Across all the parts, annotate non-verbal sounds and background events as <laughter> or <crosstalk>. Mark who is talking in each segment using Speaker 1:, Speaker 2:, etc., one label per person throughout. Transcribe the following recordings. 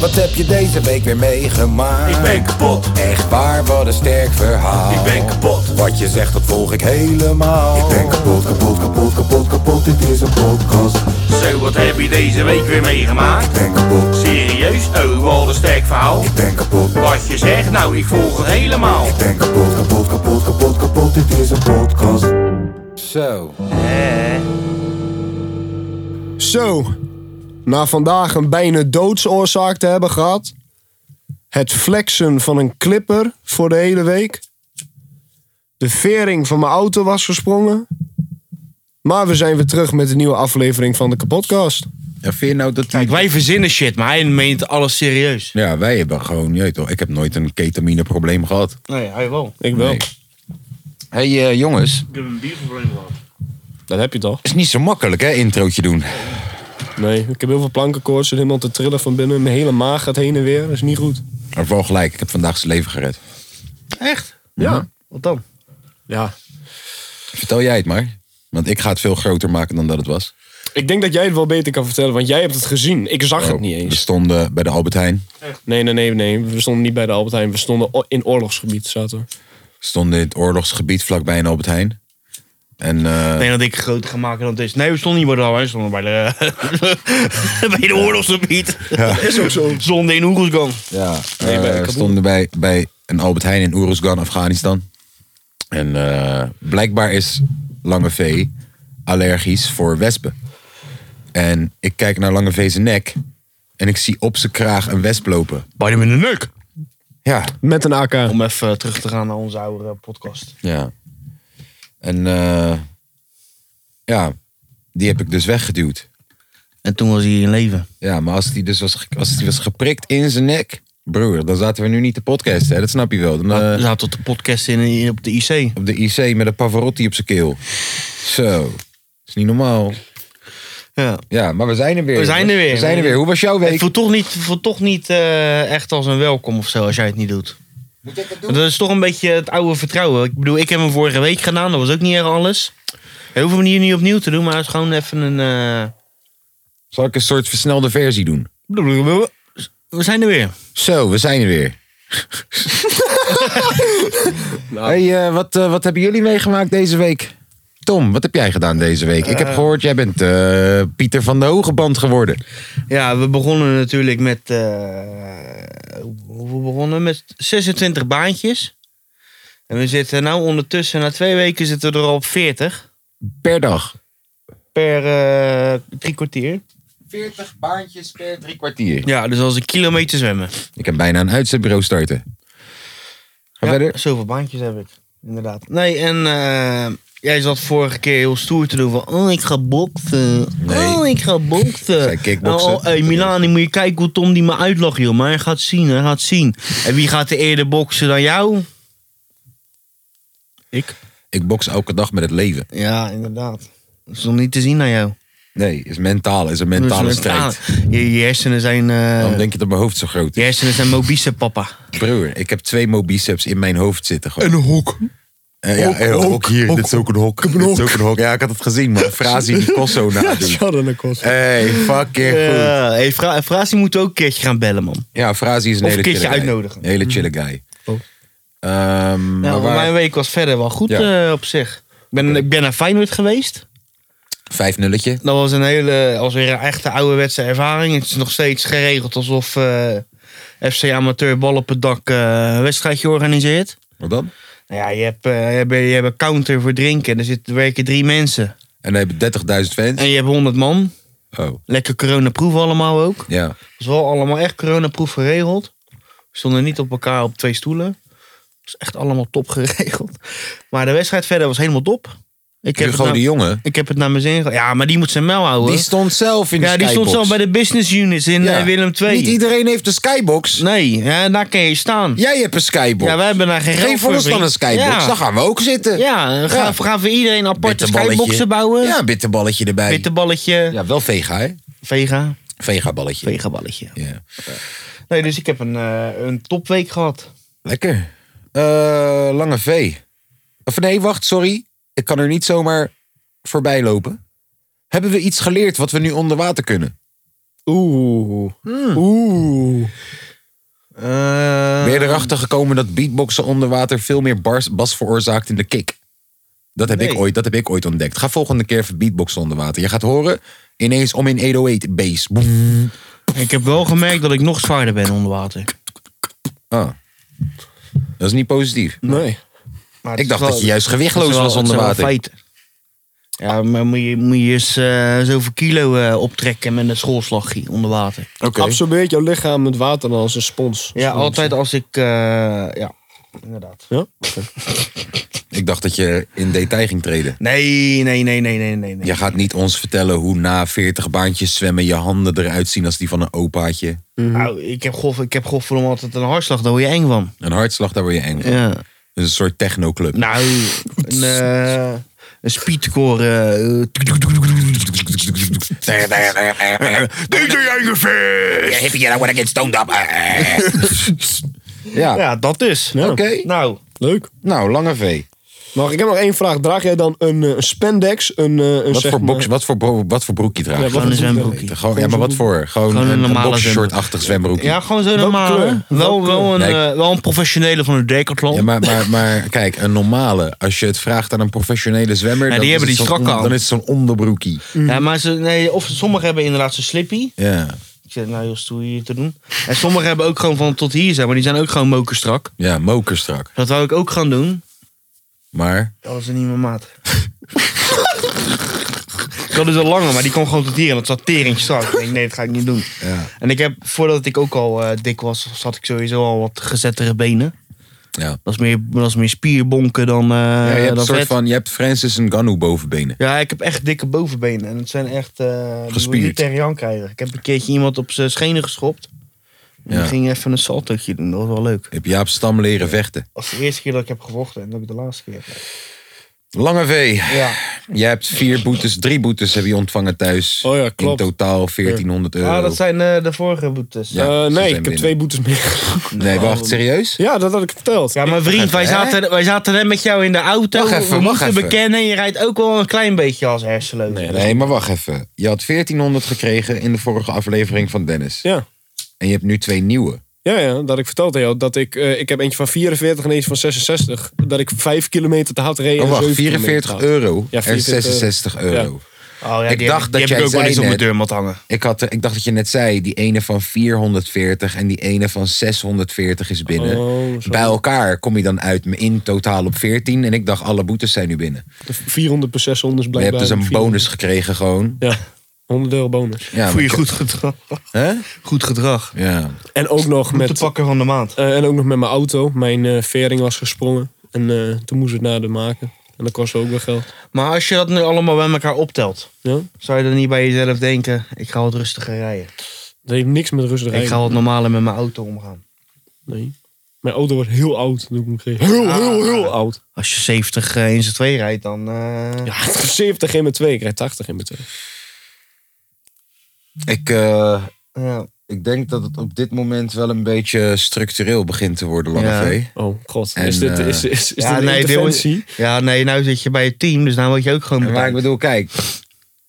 Speaker 1: Wat heb je deze week weer meegemaakt?
Speaker 2: Ik ben kapot.
Speaker 1: Echt waar, wat een sterk verhaal.
Speaker 2: Ik ben kapot.
Speaker 1: Wat je zegt, dat volg ik helemaal.
Speaker 3: Ik ben kapot, kapot, kapot, kapot, kapot, dit is een podcast.
Speaker 2: Zo, wat heb je deze week weer meegemaakt?
Speaker 3: Ik ben kapot,
Speaker 2: Serieus? Oh, wat een sterk verhaal.
Speaker 3: ik ben kapot,
Speaker 2: Wat je zegt, nou, ik volg het helemaal.
Speaker 3: ik ben kapot, kapot, kapot, kapot, kapot, dit is een podcast.
Speaker 1: Zo.
Speaker 4: Zo, na vandaag een bijna doodsoorzaak te hebben gehad, het flexen van een clipper voor de hele week, de vering van mijn auto was gesprongen, maar we zijn weer terug met een nieuwe aflevering van de kapotcast.
Speaker 5: Ja, vind je nou dat...
Speaker 6: Kijk, wij verzinnen shit, maar hij meent alles serieus.
Speaker 5: Ja, wij hebben gewoon... Je weet toch, ik heb nooit een ketamineprobleem gehad.
Speaker 6: Nee, hij wel.
Speaker 4: Ik wel.
Speaker 5: Nee. hey, eh, jongens.
Speaker 6: Ik heb een bierprobleem gehad.
Speaker 4: Dat heb je toch?
Speaker 5: is niet zo makkelijk, hè, introotje doen.
Speaker 4: Nee, ik heb heel veel plankenkoorts, zit helemaal te trillen van binnen, mijn hele maag gaat heen en weer, dat is niet goed.
Speaker 5: Maar vooral gelijk, ik heb vandaag zijn leven gered. Mhm.
Speaker 6: Echt?
Speaker 4: Ja.
Speaker 6: Wat dan?
Speaker 4: Ja.
Speaker 5: Vertel jij het maar. Want ik ga het veel groter maken dan dat het was.
Speaker 4: Ik denk dat jij het wel beter kan vertellen, want jij hebt het gezien. Ik zag het niet
Speaker 5: Oh, We
Speaker 4: eens.
Speaker 5: stonden bij de Albert Heijn.
Speaker 4: Nee, nee, nee, nee. We stonden niet bij de Albert Heijn. We stonden o- in oorlogsgebied, zaten we.
Speaker 5: We stonden in het oorlogsgebied vlakbij een Albert Heijn. En eh,
Speaker 6: Ik denk dat ik groter ga maken dan het is. Nee, we stonden niet bij de Alwijn, we stonden bij de, bij de <laughs> oorlogsgebied. Is ook zo. Zonde in Oeruzgan.
Speaker 5: ja,
Speaker 4: Nee,
Speaker 5: eh,
Speaker 4: bij
Speaker 5: we
Speaker 4: Kabul.
Speaker 5: stonden bij, bij een Albert Heijn in Oeruzgan, Afghanistan. En eh, blijkbaar is Lange V allergisch voor wespen. En ik kijk naar Lange V zijn nek. En ik zie op zijn kraag een wesp lopen.
Speaker 6: Bij hem in de nek.
Speaker 5: Ja,
Speaker 4: Met een AK.
Speaker 6: Om even eh, terug te gaan naar onze oude eh, podcast.
Speaker 5: Ja. En eh, ja, die heb ik dus weggeduwd.
Speaker 6: En toen was hij in leven.
Speaker 5: Ja, maar als die dus was, ge- als die was geprikt in zijn nek, broer, dan zaten we nu niet te podcasten. Hè? Dat snap je wel. Dan, eh,
Speaker 6: Hij zat tot de podcast in, in- op de IC.
Speaker 5: op de IC met een Pavarotti op zijn keel. Zo, is niet normaal.
Speaker 6: Ja.
Speaker 5: Ja, maar we zijn er weer.
Speaker 6: We zijn er weer.
Speaker 5: We zijn er weer. Hoe was jouw
Speaker 6: Ik
Speaker 5: week?
Speaker 6: voel toch niet, voel toch niet eh, echt als een welkom of zo als jij het niet doet. Dat is toch een beetje het oude vertrouwen. Ik bedoel, ik heb hem vorige week gedaan. Dat was ook niet erg alles. We hoeven hem hier niet opnieuw te doen, maar het is gewoon even een... eh,
Speaker 5: Zal ik een soort versnelde versie doen?
Speaker 6: We zijn er weer.
Speaker 5: Zo, we zijn er
Speaker 6: <laughs>
Speaker 5: weer.
Speaker 6: Nou.
Speaker 5: Hey, eh, wat, eh, wat hebben jullie meegemaakt deze week? Tom, wat heb jij gedaan deze week? Ik heb gehoord, jij bent eh, Pieter van de Hogeband geworden.
Speaker 6: Ja, we begonnen natuurlijk met... eh, hoe we begonnen? Met 26 baantjes. En we zitten nou ondertussen, na twee weken zitten we er al op 40.
Speaker 5: Per dag.
Speaker 6: Per eh, drie kwartier.
Speaker 5: 40 baantjes per drie kwartier.
Speaker 6: Ja, dus als een kilometer zwemmen.
Speaker 5: Ik kan bijna een uitzendbureau starten. Ga
Speaker 6: Ja,
Speaker 5: verder.
Speaker 6: Zoveel baantjes heb ik, inderdaad. Nee, en eh, jij zat vorige keer heel stoer te doen van... Oh, ik ga boksen.
Speaker 5: Nee.
Speaker 6: Oh, ik ga
Speaker 5: Zij
Speaker 6: boksen.
Speaker 5: kickboksen.
Speaker 6: Oh, hey, Milani, moet je kijken hoe Tom die me uitlacht, joh. Maar hij gaat zien, hij gaat zien. En wie gaat er eerder boksen dan jou? Ik?
Speaker 5: Ik boks elke dag met het leven.
Speaker 6: Ja, inderdaad. Dat is nog niet te zien naar jou.
Speaker 5: Nee, is mentaal. Is een
Speaker 6: Dat is
Speaker 5: mentale
Speaker 6: mentaal.
Speaker 5: strijd.
Speaker 6: Je, je hersenen zijn... eh,
Speaker 5: Dan denk je dat mijn hoofd zo groot
Speaker 6: je
Speaker 5: is.
Speaker 6: hersenen zijn mobiese, papa.
Speaker 5: Broer, ik heb twee mobiceps in mijn hoofd zitten. Gewoon.
Speaker 4: een hok.
Speaker 5: Eh, ja, eh, hok, hier. Dit is ook een hok. Dit is ook een hok. Ja, ik had het gezien, maar Frazi die kost
Speaker 6: <laughs>
Speaker 5: zo nadoen.
Speaker 4: Sharon de kost.
Speaker 5: Hey, fucking goed.
Speaker 6: Ja, hey, Fra Frasie moet ook een keertje gaan bellen, man.
Speaker 5: Ja, Frazi is een
Speaker 6: Of
Speaker 5: hele
Speaker 6: een keertje
Speaker 5: chille guy.
Speaker 6: uitnodigen. Mhm.
Speaker 5: Een hele chille guy.
Speaker 4: Oh.
Speaker 5: Ehm, maar
Speaker 6: Nou,
Speaker 5: waar-
Speaker 6: mijn week was verder wel goed
Speaker 5: Ja.
Speaker 6: eh, op zich. Ik ben, ik ben naar Feyenoord geweest.
Speaker 5: Vijf nulletje.
Speaker 6: Dat was een hele, als weer een echte ouderwetse ervaring. Het is nog steeds geregeld alsof eh, FC Amateur Bal op het dak eh, een wedstrijdje organiseert.
Speaker 5: Wat dan?
Speaker 6: Nou ja, je hebt, eh, je hebt, je hebt een counter voor drinken. Er, zitten, er werken drie mensen.
Speaker 5: En dan hebben 30.000 fans.
Speaker 6: En je hebt 100 man.
Speaker 5: Oh,
Speaker 6: Lekker coronaproef allemaal ook.
Speaker 5: ja.
Speaker 6: Het is wel allemaal echt coronaproef geregeld. We stonden niet op elkaar op twee stoelen. Het is echt allemaal top geregeld. Maar de wedstrijd verder was helemaal top. Ik het
Speaker 5: Hugo
Speaker 6: nou-
Speaker 5: de Jonge.
Speaker 6: Ik heb het naar mijn zin gehad. Ja, maar die moet zijn mel houden.
Speaker 5: Die stond zelf in de
Speaker 6: ja, die stond zelf bij de business units in eh, Willem II.
Speaker 5: Niet iedereen heeft een skybox.
Speaker 6: Nee, hè, daar kan je staan.
Speaker 5: Jij hebt een skybox.
Speaker 6: Ja, wij hebben daar geen geld
Speaker 5: Geef ons dan
Speaker 6: vriend.
Speaker 5: een skybox.
Speaker 6: Ja,
Speaker 5: Dan gaan we ook zitten.
Speaker 6: ja, ga,
Speaker 5: Ja.
Speaker 6: gaan we iedereen aparte
Speaker 5: Bitterballetje.
Speaker 6: skyboxen bouwen.
Speaker 5: Ja, bitterballetje erbij.
Speaker 6: Bitterballetje.
Speaker 5: Ja, wel vega, hè?
Speaker 6: Vega.
Speaker 5: Vega balletje.
Speaker 6: Vegaballetje.
Speaker 5: Ja.
Speaker 6: Nee, dus ik heb een, eh, een topweek gehad.
Speaker 5: Lekker. Eh, lange V. Of nee, wacht, sorry. Ik kan er niet zomaar voorbij lopen. Hebben we iets geleerd wat we nu onder water kunnen?
Speaker 4: Oeh.
Speaker 6: Hmm.
Speaker 4: Oeh.
Speaker 6: Eh,
Speaker 5: Ben je erachter gekomen dat beatboxen onder water veel meer bars, bas veroorzaakt in de kick? Dat heb, ik
Speaker 6: Nee.
Speaker 5: ooit, dat heb ik ooit ontdekt. Ga volgende keer even beatboxen onder water. Je gaat horen, ineens om in 808 bass. Boem.
Speaker 6: ik heb wel gemerkt dat ik nog zwaarder ben onder water.
Speaker 5: Ah. Dat is niet positief.
Speaker 4: Nee.
Speaker 6: Maar het
Speaker 5: Ik
Speaker 6: is
Speaker 5: dacht
Speaker 6: wel-
Speaker 5: dat je juist
Speaker 6: het
Speaker 5: gewichtloos
Speaker 6: is wel-
Speaker 5: was
Speaker 6: het
Speaker 5: onder
Speaker 6: zijn wel
Speaker 5: water.
Speaker 6: feiten. Ja, maar moet je, moet je eens eh, zoveel kilo eh, optrekken met een schoolslagje onder water.
Speaker 5: Oké.
Speaker 4: Absorbeert jouw lichaam het water dan als een spons.
Speaker 6: Ja,
Speaker 4: Spons.
Speaker 6: altijd als ik... eh, ja, inderdaad.
Speaker 4: Ja?
Speaker 5: Ik dacht dat je in detail ging treden.
Speaker 6: Nee, nee, nee, nee, nee, nee. nee.
Speaker 5: Je gaat niet ons vertellen hoe na 40 baantjes zwemmen je handen eruit zien als die van een opaatje.
Speaker 6: Nou, ik heb golf, ik heb golf voor hem altijd een hartslag, daar word je eng van.
Speaker 5: Een hartslag, daar word je eng van.
Speaker 6: Ja.
Speaker 5: Dat is een soort technoclub.
Speaker 6: Nou,
Speaker 5: <laughs>
Speaker 6: een, eh een speedcore. eh,
Speaker 5: <laughs> Deze eigen vis! Yeah, when I get stoned up. <laughs> ja,
Speaker 6: ja, dat dus.
Speaker 4: Ja.
Speaker 5: oké.
Speaker 6: Nou,
Speaker 4: Leuk.
Speaker 5: Nou, lange V.
Speaker 4: Mag ik heb nog één vraag. Draag jij dan een eh, spandex, een, eh, een
Speaker 5: Wat
Speaker 4: zeg
Speaker 5: voor,
Speaker 4: maar-
Speaker 5: box, wat, voor, bo- wat voor broekje draag je?
Speaker 4: Ja, wat
Speaker 6: gewoon een
Speaker 4: voor broek
Speaker 6: zwembroekje.
Speaker 5: Gewoon, ja, maar wat voor? Gewoon,
Speaker 6: Gewoon een
Speaker 5: een, een
Speaker 6: normale
Speaker 5: boxershort-achtig zwembroekje.
Speaker 6: ja,
Speaker 5: Ja,
Speaker 6: gewoon zo
Speaker 4: Welke
Speaker 6: normaal.
Speaker 4: kleur?
Speaker 6: hè? Wel,
Speaker 4: Welke
Speaker 6: wel, een,
Speaker 5: kleur?
Speaker 6: eh, wel een professionele van de Decathlon.
Speaker 5: maar, maar, maar kijk, een normale. Als je het vraagt aan een professionele zwemmer,
Speaker 6: Ja,
Speaker 5: dan,
Speaker 6: die
Speaker 5: is
Speaker 6: hebben
Speaker 5: het
Speaker 6: die
Speaker 5: zo'n
Speaker 6: strakke
Speaker 5: on-
Speaker 6: aan.
Speaker 5: dan is het zo'n onderbroekie.
Speaker 6: Ja, maar ze, nee, of sommigen hebben inderdaad zo'n slippy.
Speaker 5: Ja,
Speaker 6: Ik zeg, nou joh, stoer hier te doen. En sommigen hebben ook gewoon van tot hier, zeg maar. Die zijn ook gewoon mokerstrak.
Speaker 5: ja mokerstrak.
Speaker 6: Dat wou ik ook gaan doen.
Speaker 5: Maar
Speaker 6: Dat is niet mijn <laughs> maat. ik had dus een lange, maar die kon gewoon tot hier. En dat zat tering strak. Ik denk, nee, dat ga ik niet doen.
Speaker 5: ja,
Speaker 6: En ik heb, voordat ik ook al eh, dik was, zat ik sowieso al wat gezettere benen.
Speaker 5: ja.
Speaker 6: Dat is meer, dat is meer spierbonken dan, eh
Speaker 5: ja je, hebt een
Speaker 6: dan
Speaker 5: soort
Speaker 6: vet.
Speaker 5: van, je hebt Francis Ngannou bovenbenen.
Speaker 6: Ja, ik heb echt dikke bovenbenen. En het zijn echt... eh die wil je
Speaker 5: Gespierd.
Speaker 6: niet tegen je aan krijgen. Ik heb een keertje iemand op zijn schenen geschopt. En
Speaker 5: Ja.
Speaker 6: die ging even een saltootje doen. Dat was wel leuk.
Speaker 5: Heb Jaap Stam leren vechten.
Speaker 6: Dat is de eerste keer dat ik heb gevochten. En dat ik de laatste keer heb.
Speaker 5: Lange V.
Speaker 6: Ja.
Speaker 5: Jij hebt vier boetes, drie boetes heb je ontvangen thuis.
Speaker 4: Oh ja, klopt.
Speaker 5: In totaal 1400 euro.
Speaker 6: Ah, dat zijn eh, de vorige boetes.
Speaker 5: Ja.
Speaker 6: Ja.
Speaker 4: Eh,
Speaker 5: ze zijn
Speaker 4: nee, ik heb
Speaker 5: binnen.
Speaker 4: twee boetes meer. <laughs>
Speaker 5: Nee,
Speaker 6: Oh.
Speaker 5: wacht, serieus?
Speaker 4: ja, dat had ik verteld.
Speaker 6: mijn vriend, wij
Speaker 5: Hè?
Speaker 6: zaten, wij zaten net met jou in de auto.
Speaker 5: Wacht even,
Speaker 6: we
Speaker 5: wacht
Speaker 6: moeten
Speaker 5: even.
Speaker 6: bekennen, je rijdt ook wel een klein beetje als hersenloos. Oh,
Speaker 5: Nee, maar wacht even. Je had 1400 gekregen in de vorige aflevering van Dennis.
Speaker 4: Ja.
Speaker 5: En je hebt nu twee nieuwe.
Speaker 4: Ja, ja, dat had ik verteld aan jou dat ik, eh, ik heb eentje van 44 en eentje van 66. Dat ik 5 kilometer te hard reed.
Speaker 5: Oh,
Speaker 4: en
Speaker 5: wacht,
Speaker 4: 7 kilometer
Speaker 5: 44
Speaker 4: te hard.
Speaker 5: euro
Speaker 4: Ja,
Speaker 5: en
Speaker 4: 44
Speaker 5: 66 euro.
Speaker 6: Oh, ja,
Speaker 5: Ik
Speaker 6: die
Speaker 5: dacht
Speaker 6: heb,
Speaker 5: dat
Speaker 6: die
Speaker 5: jij
Speaker 6: heb ik ook wel
Speaker 5: zei
Speaker 6: eens op mijn
Speaker 5: net-
Speaker 6: deurmat hangen.
Speaker 5: Ik, had, eh, ik dacht dat je net zei, die ene van 440 en die ene van 640 is binnen.
Speaker 4: Oh, sorry.
Speaker 5: Bij elkaar kom je dan uit me in totaal op 14. En ik dacht, alle boetes zijn nu binnen.
Speaker 4: De 400 per 600 is
Speaker 5: Je hebt
Speaker 4: blijkbaar.
Speaker 5: dus een
Speaker 4: 400.
Speaker 5: bonus gekregen gewoon.
Speaker 4: Ja, 100 euro bonus.
Speaker 5: Ja,
Speaker 6: Voor je
Speaker 5: maar-
Speaker 6: goed gedrag.
Speaker 5: Hè?
Speaker 6: Goed gedrag.
Speaker 5: Ja.
Speaker 4: En ook nog
Speaker 6: Met
Speaker 4: met,
Speaker 6: de pakker van de maand.
Speaker 4: eh, en ook nog met mijn auto. Mijn eh, vering was gesprongen. En eh, toen moest ik het naar de maken. En dat kostte ook wel geld.
Speaker 6: Maar als je dat nu allemaal bij elkaar optelt,
Speaker 4: Ja?
Speaker 6: zou je dan niet bij jezelf denken: ik ga wat rustiger rijden.
Speaker 4: Dat heeft niks met rustig rijden.
Speaker 6: Ik ga wat normaler met mijn auto omgaan.
Speaker 4: Nee. Mijn auto wordt heel oud. Doe ik hem geven.
Speaker 5: Ah.
Speaker 4: Heel, heel, heel oud.
Speaker 6: Als je 70 eh, in z'n twee rijdt, dan. eh,
Speaker 4: Ja, <laughs> 70 in mijn 2. Ik rijd 80 in mijn 2.
Speaker 5: Ik, eh,
Speaker 6: ja.
Speaker 5: ik denk dat het op dit moment wel een beetje structureel begint te worden, Lange
Speaker 6: Ja.
Speaker 5: V.
Speaker 4: Oh, god.
Speaker 5: En,
Speaker 4: is dit,
Speaker 5: eh,
Speaker 4: is, is, is
Speaker 6: Ja,
Speaker 4: dit een
Speaker 6: nee, dit-
Speaker 4: interventie?
Speaker 6: Ja, nee, nou zit je bij het team, dus nou word je ook gewoon.
Speaker 5: Maar ik
Speaker 6: betaald.
Speaker 5: bedoel, kijk.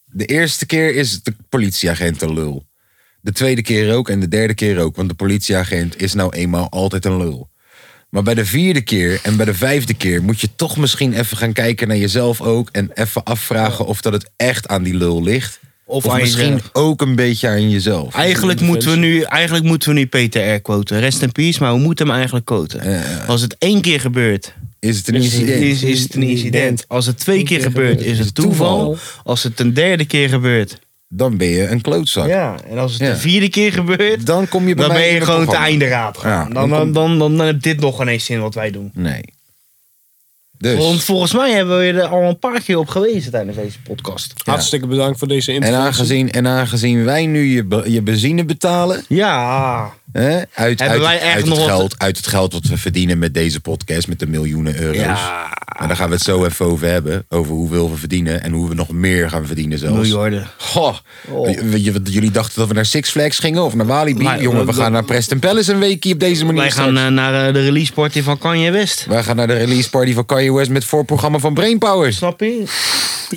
Speaker 5: De eerste keer is de politieagent een lul. De tweede keer ook en de derde keer ook. Want de politieagent is nou eenmaal altijd een lul. Maar bij de vierde keer en bij de vijfde keer moet je toch misschien even gaan kijken naar jezelf ook. En even afvragen of dat het echt aan die lul ligt. Of,
Speaker 6: Of, aan
Speaker 5: misschien
Speaker 6: jezelf.
Speaker 5: ook een beetje aan jezelf.
Speaker 6: Eigenlijk moeten, we nu, eigenlijk moeten we nu PTR quoten. Rest in peace, maar we moeten hem eigenlijk quoten. Als het één keer gebeurt,
Speaker 5: Is het een
Speaker 6: is,
Speaker 5: incident?
Speaker 6: is, is het een incident. Als het twee keer
Speaker 4: keer
Speaker 6: gebeurt,
Speaker 4: gebeurt,
Speaker 6: is het toeval. Als het een derde keer gebeurt,
Speaker 5: Dan ben je een klootzak.
Speaker 6: Ja, en als het
Speaker 5: Ja.
Speaker 6: de vierde keer gebeurt, dan,
Speaker 5: Dan kom je bij mij
Speaker 6: ben
Speaker 5: in
Speaker 6: je
Speaker 5: het
Speaker 6: gewoon te
Speaker 5: programma.
Speaker 6: einderaad. gegaan.
Speaker 5: Ja,
Speaker 6: dan,
Speaker 5: dan
Speaker 6: dan,
Speaker 5: komt-
Speaker 6: dan, dan, heb dit nog geen eens zin wat wij doen.
Speaker 5: Nee. Dus.
Speaker 6: Want volgens mij hebben we er al een paar keer op gewezen tijdens deze podcast.
Speaker 4: Hartstikke bedankt voor deze
Speaker 5: En
Speaker 4: interventie.
Speaker 5: aangezien, en aangezien wij nu je, be- je benzine betalen,
Speaker 6: Ja,
Speaker 5: hè, uit, uit,
Speaker 6: wij
Speaker 5: het-
Speaker 6: echt
Speaker 5: uit, het
Speaker 6: nog wat-
Speaker 5: geld, uit het geld wat we verdienen met deze podcast, met de miljoenen euro's.
Speaker 6: Ja.
Speaker 5: En daar gaan we het zo even over hebben, over hoeveel we verdienen en hoe we nog meer gaan verdienen zelfs.
Speaker 6: miljarden.
Speaker 5: Goh, j- j- wat- jullie dachten dat we naar Six Flags gingen of naar Walibi.
Speaker 6: Maar-
Speaker 5: Jongen, we
Speaker 6: we-
Speaker 5: gaan naar Preston Palace een weekje op deze manier.
Speaker 6: Wij gaan
Speaker 5: straks.
Speaker 6: eh, naar eh, de release party van Kanye West.
Speaker 5: Wij gaan naar de release party van Kanye West met voorprogramma van Brainpowers.
Speaker 6: Snap je?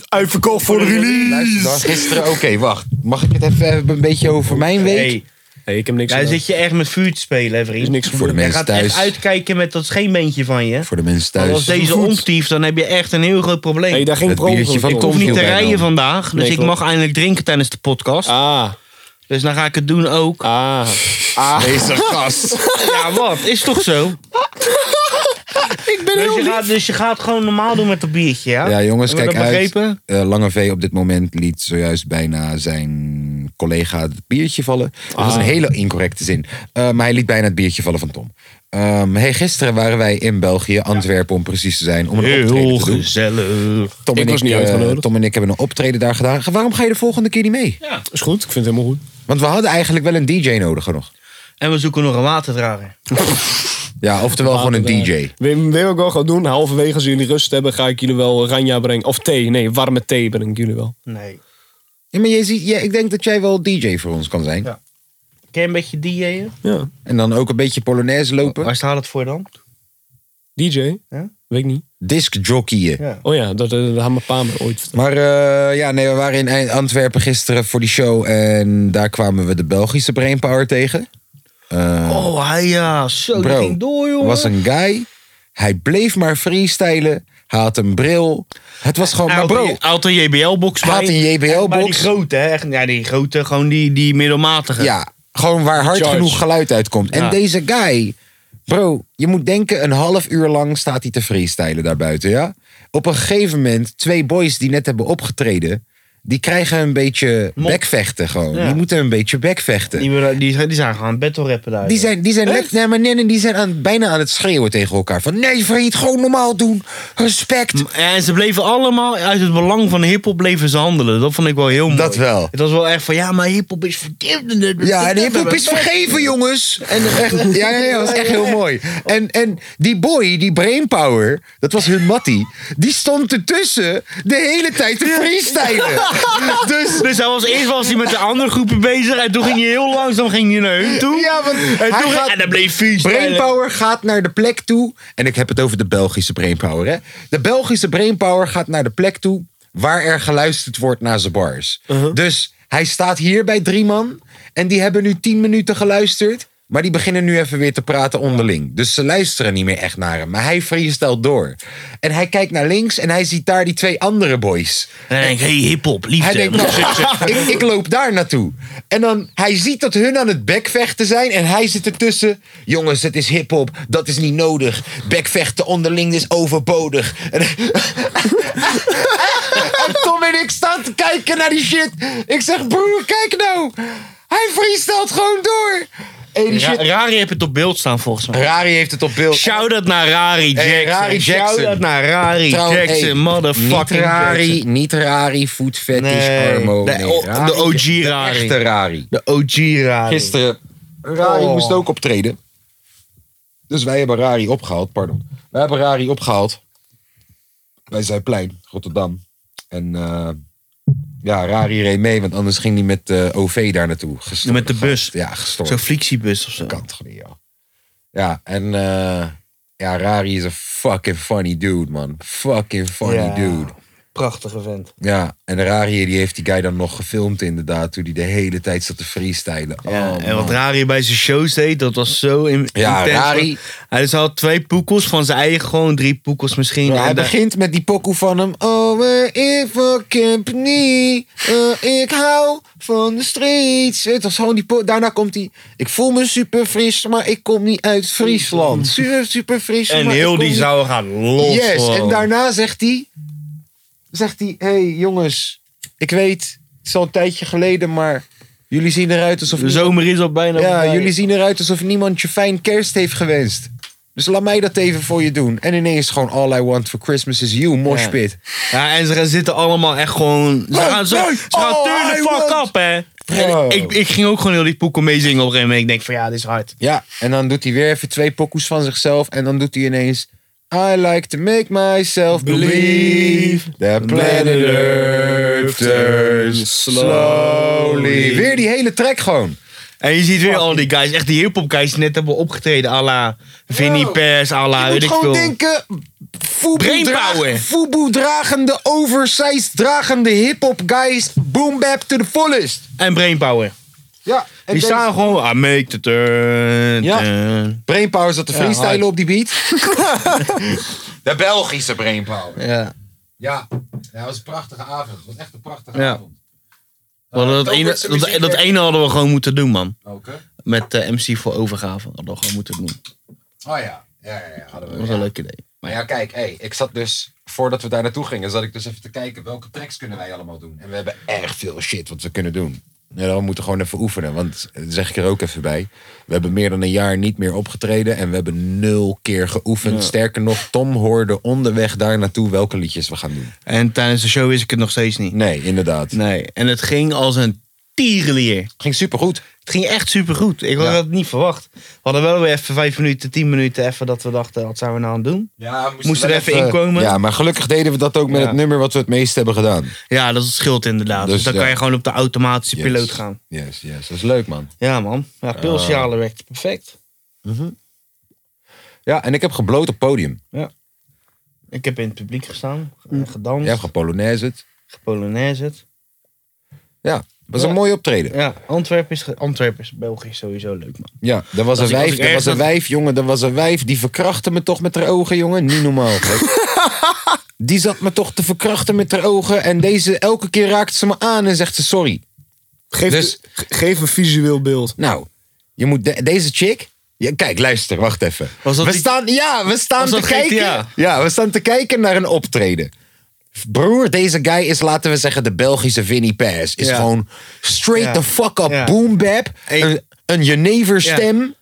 Speaker 4: Uitverkocht voor de
Speaker 5: Luister, dat
Speaker 4: release.
Speaker 5: was gisteren. Oké, wacht. Mag ik het even, even een beetje over mijn week?
Speaker 6: Hey,
Speaker 4: Nee, ik heb niks
Speaker 6: daar zit je echt met vuur te spelen, hè, vriend.
Speaker 4: Is niks
Speaker 5: Voor de
Speaker 6: Jij
Speaker 5: mensen
Speaker 6: gaat
Speaker 5: thuis.
Speaker 6: echt uitkijken met dat scheenbeentje van je.
Speaker 5: Voor de mensen
Speaker 6: Want
Speaker 5: thuis.
Speaker 6: als deze
Speaker 4: Goed.
Speaker 6: omtief, dan heb je echt een heel groot probleem.
Speaker 4: Nee, daar ging
Speaker 5: Het
Speaker 4: pro
Speaker 5: biertje van
Speaker 6: ik hoef
Speaker 5: Tom
Speaker 6: niet te
Speaker 5: viel bijna
Speaker 6: rijden
Speaker 5: om.
Speaker 6: vandaag, dus
Speaker 4: Nee,
Speaker 6: ik
Speaker 4: klopt.
Speaker 6: mag eindelijk drinken tijdens de podcast.
Speaker 4: Ah,
Speaker 6: Dus dan ga ik het doen ook.
Speaker 4: ah.
Speaker 5: Deze <laughs> gast.
Speaker 6: Ja, wat? Is toch zo? ik ben dus, je gaat, dus je gaat gewoon normaal doen met dat biertje, ja?
Speaker 5: Ja, jongens,
Speaker 6: Hebben
Speaker 5: kijk
Speaker 6: we dat
Speaker 5: uit.
Speaker 6: begrepen?
Speaker 5: Eh, Lange V op dit moment liet zojuist bijna zijn collega het biertje vallen. Dat
Speaker 4: Ah.
Speaker 5: was een hele incorrecte zin. Eh, maar hij liet bijna het biertje vallen van Tom. Ehm, hey, gisteren waren wij in België, Antwerpen om precies te zijn, om een optreden
Speaker 6: Heel
Speaker 5: te doen.
Speaker 6: gezellig.
Speaker 5: Tom
Speaker 4: Ik
Speaker 5: en
Speaker 4: was niet
Speaker 5: eh,
Speaker 4: uitgenodigd.
Speaker 5: Tom en ik hebben een optreden daar gedaan. Waarom ga je de volgende keer niet mee?
Speaker 4: Is goed, ik vind het helemaal goed.
Speaker 5: Want we hadden eigenlijk wel een DJ nodig nog.
Speaker 6: En we zoeken nog een waterdrager.
Speaker 5: Ja, oftewel gewoon een DJ.
Speaker 4: Weet eh, je weet je wat ik wel ga doen? Halverwege als jullie rust hebben, ga ik jullie wel ranja brengen. Of thee, nee, warme thee breng ik jullie wel.
Speaker 6: Nee.
Speaker 5: Ja, maar je ziet, ja, ik denk dat jij wel DJ voor ons kan zijn.
Speaker 6: Ja. Ken je een beetje DJ'en?
Speaker 4: Ja,
Speaker 5: En dan ook een beetje Polonaise lopen.
Speaker 4: Oh,
Speaker 6: Waar staat het voor dan?
Speaker 4: DJ?
Speaker 6: Ja?
Speaker 4: Weet ik niet.
Speaker 5: Disc jockeyen.
Speaker 6: Ja.
Speaker 4: Oh ja, dat, eh, dat had mijn pa me ooit verteld.
Speaker 5: Maar eh, ja, nee, we waren in Eind- Antwerpen gisteren voor die show. En daar kwamen we de Belgische Brainpower tegen. Eh,
Speaker 6: Oh, hij ja. Zo,
Speaker 5: Bro,
Speaker 6: dat Oh, ging door, jongen.
Speaker 5: was een guy. Hij bleef maar freestylen. Hij had een bril. Het was gewoon... Maar
Speaker 6: Hij
Speaker 5: bro,
Speaker 6: had een- had een JBL-box bij.
Speaker 5: Hij had een JBL-box.
Speaker 6: Maar die grote, hè? echt- Ja, die grote, gewoon die, die middelmatige.
Speaker 5: ja, gewoon waar hard
Speaker 4: Charge.
Speaker 5: genoeg geluid uitkomt. En
Speaker 6: Ja.
Speaker 5: deze guy... Bro, je moet denken, een half uur lang staat hij te freestylen daarbuiten, ja? Op een gegeven moment, twee boys die net hebben opgetreden... die krijgen een beetje
Speaker 6: Mond.
Speaker 5: bekvechten gewoon.
Speaker 6: Ja.
Speaker 5: Die moeten een beetje bekvechten.
Speaker 6: Die, willen- die, die zijn gewoon battle rappen daar.
Speaker 5: Die zijn, die zijn, net, nee, maar nee, nee, die zijn aan, bijna aan het schreeuwen tegen elkaar. Van nee, vriend, gewoon normaal doen. Respect.
Speaker 6: En ze bleven allemaal, uit het belang van hiphop bleven ze handelen. Dat vond ik wel heel mooi.
Speaker 5: Dat wel.
Speaker 6: Het was wel echt van, ja, maar hiphop is verkeerd.
Speaker 5: Ja, en hiphop is vergeven, jongens. En echt, ja, ja, ja, dat is echt heel mooi. En, en die boy, die brainpower, dat was hun mattie. Die stond ertussen de hele tijd te freestylen.
Speaker 6: Dus, dus hij was, eerst was hij met de andere groepen bezig. En toen ging hij heel langzaam ging hij naar hun toe.
Speaker 5: Ja, want
Speaker 6: en,
Speaker 5: hij
Speaker 6: toen,
Speaker 5: gaat-
Speaker 6: en dan bleef vies.
Speaker 5: Brainpower gaat naar de plek toe. En ik heb het over de Belgische Brainpower. Hè? De Belgische Brainpower gaat naar de plek toe waar er geluisterd wordt naar zijn bars. Dus hij staat hier bij drie man. En die hebben nu tien minuten geluisterd. Maar die beginnen nu even weer te praten onderling. Dus ze luisteren niet meer echt naar hem. Maar hij freestelt door. En hij kijkt naar links en hij ziet daar die twee andere boys.
Speaker 6: En dan denk ik, hey, hiphop,
Speaker 5: Hij
Speaker 6: liefde.
Speaker 5: denkt, <laughs> nou, ik, ik loop daar naartoe. En dan, hij ziet dat hun aan het bekvechten zijn. En hij zit ertussen. Jongens, het is hiphop. Dat is niet nodig. Bekvechten onderling is overbodig. <laughs> En, en Tom en ik staan te kijken naar die shit. Ik zeg, broer, kijk nou. Hij freestelt gewoon door. En die
Speaker 6: Ra-
Speaker 5: shit...
Speaker 6: Rari heb het op beeld staan volgens mij.
Speaker 5: Rari heeft het op beeld.
Speaker 6: Shout-out naar Rari Jackson.
Speaker 5: Hey, Rari Jackson.
Speaker 6: Shout-out naar Rari
Speaker 5: Trouwens,
Speaker 6: Jackson,
Speaker 5: hey,
Speaker 6: motherfucking
Speaker 5: niet Rari,
Speaker 6: Jackson.
Speaker 5: niet Rari, Food Fetish,
Speaker 6: Nee,
Speaker 5: Armo.
Speaker 6: de-
Speaker 5: nee,
Speaker 6: o- de
Speaker 5: Rari-
Speaker 6: OG
Speaker 5: de
Speaker 6: Rari.
Speaker 5: Echte Rari.
Speaker 6: De OG Rari.
Speaker 5: Gisteren. Rari
Speaker 6: Oh.
Speaker 5: moest ook optreden. Dus wij hebben Rari opgehaald, pardon. Wij hebben Rari opgehaald. Bij Zuidplein, Rotterdam. En eh, ja, Rari reed mee, want anders ging hij met de OV daar naartoe. Gestorven
Speaker 6: Met de bus.
Speaker 5: gast. Ja, gestorven
Speaker 6: Zo'n flixiebus of
Speaker 5: <laughs>
Speaker 6: zo.
Speaker 5: kant gewoon, joh. Ja, en eh, ja, Rari is een fucking funny dude, man. Fucking funny
Speaker 6: Ja.
Speaker 5: dude.
Speaker 6: Prachtige vent.
Speaker 5: Ja, en Rari die heeft die guy dan nog gefilmd inderdaad, toen hij de hele tijd zat te freestylen.
Speaker 6: Ja,
Speaker 5: oh,
Speaker 6: en wat
Speaker 5: man.
Speaker 6: Rari bij zijn shows deed, dat was zo in,
Speaker 5: Ja,
Speaker 6: intens.
Speaker 5: Rari-
Speaker 6: Hij dus had twee poekels van zijn eigen, gewoon drie poekels misschien.
Speaker 5: Ja,
Speaker 6: En
Speaker 5: hij
Speaker 6: daar-
Speaker 5: begint met die pokoe van hem. Oh, we're in for company. Eh, ik hou van de streets. Het was gewoon die po- Daarna komt hij. Ik voel me super fris, maar ik kom niet uit Friesland. Super, super fris.
Speaker 6: Mm. en
Speaker 5: maar ik
Speaker 6: heel
Speaker 5: kom
Speaker 6: die
Speaker 5: niet-
Speaker 6: zou gaan los.
Speaker 5: Yes,
Speaker 6: gewoon.
Speaker 5: en daarna zegt hij... Zegt hij, hé hey, jongens, ik weet, het is al een tijdje geleden, maar jullie zien eruit alsof...
Speaker 6: De
Speaker 5: niemand-
Speaker 6: zomer is al bijna
Speaker 5: ja,
Speaker 6: voorbij.
Speaker 5: jullie zien eruit alsof niemand je fijn kerst heeft gewenst. Dus laat mij dat even voor je doen. En ineens gewoon all I want for Christmas is you, moshpit.
Speaker 6: Ja, en ze gaan zitten allemaal echt gewoon... Ze
Speaker 5: Hey,
Speaker 6: gaan, ze,
Speaker 5: hey,
Speaker 6: ze gaan
Speaker 5: oh,
Speaker 6: turn
Speaker 5: hij
Speaker 6: the fuck
Speaker 5: won.
Speaker 6: up, hè.
Speaker 5: Bro.
Speaker 6: En ik, ik ging ook gewoon heel die poekel meezingen op een gegeven moment. Ik denk van, ja, dit is hard.
Speaker 5: Ja, en dan doet hij weer even twee pokoes van zichzelf. En dan doet hij ineens... I like to make myself believe that planet Earth turns slowly. Weer die hele track gewoon.
Speaker 6: En je ziet weer al die guys, echt die hip-hop guys, die net hebben opgetreden. à la Vinnie Pers, à la.
Speaker 5: Je
Speaker 6: Ah, weet
Speaker 5: moet
Speaker 6: ik
Speaker 5: gewoon
Speaker 6: veel.
Speaker 5: denken,
Speaker 6: Brain
Speaker 5: Fubu, draag-
Speaker 6: power.
Speaker 5: Fubu dragende, oversized dragende hip-hop guys, boom bap to the fullest.
Speaker 6: En Brainpower.
Speaker 5: Ja, en
Speaker 6: Die
Speaker 5: deze-
Speaker 6: staan gewoon. I make the turn.
Speaker 5: Ja.
Speaker 6: turn.
Speaker 5: Brainpower zat te freestylen
Speaker 6: hard.
Speaker 5: op die <laughs> beat. de Belgische Brainpower.
Speaker 6: Ja.
Speaker 5: Ja. ja, dat was een prachtige avond. Dat was echt een prachtige
Speaker 6: Ja.
Speaker 5: avond.
Speaker 6: Want dat,
Speaker 5: ook
Speaker 6: ene,
Speaker 5: met zijn
Speaker 6: dat,
Speaker 5: muziek,
Speaker 6: dat
Speaker 5: hè?
Speaker 6: ene hadden we gewoon moeten doen, man.
Speaker 5: Ook, hè?
Speaker 6: Met eh, MC voor overgave hadden we gewoon moeten doen. Dat
Speaker 5: Oh ja. Ja, ja, ja. Hadden we,
Speaker 6: was
Speaker 5: ja.
Speaker 6: een leuk idee.
Speaker 5: Maar ja, kijk, hey, ik zat dus, voordat we daar naartoe gingen, zat ik dus even te kijken welke tracks kunnen wij allemaal doen. En we hebben erg veel shit wat we kunnen doen. Ja, we moeten gewoon even oefenen, want eh, zeg ik er ook even bij. We hebben meer dan een jaar niet meer opgetreden en we hebben nul keer geoefend. Sterker nog, Tom hoorde onderweg daar naartoe welke liedjes we gaan doen.
Speaker 6: En tijdens de show wist ik het nog steeds niet.
Speaker 5: Nee, inderdaad.
Speaker 6: Nee. En het ging als een tierenlier.
Speaker 5: Ging supergoed.
Speaker 6: Het ging echt supergoed. Ik had
Speaker 5: Ja.
Speaker 6: het niet verwacht. We hadden wel weer even vijf minuten, tien minuten even dat we dachten, wat zijn we nou aan het doen?
Speaker 5: Ja, moest
Speaker 6: Moest er even inkomen. Ja.
Speaker 5: Ja, maar gelukkig deden we dat ook met
Speaker 6: Ja.
Speaker 5: het nummer wat we het meest hebben gedaan.
Speaker 6: dat is het schild inderdaad. Dus,
Speaker 5: Dus
Speaker 6: dan
Speaker 5: ja.
Speaker 6: kan je gewoon op de automatische
Speaker 5: Yes.
Speaker 6: piloot gaan.
Speaker 5: Yes, yes. Dat is leuk, man.
Speaker 6: Ja, man. Ja, pilsialen werkt perfect.
Speaker 5: Ja, en ik heb gebloot op het podium.
Speaker 6: Ik heb in het publiek gestaan, eh,
Speaker 5: Jij
Speaker 6: gedanst,
Speaker 5: hebt gepolonaise het.
Speaker 6: gepolonaise het.
Speaker 5: Ja, was een
Speaker 6: Ja.
Speaker 5: mooi optreden.
Speaker 6: Ja, Antwerpen is, ge- Antwerpen is België sowieso leuk, man.
Speaker 5: Ja, er was
Speaker 6: Dat
Speaker 5: een
Speaker 6: ik- als
Speaker 5: wijf,
Speaker 6: ik
Speaker 5: er
Speaker 6: ergens
Speaker 5: was een
Speaker 6: dat-
Speaker 5: wijf, jongen, er was een wijf. Die verkrachtte me toch met haar ogen, jongen. Niet normaal.
Speaker 6: <laughs>
Speaker 5: gek. die zat me toch te verkrachten met haar ogen. En deze, elke keer raakt ze me aan en zegt ze sorry.
Speaker 4: Geef,
Speaker 5: Dus-
Speaker 4: ge- geef een visueel beeld.
Speaker 5: Nou, je moet de- deze chick... Ja, kijk, luister, wacht even.
Speaker 6: Was dat
Speaker 5: we
Speaker 6: die-
Speaker 5: staan, ja, we staan
Speaker 6: Was
Speaker 5: te
Speaker 6: dat
Speaker 5: kijken.
Speaker 6: GTA?
Speaker 5: Ja, we staan te kijken naar een optreden. Broer, deze guy is, laten we zeggen, de Belgische Vinnie Pass. Is
Speaker 6: Ja.
Speaker 5: gewoon straight
Speaker 6: Ja.
Speaker 5: the fuck up,
Speaker 6: Ja.
Speaker 5: boom bap.
Speaker 6: Hey.
Speaker 5: Een, een Genever stem.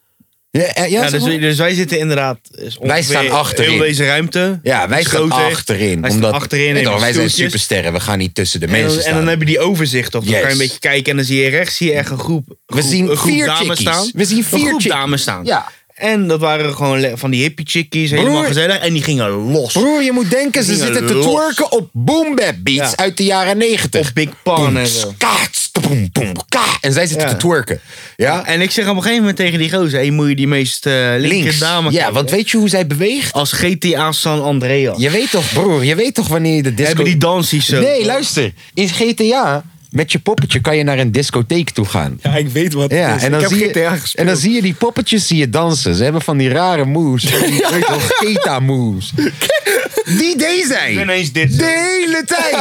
Speaker 5: Ja, ja, ja,
Speaker 6: Ja,
Speaker 5: zeg
Speaker 6: dus,
Speaker 5: maar.
Speaker 6: dus wij zitten inderdaad. eh, is ongeveer
Speaker 5: staan achterin.
Speaker 6: Heel deze ruimte.
Speaker 5: Ja, wij
Speaker 6: is
Speaker 5: staan
Speaker 6: groter.
Speaker 5: achterin.
Speaker 6: Wij
Speaker 5: omdat,
Speaker 6: staan achterin.
Speaker 5: Weet je
Speaker 6: in
Speaker 5: wel, wij zijn
Speaker 6: stoeltjes.
Speaker 5: supersterren, we gaan niet tussen de mensen
Speaker 6: En dan,
Speaker 5: staan.
Speaker 6: en dan heb je die overzicht. Of dan
Speaker 5: Yes.
Speaker 6: kan je een beetje kijken en dan zie je rechts zie je echt een groep,
Speaker 5: We
Speaker 6: groep-
Speaker 5: zien
Speaker 6: een groep
Speaker 5: vier
Speaker 6: dames
Speaker 5: chickies.
Speaker 6: staan.
Speaker 5: We zien vier
Speaker 6: een groep
Speaker 5: chick-
Speaker 6: dames staan.
Speaker 5: Ja.
Speaker 6: En dat waren gewoon le- van die hippie chickies, helemaal
Speaker 5: Broer.
Speaker 6: gezellig. En die gingen los.
Speaker 5: Broer, je moet denken, ze
Speaker 6: Dingen
Speaker 5: zitten te
Speaker 6: los.
Speaker 5: twerken op boom bap beats
Speaker 6: Ja.
Speaker 5: uit de jaren negentig.
Speaker 6: Op Big Pan en zo.
Speaker 5: Kaats, boom, boom, ka. En zij zitten
Speaker 6: Ja.
Speaker 5: te twerken. Ja,
Speaker 6: En ik zeg op een gegeven moment tegen die gozer, hey, moet je die meest eh linker
Speaker 5: links.
Speaker 6: dame
Speaker 5: Ja,
Speaker 6: kijken.
Speaker 5: want weet je hoe zij beweegt?
Speaker 6: Als GTA San Andreas.
Speaker 5: Je weet toch, broer, je weet toch wanneer je de disco...
Speaker 6: Hebben die dansjes zo.
Speaker 5: Nee, luister. In GTA, met je poppetje kan je naar een discotheek toe gaan.
Speaker 4: Ja, ik weet wat
Speaker 5: Ja, en dan, zie
Speaker 4: GTA
Speaker 5: je, en dan zie je die poppetjes zie je dansen. Ze hebben van die rare
Speaker 6: <laughs>
Speaker 5: moves. Van Die weet je wel, Keta moves. Die deed zij.
Speaker 6: ineens dit.
Speaker 5: De hele tijd.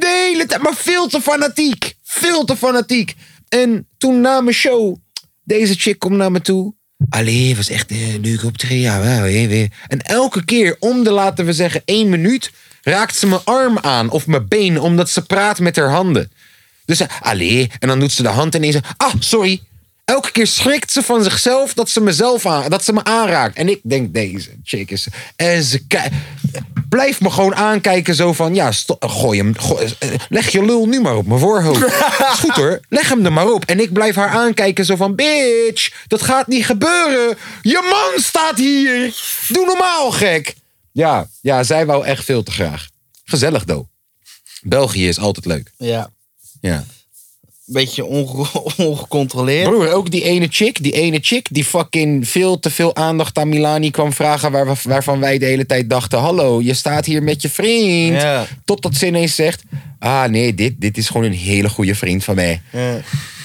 Speaker 5: De hele tijd. Maar veel te fanatiek. Veel te fanatiek. En toen na mijn show, deze chick komt naar me toe. Allee, was echt eh, een leuke optreden. Ja, wel, hé, weer. En elke keer, om de laten we zeggen één minuut, raakt ze mijn arm aan of mijn been, omdat ze praat met haar handen. Dus ze, allee, en dan doet ze de hand en ineens, ah, sorry. Elke keer schrikt ze van zichzelf dat ze, mezelf aan, dat ze me aanraakt. En ik denk, deze chick is... En ze ki- Blijf me gewoon aankijken zo van... Ja, sto- gooi hem... gooi- eh, leg je lul nu maar op mijn voorhoofd. Is goed hoor, leg hem er maar op. En ik blijf haar aankijken zo van... Bitch, dat gaat niet gebeuren. Je man staat hier. Doe normaal, gek. Ja, ja, zij wou echt veel te graag. Gezellig, though. België is altijd leuk.
Speaker 6: Ja.
Speaker 5: Ja.
Speaker 6: beetje onge- <laughs> ongecontroleerd.
Speaker 5: Broer, ook die ene chick, die ene chick die fucking veel te veel aandacht aan Milani kwam vragen, waar, we- waarvan wij de hele tijd dachten: Hallo, je staat hier met je vriend.
Speaker 6: Ja.
Speaker 5: Totdat ze ineens zegt: Ah, nee, dit, dit is gewoon een hele goede vriend van mij.
Speaker 6: Ja.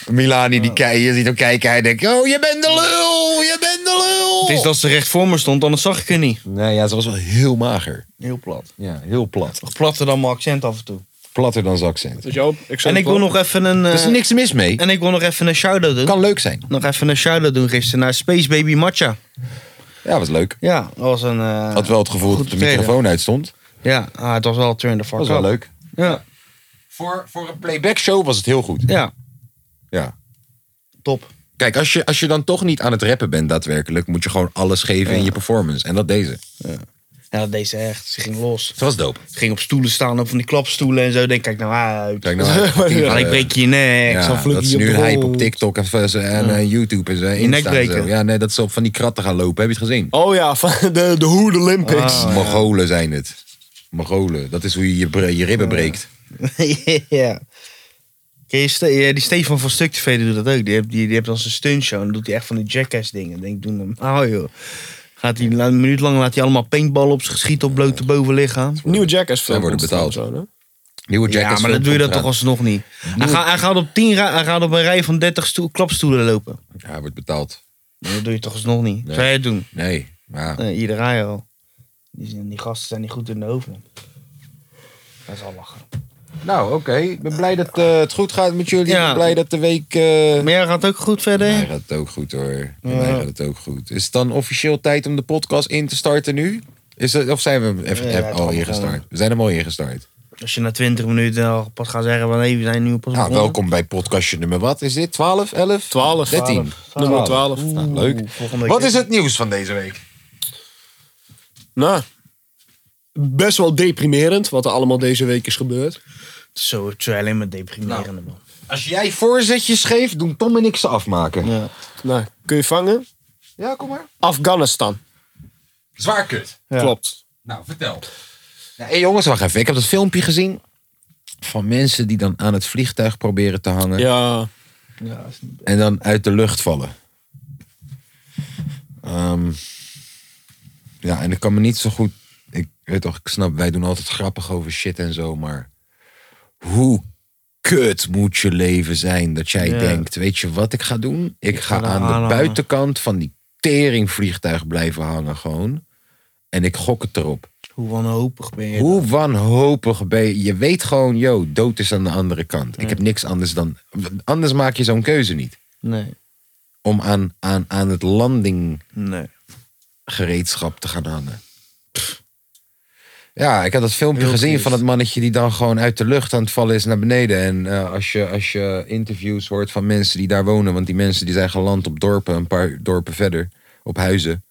Speaker 5: Milani, die kei- je ziet hem kijken, hij denkt: Oh, je bent de lul, je bent de lul.
Speaker 6: Het is dat ze recht voor me stond, anders zag ik haar niet.
Speaker 5: Nee, ja, ze was wel heel mager.
Speaker 6: Heel plat.
Speaker 5: Ja, heel plat.
Speaker 6: Nog platter dan mijn accent af en toe.
Speaker 5: Platter dan zijn accent.
Speaker 6: En ik wil nog even een. eh,
Speaker 5: Er is niks mis mee.
Speaker 6: en ik wil nog even een shout-out doen.
Speaker 5: Kan leuk zijn.
Speaker 6: Nog even een shout-out doen gisteren naar Space Baby Matcha.
Speaker 5: Ja, was leuk.
Speaker 6: Ja, dat was een. eh,
Speaker 5: Had wel het gevoel
Speaker 6: goed
Speaker 5: dat de
Speaker 6: optreden.
Speaker 5: microfoon uitstond.
Speaker 6: Ja, ah, het was wel turn the fuck
Speaker 5: Was wel
Speaker 6: up.
Speaker 5: leuk.
Speaker 6: Ja,
Speaker 5: Voor, voor een playback show was het heel goed.
Speaker 6: ja,
Speaker 5: Ja.
Speaker 6: top.
Speaker 5: Kijk, als je, als je dan toch niet aan het rappen bent daadwerkelijk, moet je gewoon alles geven in je performance. En dat deze.
Speaker 6: Ja, deze echt. Ze ging los.
Speaker 5: Dat was dope.
Speaker 6: Ze ging op stoelen staan, op van die klapstoelen en zo. Denk, kijk nou uit.
Speaker 5: Kijk nou, <laughs>
Speaker 6: Man, ik breek je nek.
Speaker 5: ja,
Speaker 6: <laughs> Zo van-
Speaker 5: dat is nu een hype op TikTok en, en eh, YouTube en zo. Insta en zo.
Speaker 6: nekbreken.
Speaker 5: Ja, nee, dat ze op van die kratten gaan lopen. Heb je het gezien?
Speaker 4: Oh ja, <laughs> van de, de Hoed Olympics.
Speaker 5: Mogolen zijn het. Mogolen. Dat is hoe je je, bre- je ribben breekt.
Speaker 6: ja. Ken je Ste- eh, die Stefan van Stuk TV die doet dat ook. Die heeft, die, die heeft dan zijn stuntshow en dan doet hij echt van die jackass dingen. Dan denk ik, doe normaal joh. Gaat hij la- een minuut lang laat hij allemaal paintballen op zich schieten op blote bovenlichaam.
Speaker 7: Nieuwe Jackass film.
Speaker 5: Zij worden
Speaker 7: ontstaan
Speaker 5: betaald.
Speaker 7: zo, hè?
Speaker 5: Nieuwe
Speaker 6: Ja,
Speaker 5: Jackass
Speaker 6: maar dan
Speaker 5: film
Speaker 6: doe je dat toch
Speaker 5: komt
Speaker 6: alsnog niet. Hij, gaat- hij, gaat op 10 ra- hij gaat op een rij van 30 stoel, klapstoelen lopen.
Speaker 5: eraan. Ja, hij wordt betaald.
Speaker 6: Dat doe je toch alsnog niet.
Speaker 5: Nee.
Speaker 6: Zou jij het doen?
Speaker 5: Nee, maar
Speaker 6: Nee, ieder raar al. Die, zijn- die gasten zijn niet goed in de hoofden. Dat is al lachen.
Speaker 5: Nou, oké. Ik ben blij dat eh, het goed gaat met jullie.
Speaker 6: Ja.
Speaker 5: Ik ben blij dat de week... eh
Speaker 6: Maar jij gaat ook goed verder?
Speaker 5: Mij gaat het ook goed hoor. Bij Mij gaat het ook goed. Is het dan officieel tijd om de podcast in te starten nu? Is het, of zijn we even,
Speaker 6: Ja,
Speaker 5: heb-
Speaker 6: het
Speaker 5: al
Speaker 6: kan
Speaker 5: ingestart? We zijn hem al ingestart.
Speaker 6: Als je na 20 minuten al pas gaat zeggen van hé, we zijn nu pas
Speaker 5: Nou,
Speaker 6: begonnen.
Speaker 5: welkom bij podcastje nummer wat is dit? 12, 11?
Speaker 7: 12.
Speaker 5: 13.
Speaker 7: Nummer 12.
Speaker 5: Nou, leuk.
Speaker 6: volgende
Speaker 5: Wat
Speaker 6: keer.
Speaker 5: is het nieuws van deze week?
Speaker 7: Nou, best wel deprimerend wat er allemaal deze week is gebeurd.
Speaker 6: Zo, het is alleen maar deprimerende
Speaker 5: Nou.
Speaker 6: man.
Speaker 5: Als jij voorzetjes geeft, doen Tom en ik ze afmaken. Ja,
Speaker 7: Nou, kun je vangen?
Speaker 5: kom maar.
Speaker 7: Afghanistan.
Speaker 5: Zwaar kut.
Speaker 7: Klopt.
Speaker 5: Nou, vertel. Hé jongens, wacht even. Ik heb dat filmpje gezien. Van mensen die dan aan het vliegtuig proberen te hangen.
Speaker 7: Ja.
Speaker 5: En dan uit de lucht vallen. Ehm, ja, en ik kan me niet zo goed. Ik weet toch, ik snap, wij doen altijd grappig over shit en zo, maar hoe kut moet je leven zijn dat jij
Speaker 6: Ja.
Speaker 5: denkt, weet je wat ik ga doen? Ik, ga,
Speaker 6: ga
Speaker 5: aan de
Speaker 6: eraan hangen.
Speaker 5: buitenkant van die teringvliegtuig blijven hangen gewoon. En ik gok het erop.
Speaker 6: Hoe wanhopig ben je?
Speaker 5: Hoe wanhopig ben je? Je weet gewoon, yo, dood is aan de andere kant. Ik heb niks anders dan... Anders maak je zo'n keuze niet
Speaker 6: Nee,
Speaker 5: om aan, aan, aan het landinggereedschap
Speaker 6: nee.
Speaker 5: te gaan hangen. Pff. Ja, ik had dat filmpje
Speaker 6: Heel
Speaker 5: gezien
Speaker 6: triest.
Speaker 5: van dat mannetje die dan gewoon uit de lucht aan het vallen is naar beneden. En eh, als, je, als je interviews hoort van mensen die daar wonen, want die mensen die zijn geland op dorpen, een paar dorpen verder, op huizen.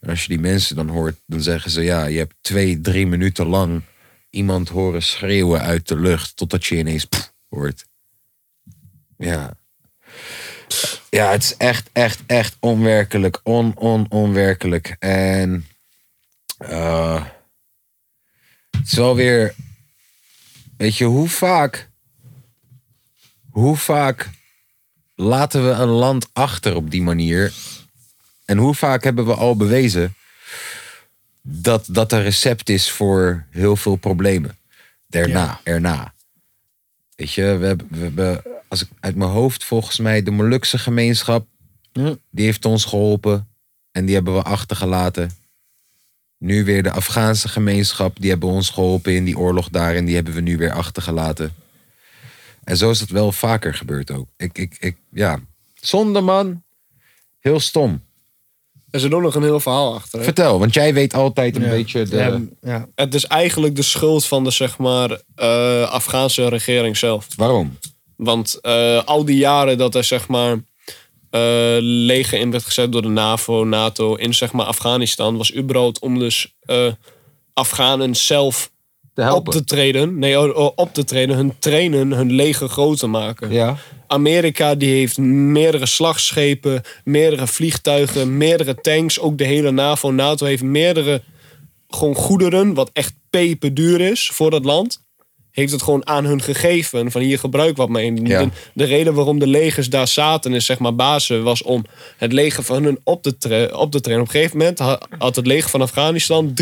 Speaker 5: En als je die mensen dan hoort, dan zeggen ze ja, je hebt twee, drie minuten lang iemand horen schreeuwen uit de lucht, totdat je ineens pff hoort. Ja, ja, het is echt, echt, echt onwerkelijk. On, on, onwerkelijk. En eh, het is wel weer, weet je, hoe vaak, hoe vaak laten we een land achter op die manier? En hoe vaak hebben we al bewezen dat dat een recept is voor heel veel problemen? Daarna, erna. Weet je, we hebben, we hebben, als ik uit mijn hoofd, volgens mij, de Molukse gemeenschap,
Speaker 6: Ja.
Speaker 5: die heeft ons geholpen en die hebben we achtergelaten. Nu weer de Afghaanse gemeenschap, die hebben ons geholpen in die oorlog daar en die hebben we nu weer achtergelaten. En zo is dat wel vaker gebeurd ook. Ik, ik, ik, ja. Zonde man, heel stom.
Speaker 7: Er zit ook nog een heel verhaal achter. hè?
Speaker 5: Vertel, want jij weet altijd een
Speaker 6: Ja.
Speaker 5: beetje de...
Speaker 6: Ja, ja.
Speaker 7: Het is eigenlijk de schuld van de zeg maar, eh, Afghaanse regering zelf.
Speaker 5: Waarom?
Speaker 7: Want eh, al die jaren dat er zeg maar, eh, leger in werd gezet door de NAVO, NATO in zeg maar, Afghanistan, was überhaupt om dus eh, Afghanen zelf
Speaker 5: Te
Speaker 7: op te treden. Nee, o- o- op te treden, hun trainen, hun leger groot te maken.
Speaker 5: Ja.
Speaker 7: Amerika die heeft meerdere slagschepen, meerdere vliegtuigen, meerdere tanks. Ook de hele NAVO, NATO heeft meerdere gewoon goederen, wat echt peperduur is voor dat land. Heeft het gewoon aan hun gegeven, van hier gebruik wat mee.
Speaker 5: Ja.
Speaker 7: De, de reden waarom de legers daar zaten, is zeg maar bazen, was om het leger van hun op te, tra- op te trainen. Op een gegeven moment ha- had het leger van Afghanistan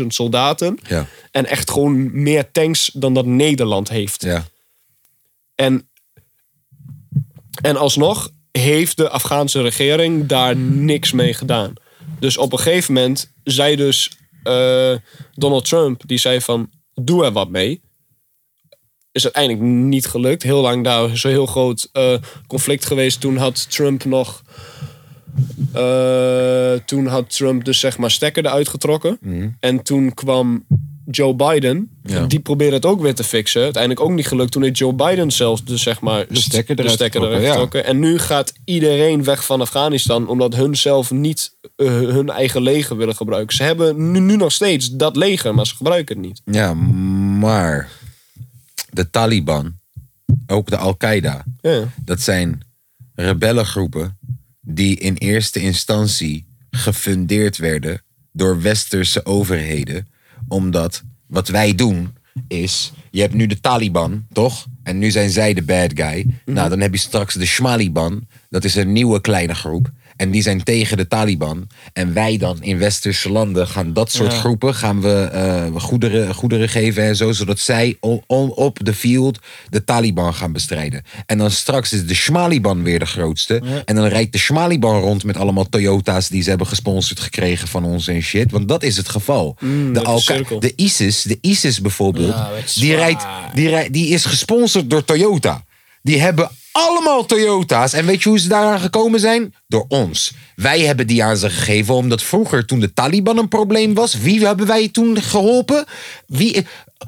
Speaker 7: 300.000 soldaten.
Speaker 5: Ja.
Speaker 7: En echt gewoon meer tanks dan dat Nederland heeft.
Speaker 5: Ja.
Speaker 7: En, en alsnog heeft de Afghaanse regering daar niks mee gedaan. Dus op een gegeven moment zei dus eh, Donald Trump, die zei van doe er wat mee. Is uiteindelijk niet gelukt. Heel lang daar is een heel groot eh, conflict geweest. Toen had Trump nog. eh, toen had Trump dus zeg maar stekker eruit getrokken. En toen kwam Joe Biden.
Speaker 5: Ja.
Speaker 7: Die probeerde het ook weer te fixen. Uiteindelijk ook niet gelukt. Toen heeft Joe Biden zelfs dus zeg maar
Speaker 5: De stekker eruit getrokken, ja.
Speaker 7: getrokken. En nu gaat iedereen weg van Afghanistan. Omdat hun zelf niet eh, hun eigen leger willen gebruiken. Ze hebben nu, nu nog steeds dat leger. Maar ze gebruiken het niet.
Speaker 5: Ja, maar de Taliban, ook de Al-Qaeda,
Speaker 7: Ja.
Speaker 5: dat zijn rebellengroepen die in eerste instantie gefundeerd werden door westerse overheden. Omdat wat wij doen is, je hebt nu de Taliban, toch? En nu zijn zij de bad guy. Nou, dan heb je straks de Shmaliban. Dat is een nieuwe kleine groep. En die zijn tegen de Taliban. En wij dan in westerse landen gaan dat soort
Speaker 6: Ja.
Speaker 5: groepen gaan we eh, goederen, goederen geven en zo. Zodat zij o- o- op de field de Taliban gaan bestrijden. En dan straks is de Shmaliban weer de grootste. En dan rijdt de Shmaliban rond met allemaal Toyota's die ze hebben gesponsord gekregen van ons en shit. Want dat is het geval. de,
Speaker 8: dat is
Speaker 5: Al-Qa-
Speaker 8: Mm, cirkel.
Speaker 5: de ISIS, de ISIS bijvoorbeeld.
Speaker 8: Ja, het is
Speaker 5: die,
Speaker 8: zwaar.
Speaker 5: rijdt, die, rij- die is gesponsord door Toyota. Die hebben allemaal Toyota's. En weet je hoe ze daaraan gekomen zijn? Door ons. Wij hebben die aan ze gegeven omdat vroeger toen de Taliban een probleem was. Wie hebben wij toen geholpen? Wie,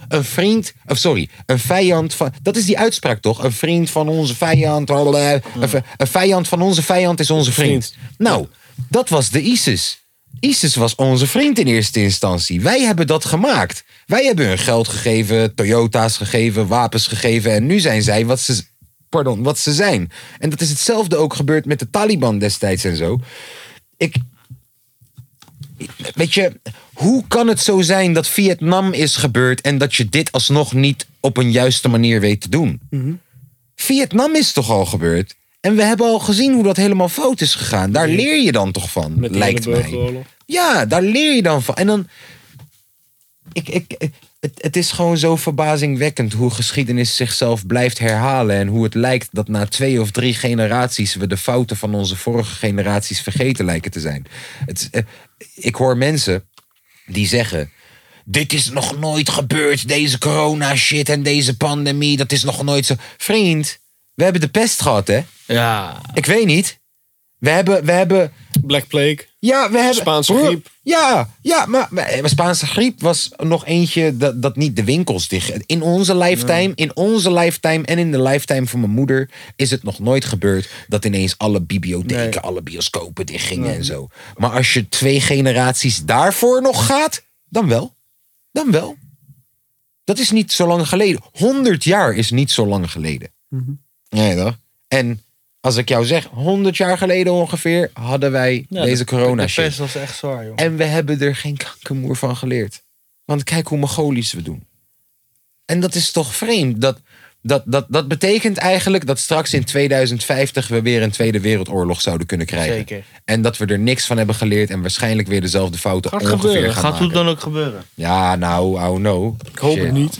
Speaker 5: een vriend, of sorry, een vijand van... Dat is die uitspraak toch? Een vriend van onze vijand. blablabla. Een, v- een vijand van onze vijand is onze vriend. Nou, dat was de ISIS. ISIS was onze vriend in eerste instantie. Wij hebben dat gemaakt. Wij hebben hun geld gegeven, Toyota's gegeven, wapens gegeven. En nu zijn zij wat ze, pardon, wat ze zijn. En dat is hetzelfde ook gebeurd met de Taliban destijds en zo. Ik. Weet je, hoe kan het zo zijn dat Vietnam is gebeurd en dat je dit alsnog niet op een juiste manier weet te doen?
Speaker 8: Mhm.
Speaker 5: Vietnam is toch al gebeurd? En we hebben al gezien hoe dat helemaal fout is gegaan. Daar leer je dan toch van,
Speaker 8: Met die
Speaker 5: lijkt
Speaker 8: hele
Speaker 5: mij.
Speaker 8: burgeroorlog.
Speaker 5: Ja, daar leer je dan van. En dan. Ik, ik, ik- het, het is gewoon zo verbazingwekkend hoe geschiedenis zichzelf blijft herhalen. En hoe het lijkt dat na twee of drie generaties we de fouten van onze vorige generaties vergeten lijken te zijn. Het, is, eh, ik hoor mensen die zeggen. Dit is nog nooit gebeurd. Deze corona shit en deze pandemie. Dat is nog nooit zo. Vriend, we hebben de pest gehad, hè?
Speaker 6: Ja.
Speaker 5: Ik weet niet. We hebben, we hebben
Speaker 8: Black Plague.
Speaker 5: ja, we hebben...
Speaker 8: Spaanse
Speaker 5: Broer,
Speaker 8: griep.
Speaker 5: Ja, ja maar, eh, maar Spaanse griep was nog eentje dat, dat niet de winkels dicht... In onze lifetime, in onze lifetime en in de lifetime van mijn moeder... is het nog nooit gebeurd dat ineens alle bibliotheken, alle bioscopen dichtgingen en zo. Maar als je twee generaties daarvoor nog gaat, dan wel. Dan wel. Dat is niet zo lang geleden. 100 jaar is niet zo lang geleden. Nee, toch? En als ik jou zeg, 100 jaar geleden ongeveer hadden wij deze corona
Speaker 6: De
Speaker 5: shit.
Speaker 6: pest was echt zwaar, joh.
Speaker 5: En we hebben er geen kankermoer van geleerd. Want kijk hoe Mongolisch we doen. En dat is toch vreemd. Dat, dat, dat, dat betekent eigenlijk dat straks in 2050 we weer een Tweede Wereldoorlog zouden kunnen krijgen.
Speaker 6: Zeker.
Speaker 5: En dat we er niks van hebben geleerd en waarschijnlijk weer dezelfde fouten
Speaker 8: Gaat
Speaker 5: ongeveer
Speaker 8: gebeuren.
Speaker 5: gaan
Speaker 6: Gaat
Speaker 5: maken.
Speaker 6: hoe dan ook gebeuren.
Speaker 5: Ja, nou, oh no.
Speaker 8: Ik hoop het niet.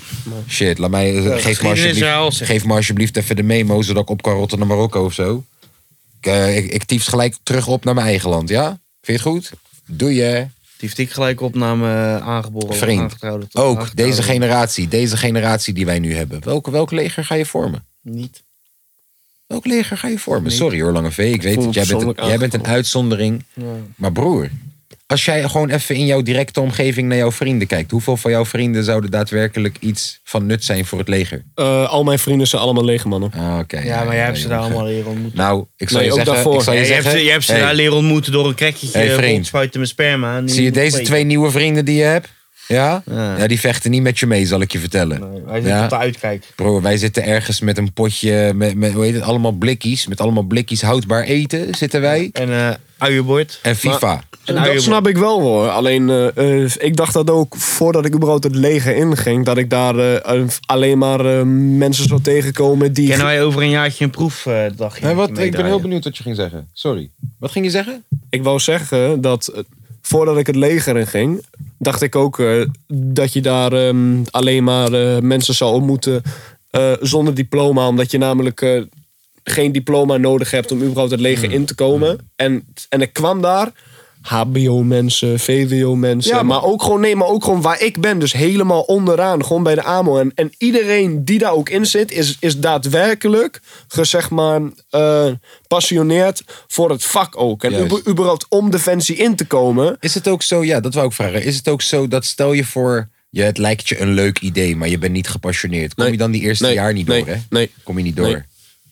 Speaker 5: Shit, laat mij, geef, me
Speaker 6: geschiedenis herhaalt
Speaker 5: alsjeblieft,
Speaker 6: zich.
Speaker 5: geef me alsjeblieft even de memo zodat ik op kan rotten naar Marokko of zo. Ik, eh, ik, ik tyfs gelijk terug op naar mijn eigen land, ja? Vind je het goed? Doe je.
Speaker 6: Die heeft ik gelijk opname eh, aangeboren. of
Speaker 5: Vriend,
Speaker 6: aangetrouwde tot
Speaker 5: Ook
Speaker 6: aangetrouwde.
Speaker 5: deze generatie, deze generatie die wij nu hebben. Welk, welk leger ga je vormen?
Speaker 6: Niet.
Speaker 5: Welk leger ga je vormen? Sorry hoor, Lange V. Ik weet
Speaker 8: voel me
Speaker 5: dat jij bent, een,
Speaker 8: persoonlijk
Speaker 5: jij bent een uitzondering. Maar broer, als jij gewoon even in jouw directe omgeving naar jouw vrienden kijkt. Hoeveel van jouw vrienden zouden daadwerkelijk iets van nut zijn voor het leger?
Speaker 8: Eh, al mijn vrienden zijn allemaal lege mannen.
Speaker 5: Ah, Oké.
Speaker 6: Ja, maar jij hebt ze daar
Speaker 5: jongen.
Speaker 6: allemaal leren ontmoeten.
Speaker 5: Nou, ik zal
Speaker 8: Nee,
Speaker 5: je
Speaker 8: ook
Speaker 5: zeggen...
Speaker 8: daarvoor.
Speaker 5: Ik zal je,
Speaker 6: Ja, je, hebt
Speaker 5: zeggen
Speaker 6: ze, je hebt ze
Speaker 5: hey,
Speaker 6: daar leren ontmoeten door een krekketje
Speaker 5: Hey,
Speaker 6: hey,
Speaker 5: vriend.
Speaker 6: spuiten met sperma. en
Speaker 5: zie je
Speaker 6: moet
Speaker 5: deze
Speaker 6: weten.
Speaker 5: twee nieuwe vrienden die je hebt? Ja?
Speaker 6: Ja.
Speaker 5: ja? die vechten niet met je mee, zal ik je vertellen.
Speaker 6: Nee, Hij zit op de
Speaker 5: ja?
Speaker 6: uitkijk.
Speaker 5: Bro, wij zitten ergens met een potje, met, met hoe heet het, allemaal blikkies. Met allemaal blikkies houdbaar eten zitten wij.
Speaker 6: En eh uienbord.
Speaker 5: En FIFA.
Speaker 6: En
Speaker 7: dat
Speaker 6: uienbord.
Speaker 7: snap ik wel hoor. Alleen eh, eh, ik dacht dat ook voordat ik überhaupt het leger inging, dat ik daar eh, eh, alleen maar eh, mensen zou tegenkomen die.
Speaker 6: Kennen wij over een jaartje een proefdagje?
Speaker 5: Nee, wat, ik ben
Speaker 6: meedraaien?
Speaker 5: heel benieuwd wat je ging zeggen. Sorry. Wat ging je zeggen?
Speaker 7: Ik wou zeggen dat eh, voordat ik het leger in ging, dacht ik ook eh, dat je daar ehm, alleen maar eh, mensen zou ontmoeten eh, zonder diploma. Omdat je namelijk eh, geen diploma nodig hebt om überhaupt het leger
Speaker 5: Hmm.
Speaker 7: in te komen. En, en ik kwam daar. HBO-mensen, VWO-mensen.
Speaker 5: Ja,
Speaker 7: maar ook gewoon, nee, maar ook gewoon waar ik ben. Dus helemaal onderaan, gewoon bij de AMO. En, en iedereen die daar ook in zit, is, is daadwerkelijk, gezegd maar, eh passioneerd voor het vak ook. En
Speaker 5: Juist.
Speaker 7: uber- überhaupt om Defensie in te komen.
Speaker 5: Is het ook zo, ja, dat wou ik vragen. Is het ook zo dat stel je voor, je, het lijkt je een leuk idee, maar je bent niet gepassioneerd. Kom
Speaker 7: Nee.
Speaker 5: je dan die eerste
Speaker 7: Nee.
Speaker 5: jaar niet
Speaker 7: Nee.
Speaker 5: door, hè?
Speaker 7: Nee.
Speaker 5: Kom je niet door.
Speaker 7: Nee.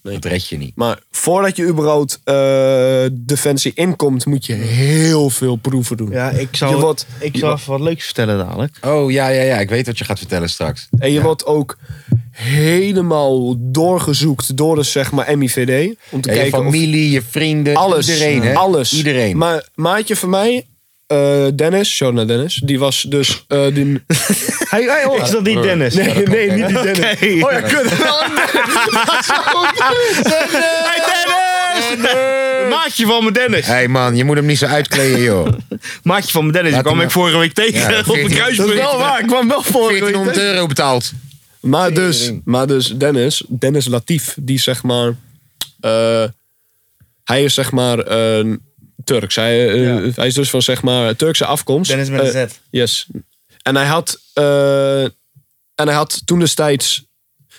Speaker 7: Nee.
Speaker 5: Dat red je niet.
Speaker 7: Maar voordat je überhaupt eh, Defensie inkomt, moet je heel veel proeven doen.
Speaker 6: Ja, ik zal,
Speaker 7: Je wordt-
Speaker 6: ik
Speaker 7: je
Speaker 6: zal
Speaker 7: wordt-
Speaker 6: even wat leuks vertellen
Speaker 5: <laughs>
Speaker 6: dadelijk.
Speaker 5: Oh, ja, ja, ja. Ik weet wat je gaat vertellen straks.
Speaker 7: En je wordt ook helemaal doorgezoekt door de zeg maar MIVD. Om te
Speaker 5: Ja, je
Speaker 7: kijken of
Speaker 5: familie, je vrienden,
Speaker 7: alles.
Speaker 5: iedereen. Hè?
Speaker 7: Alles.
Speaker 5: Iedereen.
Speaker 7: Maar maatje van mij, eh, Dennis, shout naar Dennis, die was dus... eh,
Speaker 6: <laughs>
Speaker 7: die... hij, hij, oh,
Speaker 6: Is dat niet Dennis?
Speaker 7: Nee, nee, niet die Dennis.
Speaker 6: <laughs> Oké.
Speaker 7: Oh ja, kut. Dat zou ik zeggen.
Speaker 6: Hey Dennis! Maatje van me
Speaker 5: <laughs>
Speaker 6: Dennis.
Speaker 5: hey man, je moet hem niet zo uitkleden, joh.
Speaker 6: Maatje van me Dennis. Die
Speaker 5: Laat
Speaker 6: kwam
Speaker 5: hem
Speaker 6: ik vorige week tegen
Speaker 5: <laughs> Ja,
Speaker 6: <laughs> op een
Speaker 5: 14.
Speaker 7: Dat is wel
Speaker 6: kruispunt.
Speaker 7: waar, ik kwam wel voor.
Speaker 5: 1400 euro betaald.
Speaker 7: Maar dus, maar dus Dennis, Dennis Latief, die zeg maar. eh, hij is zeg maar eh, Turks. Hij, eh, hij is dus van zeg maar Turkse afkomst.
Speaker 6: Dennis met een
Speaker 7: Eh,
Speaker 6: Z.
Speaker 7: Yes. En hij had. eh, en hij had toen destijds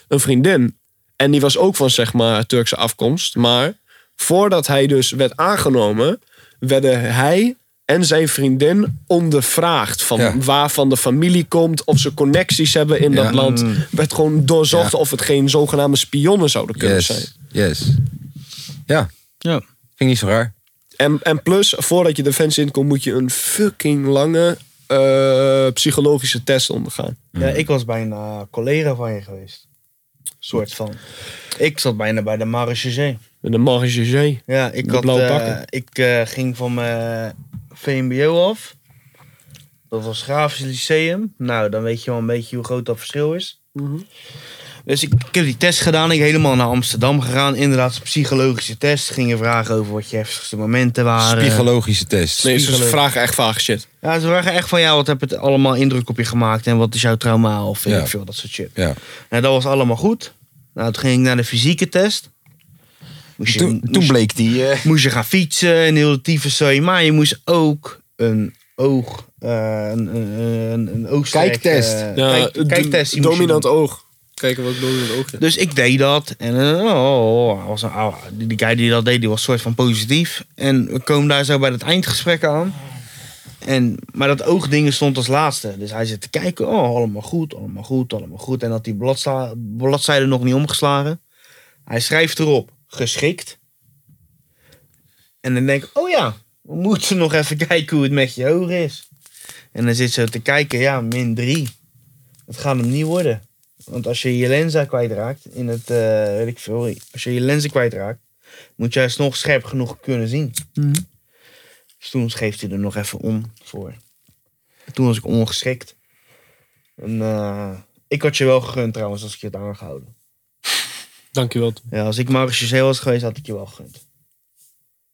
Speaker 7: een vriendin. En die was ook van zeg maar Turkse afkomst. Maar voordat hij dus werd aangenomen, werden hij en zijn vriendin ondervraagd van
Speaker 5: Ja.
Speaker 7: waarvan de familie komt, of ze connecties hebben in dat
Speaker 5: Ja.
Speaker 7: land. Werd gewoon doorzocht
Speaker 5: Ja.
Speaker 7: of het geen zogenaamde spionnen zouden kunnen zijn.
Speaker 5: Yes, yes. Ja,
Speaker 6: Ja.
Speaker 5: ging niet zo raar.
Speaker 7: En, en plus, voordat je de fans in komt, moet je een fucking lange eh, psychologische test ondergaan.
Speaker 6: Ja, ik was bijna collega van je geweest. Soort van. Ik zat bijna bij de Marechaussee.
Speaker 7: Met een marge G.
Speaker 6: Ja, ik,
Speaker 7: De
Speaker 6: had,
Speaker 7: blauwe
Speaker 6: eh,
Speaker 7: pakken.
Speaker 6: ik eh, ging van mijn VMBO af. Dat was Grafisch Lyceum. Nou, dan weet je wel een beetje hoe groot dat verschil is. Dus ik, ik heb die test gedaan. Ik helemaal naar Amsterdam gegaan. Inderdaad, psychologische test. Gingen vragen over wat je heftigste momenten waren.
Speaker 5: eh, Psychologische test.
Speaker 7: Nee, ze
Speaker 6: Spiegelen.
Speaker 7: vragen echt vage shit.
Speaker 6: Ja, ze waren echt van, ja, wat heb het allemaal indruk op je gemaakt? En wat is jouw trauma? Of weet
Speaker 5: Ja.
Speaker 6: ik veel, dat soort shit.
Speaker 5: Ja.
Speaker 6: Nou, dat was allemaal goed. Nou, toen ging ik naar de fysieke test. Moest je,
Speaker 5: Toen,
Speaker 6: moest
Speaker 5: toen
Speaker 6: je-
Speaker 5: bleek die... eh,
Speaker 6: moest je gaan fietsen en heel de tyfus zo. Maar je moest ook een oog... eh, een, een, een, een oogsterk,
Speaker 5: Kijktest.
Speaker 6: eh,
Speaker 7: Ja,
Speaker 6: kijk-
Speaker 7: d-
Speaker 6: kijktest. die moest je
Speaker 7: dominant
Speaker 6: doen.
Speaker 7: oog. Kijken wat dominant oog is.
Speaker 6: Dus ik deed dat. En eh, oh, oh, was een, ouwe- die, die guy die dat deed, die was soort van positief. En we komen daar zo bij het eindgesprek aan. En, maar dat oogding stond als laatste. Dus hij zit te kijken. Oh, allemaal goed, allemaal goed, allemaal goed. En had die bladza- bladzijde nog niet omgeslagen. Hij schrijft erop, geschikt. En dan denk ik, oh ja, we moeten nog even kijken hoe het met je ogen is. En dan zit ze te kijken, ja, min 3. Dat gaat hem niet worden. Want als je je lenzen kwijtraakt, in het, eh, weet ik veel, als je je lenzen kwijtraakt, moet je alsnog scherp genoeg kunnen zien. Dus toen schreef hij er nog even om voor. En toen was ik ongeschikt. En, eh, ik had je wel gegund trouwens, als ik je had aangehouden.
Speaker 7: Dankjewel.
Speaker 6: Ja, als ik Maurits José was geweest, had ik je wel gegund. Ik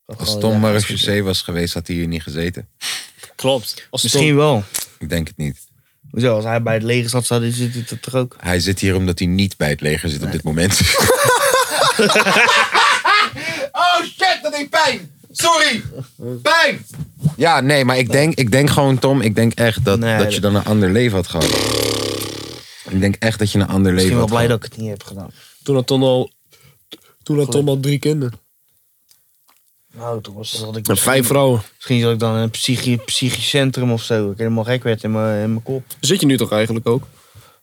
Speaker 6: had
Speaker 5: Als
Speaker 6: gewoon,
Speaker 5: Tom
Speaker 6: Oh, ja,
Speaker 5: Marus
Speaker 6: goed.
Speaker 5: José was geweest, had hij hier niet gezeten.
Speaker 7: Klopt. Als
Speaker 6: Misschien wel.
Speaker 5: Ik denk het niet.
Speaker 6: Hoezo, als hij bij het leger zat, zat hij- zit hij er toch ook.
Speaker 5: Hij zit hier omdat hij niet bij het leger zit op dit moment. oh shit, dat deed pijn. Sorry. Pijn. Ja, nee, maar ik denk, ik denk gewoon, Tom, ik denk echt dat,
Speaker 6: Nee,
Speaker 5: dat je dan een ander leven had gehad. Ik denk echt dat je een ander
Speaker 6: Ik
Speaker 5: leven
Speaker 6: ben
Speaker 5: had
Speaker 6: wel blij
Speaker 5: gehad.
Speaker 6: dat ik het niet heb gedaan.
Speaker 7: Toen had Tom al, toen had Tom al drie kinderen.
Speaker 6: Nou, toen was dat ik
Speaker 7: En vijf vrouwen.
Speaker 6: Misschien zat ik dan in een psychi- psychisch centrum of zo. Ik helemaal gek werd in mijn, in mijn kop.
Speaker 7: Zit je nu toch eigenlijk ook?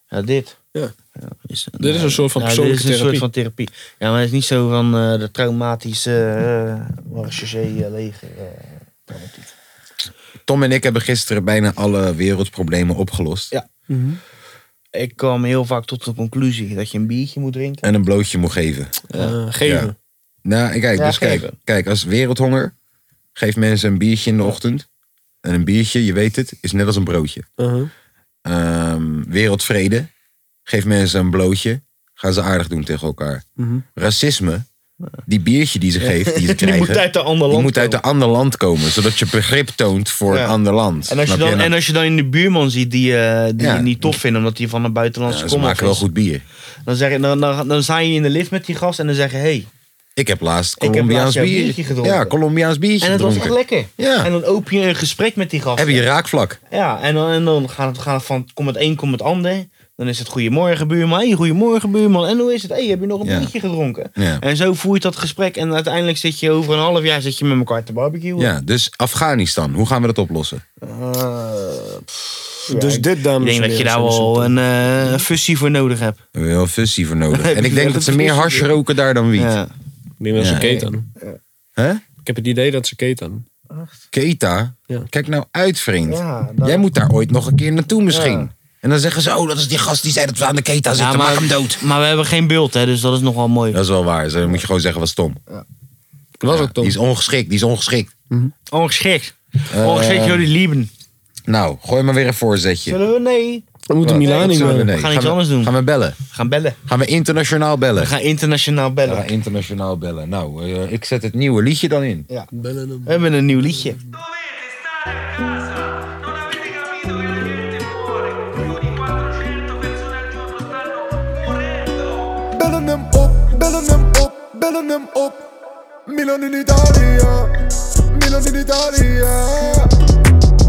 Speaker 6: Ja, dit.
Speaker 7: Ja.
Speaker 6: is, eh,
Speaker 7: Dit is een soort van
Speaker 6: ja, dit
Speaker 7: persoonlijke
Speaker 6: is een
Speaker 7: therapie.
Speaker 6: soort van therapie. Ja, maar het is niet zo van eh, de traumatische uh, leger. eh, dramatiek.
Speaker 5: Tom en ik hebben gisteren bijna alle wereldproblemen opgelost.
Speaker 6: Ja. ik kwam heel vaak tot de conclusie dat je een biertje moet drinken.
Speaker 5: En een blootje moet geven.
Speaker 7: Eh, geven.
Speaker 5: Ja. Nou, kijk,
Speaker 6: Ja,
Speaker 5: dus kijk,
Speaker 6: geven.
Speaker 5: kijk, als wereldhonger, geef mensen een biertje in de ochtend. En een biertje, je weet het, is net als een broodje.
Speaker 7: Uh-huh.
Speaker 5: Ehm, wereldvrede, geef mensen een blootje. Gaan ze aardig doen tegen elkaar. Racisme, die biertje die ze geeft, die ze
Speaker 6: Mhm. <laughs> Die
Speaker 5: krijgen,
Speaker 6: moet uit de ander
Speaker 5: die
Speaker 6: land
Speaker 5: moet uit
Speaker 6: komen.
Speaker 5: een ander land komen. Zodat je begrip toont voor
Speaker 6: Ja.
Speaker 5: een ander land.
Speaker 6: En als, je
Speaker 5: Snap nou.
Speaker 6: dan, en als je dan in de buurman ziet die, eh, die
Speaker 5: Ja.
Speaker 6: je niet tof vindt omdat hij van een buitenlandse
Speaker 5: Ja, ze
Speaker 6: komaf
Speaker 5: maken wel
Speaker 6: is.
Speaker 5: goed bier.
Speaker 6: Dan, zeg, je- dan, dan, dan sta je in de lift met die gast en dan zeggen hé. Hey.
Speaker 5: Ik heb laatst
Speaker 6: heb laatst
Speaker 5: Colombiaans
Speaker 6: jouw
Speaker 5: bier.
Speaker 6: biertje gedronken.
Speaker 5: Ja, Colombiaans biertje
Speaker 6: En het was echt
Speaker 5: gedronken.
Speaker 6: lekker.
Speaker 5: Ja.
Speaker 6: En dan open je een gesprek met die gast.
Speaker 5: Heb je raakvlak?
Speaker 6: Ja, en dan, en dan gaat het, gaat het van, kom het een, kom het ander. Dan is het goedemorgen buurman, hey, goedemorgen buurman. En hoe is het? Hey, heb je nog een
Speaker 5: Ja.
Speaker 6: biertje gedronken?
Speaker 5: Ja.
Speaker 6: En zo voert dat gesprek en uiteindelijk zit je over een half jaar zit je met elkaar te barbecuen.
Speaker 5: Ja, dus Afghanistan, hoe gaan we dat oplossen?
Speaker 6: Eh, pff,
Speaker 7: Dus
Speaker 6: ja,
Speaker 7: dit, dames
Speaker 6: ik denk
Speaker 7: en
Speaker 6: dat
Speaker 7: heren, zijn
Speaker 6: je daar
Speaker 7: de
Speaker 6: wel
Speaker 7: symptomen.
Speaker 6: een eh, een fusie voor nodig hebt.
Speaker 5: We hebben wel fussie voor
Speaker 6: <laughs>
Speaker 5: nodig.
Speaker 6: Heb
Speaker 5: En ik
Speaker 6: je
Speaker 5: denk
Speaker 6: wel
Speaker 5: dat
Speaker 6: een
Speaker 5: ze meer
Speaker 6: fussie?
Speaker 5: hash roken daar dan wiet.
Speaker 6: Ja.
Speaker 7: Die mensen
Speaker 5: Ja.
Speaker 7: keten doen.
Speaker 5: Hè?
Speaker 7: Ik heb het idee dat ze keten doen.
Speaker 5: Keta,
Speaker 7: Ja.
Speaker 5: kijk nou uit, vriend.
Speaker 6: Ja, dat-
Speaker 5: Jij moet daar ooit nog een keer naartoe misschien.
Speaker 6: Ja.
Speaker 5: En dan zeggen ze, oh, dat is die gast die zei dat we aan de Keta zitten, maak hem dood.
Speaker 6: maar we hebben geen beeld, hè, dus dat is nog wel mooi.
Speaker 5: Dat is wel waar. Zo moet je gewoon zeggen, was Tom.
Speaker 7: Dat was ook
Speaker 5: Die
Speaker 7: Tom.
Speaker 5: is ongeschikt, die is ongeschikt.
Speaker 6: Ongeschikt.
Speaker 5: Eh,
Speaker 6: Oh, zet jullie lieben.
Speaker 5: Nou, gooi maar weer een voorzetje.
Speaker 6: Zullen we? Nee.
Speaker 7: We moeten eh,
Speaker 5: Wat?
Speaker 7: Milan
Speaker 5: Nee,
Speaker 7: niet
Speaker 5: zullen
Speaker 7: meer.
Speaker 5: nee.
Speaker 6: We gaan iets
Speaker 5: we-
Speaker 6: anders doen.
Speaker 5: Gaan we bellen?
Speaker 6: We gaan bellen.
Speaker 5: Gaan we internationaal bellen?
Speaker 6: We gaan internationaal bellen.
Speaker 5: Ja, internationaal bellen. Nou, eh, ik zet het nieuwe liedje dan in.
Speaker 6: We hebben een nieuw liedje.
Speaker 9: Dovete stare a casa, non avete capito che la gente muore, più di 400 persone al giorno stanno morendo.
Speaker 3: Bellen hem op, bellen hem op, bellen hem op. Milan in Italië, Milan in Italië.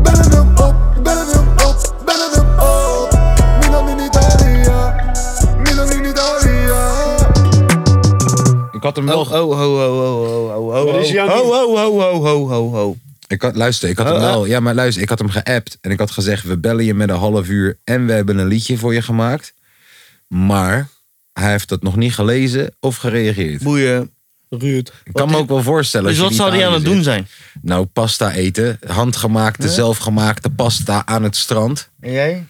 Speaker 3: Bellen hem op, bellen hem op, bellen hem op. Milan in Italië, Milan in Italië.
Speaker 5: Ik had hem
Speaker 6: Ho,
Speaker 5: wel.
Speaker 6: ho, ho, ho, ho, ho, ho, ho.
Speaker 7: Wat is jouw
Speaker 6: oh, Ho, ho, ho, ho, ho, ho, ho.
Speaker 5: Ik had, luister, ik had hem
Speaker 6: Oh,
Speaker 5: wel. Ja, maar luister, ik had hem geappt. En ik had gezegd: we bellen je met een half uur. En we hebben een liedje voor je gemaakt. Maar hij heeft dat nog niet gelezen of gereageerd.
Speaker 6: Boeien.
Speaker 7: Ruud.
Speaker 5: Ik kan me ook wel voorstellen.
Speaker 6: Dus
Speaker 5: als je
Speaker 6: wat
Speaker 5: in
Speaker 6: zou hij aan
Speaker 5: Italië
Speaker 6: het
Speaker 5: zit.
Speaker 6: doen zijn?
Speaker 5: Nou, pasta eten. Handgemaakte, zelfgemaakte pasta aan het strand.
Speaker 6: En jij?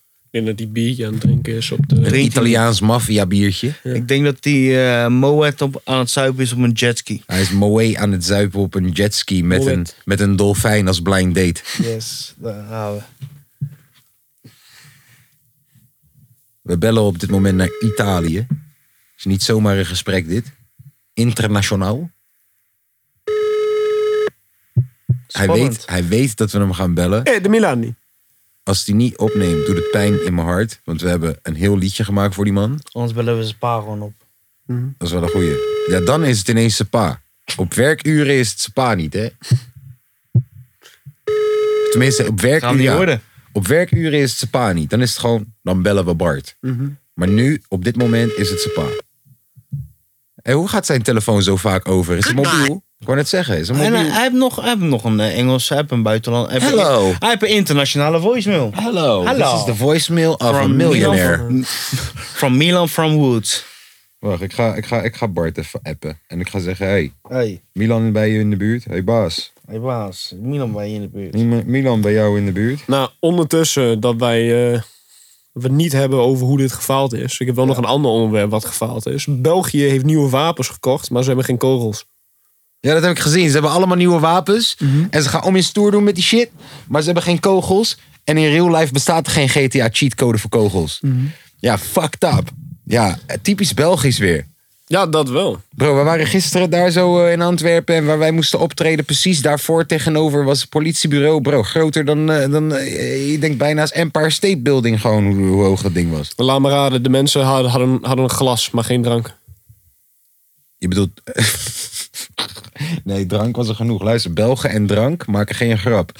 Speaker 7: Ik denk dat die biertje aan het drinken is op de...
Speaker 5: Een
Speaker 6: Drinkt hij
Speaker 5: Italiaans maffia biertje.
Speaker 6: Ik denk dat die eh, Moet op, aan het zuipen is op een jetski.
Speaker 5: Hij is moe aan het zuipen op een jetski met
Speaker 7: Moet.
Speaker 5: een, met een dolfijn als blind date.
Speaker 6: Yes, daar gaan we.
Speaker 5: We bellen op dit moment naar Italië. is niet zomaar een gesprek dit. Internationaal. Hij
Speaker 6: Spannend.
Speaker 5: weet, hij weet dat we hem gaan bellen.
Speaker 7: Hé, de Milani.
Speaker 5: Als hij niet opneemt, doet het pijn in mijn hart. Want we hebben een heel liedje gemaakt voor die man.
Speaker 6: Anders bellen we zijn pa gewoon op.
Speaker 5: Dat is wel een goeie. Ja, dan is het ineens spa. Op werkuren is het spa niet, hè? Tenminste, op
Speaker 6: Gaan we
Speaker 5: werkuren.
Speaker 6: niet
Speaker 5: ja.
Speaker 6: worden.
Speaker 5: Op werkuren is het spa niet. Dan is het gewoon, dan bellen we Bart.
Speaker 6: Mhm.
Speaker 5: Maar nu, op dit moment, is het spa. En hoe gaat zijn telefoon zo vaak over? Is het mobiel? Ik wou net zeggen, is het
Speaker 6: En hij,
Speaker 5: mobiel?
Speaker 6: hij heeft nog, hij heeft nog een eh, Engels, hij heeft een buitenland. Hij heeft,
Speaker 5: Hello.
Speaker 6: hij heeft een internationale voicemail.
Speaker 5: Hallo.
Speaker 6: Hallo.
Speaker 5: This is the voicemail of a
Speaker 6: From
Speaker 5: millionaire.
Speaker 6: Milan from- From Milan from Woods.
Speaker 5: Wacht, ik ga, ik, ga, ik ga Bart even appen. En ik ga zeggen, hey,
Speaker 6: Hey,
Speaker 5: Milan bij je in de buurt? Hey baas,
Speaker 6: hey baas, Milan ben je in de buurt.
Speaker 5: Mil- Milan bij jou in de buurt?
Speaker 7: Nou, ondertussen dat wij eh, dat we het niet hebben over hoe dit gefaald is. Ik heb wel nog een ander onderwerp wat gefaald is. België heeft nieuwe wapens gekocht, maar ze hebben geen kogels.
Speaker 5: Ja, dat heb ik gezien. Ze hebben allemaal nieuwe wapens. En ze gaan om in stoer doen met die shit. Maar ze hebben geen kogels. En in real life bestaat er geen GTA cheatcode voor kogels. Ja, fucked up. Ja, eh, typisch Belgisch weer.
Speaker 7: Ja, dat wel.
Speaker 5: Bro, we waren gisteren daar zo eh, in Antwerpen. En waar wij moesten optreden, precies daarvoor tegenover was het politiebureau. Bro, groter dan, eh, dan eh, ik denk bijna als Empire State Building gewoon hoe, hoe hoog dat ding was.
Speaker 7: Laat maar raden, de mensen hadden, hadden, hadden een glas, maar geen drank.
Speaker 5: Je bedoelt... <laughs> nee, drank was er genoeg. Luister, Belgen en drank maken geen grap.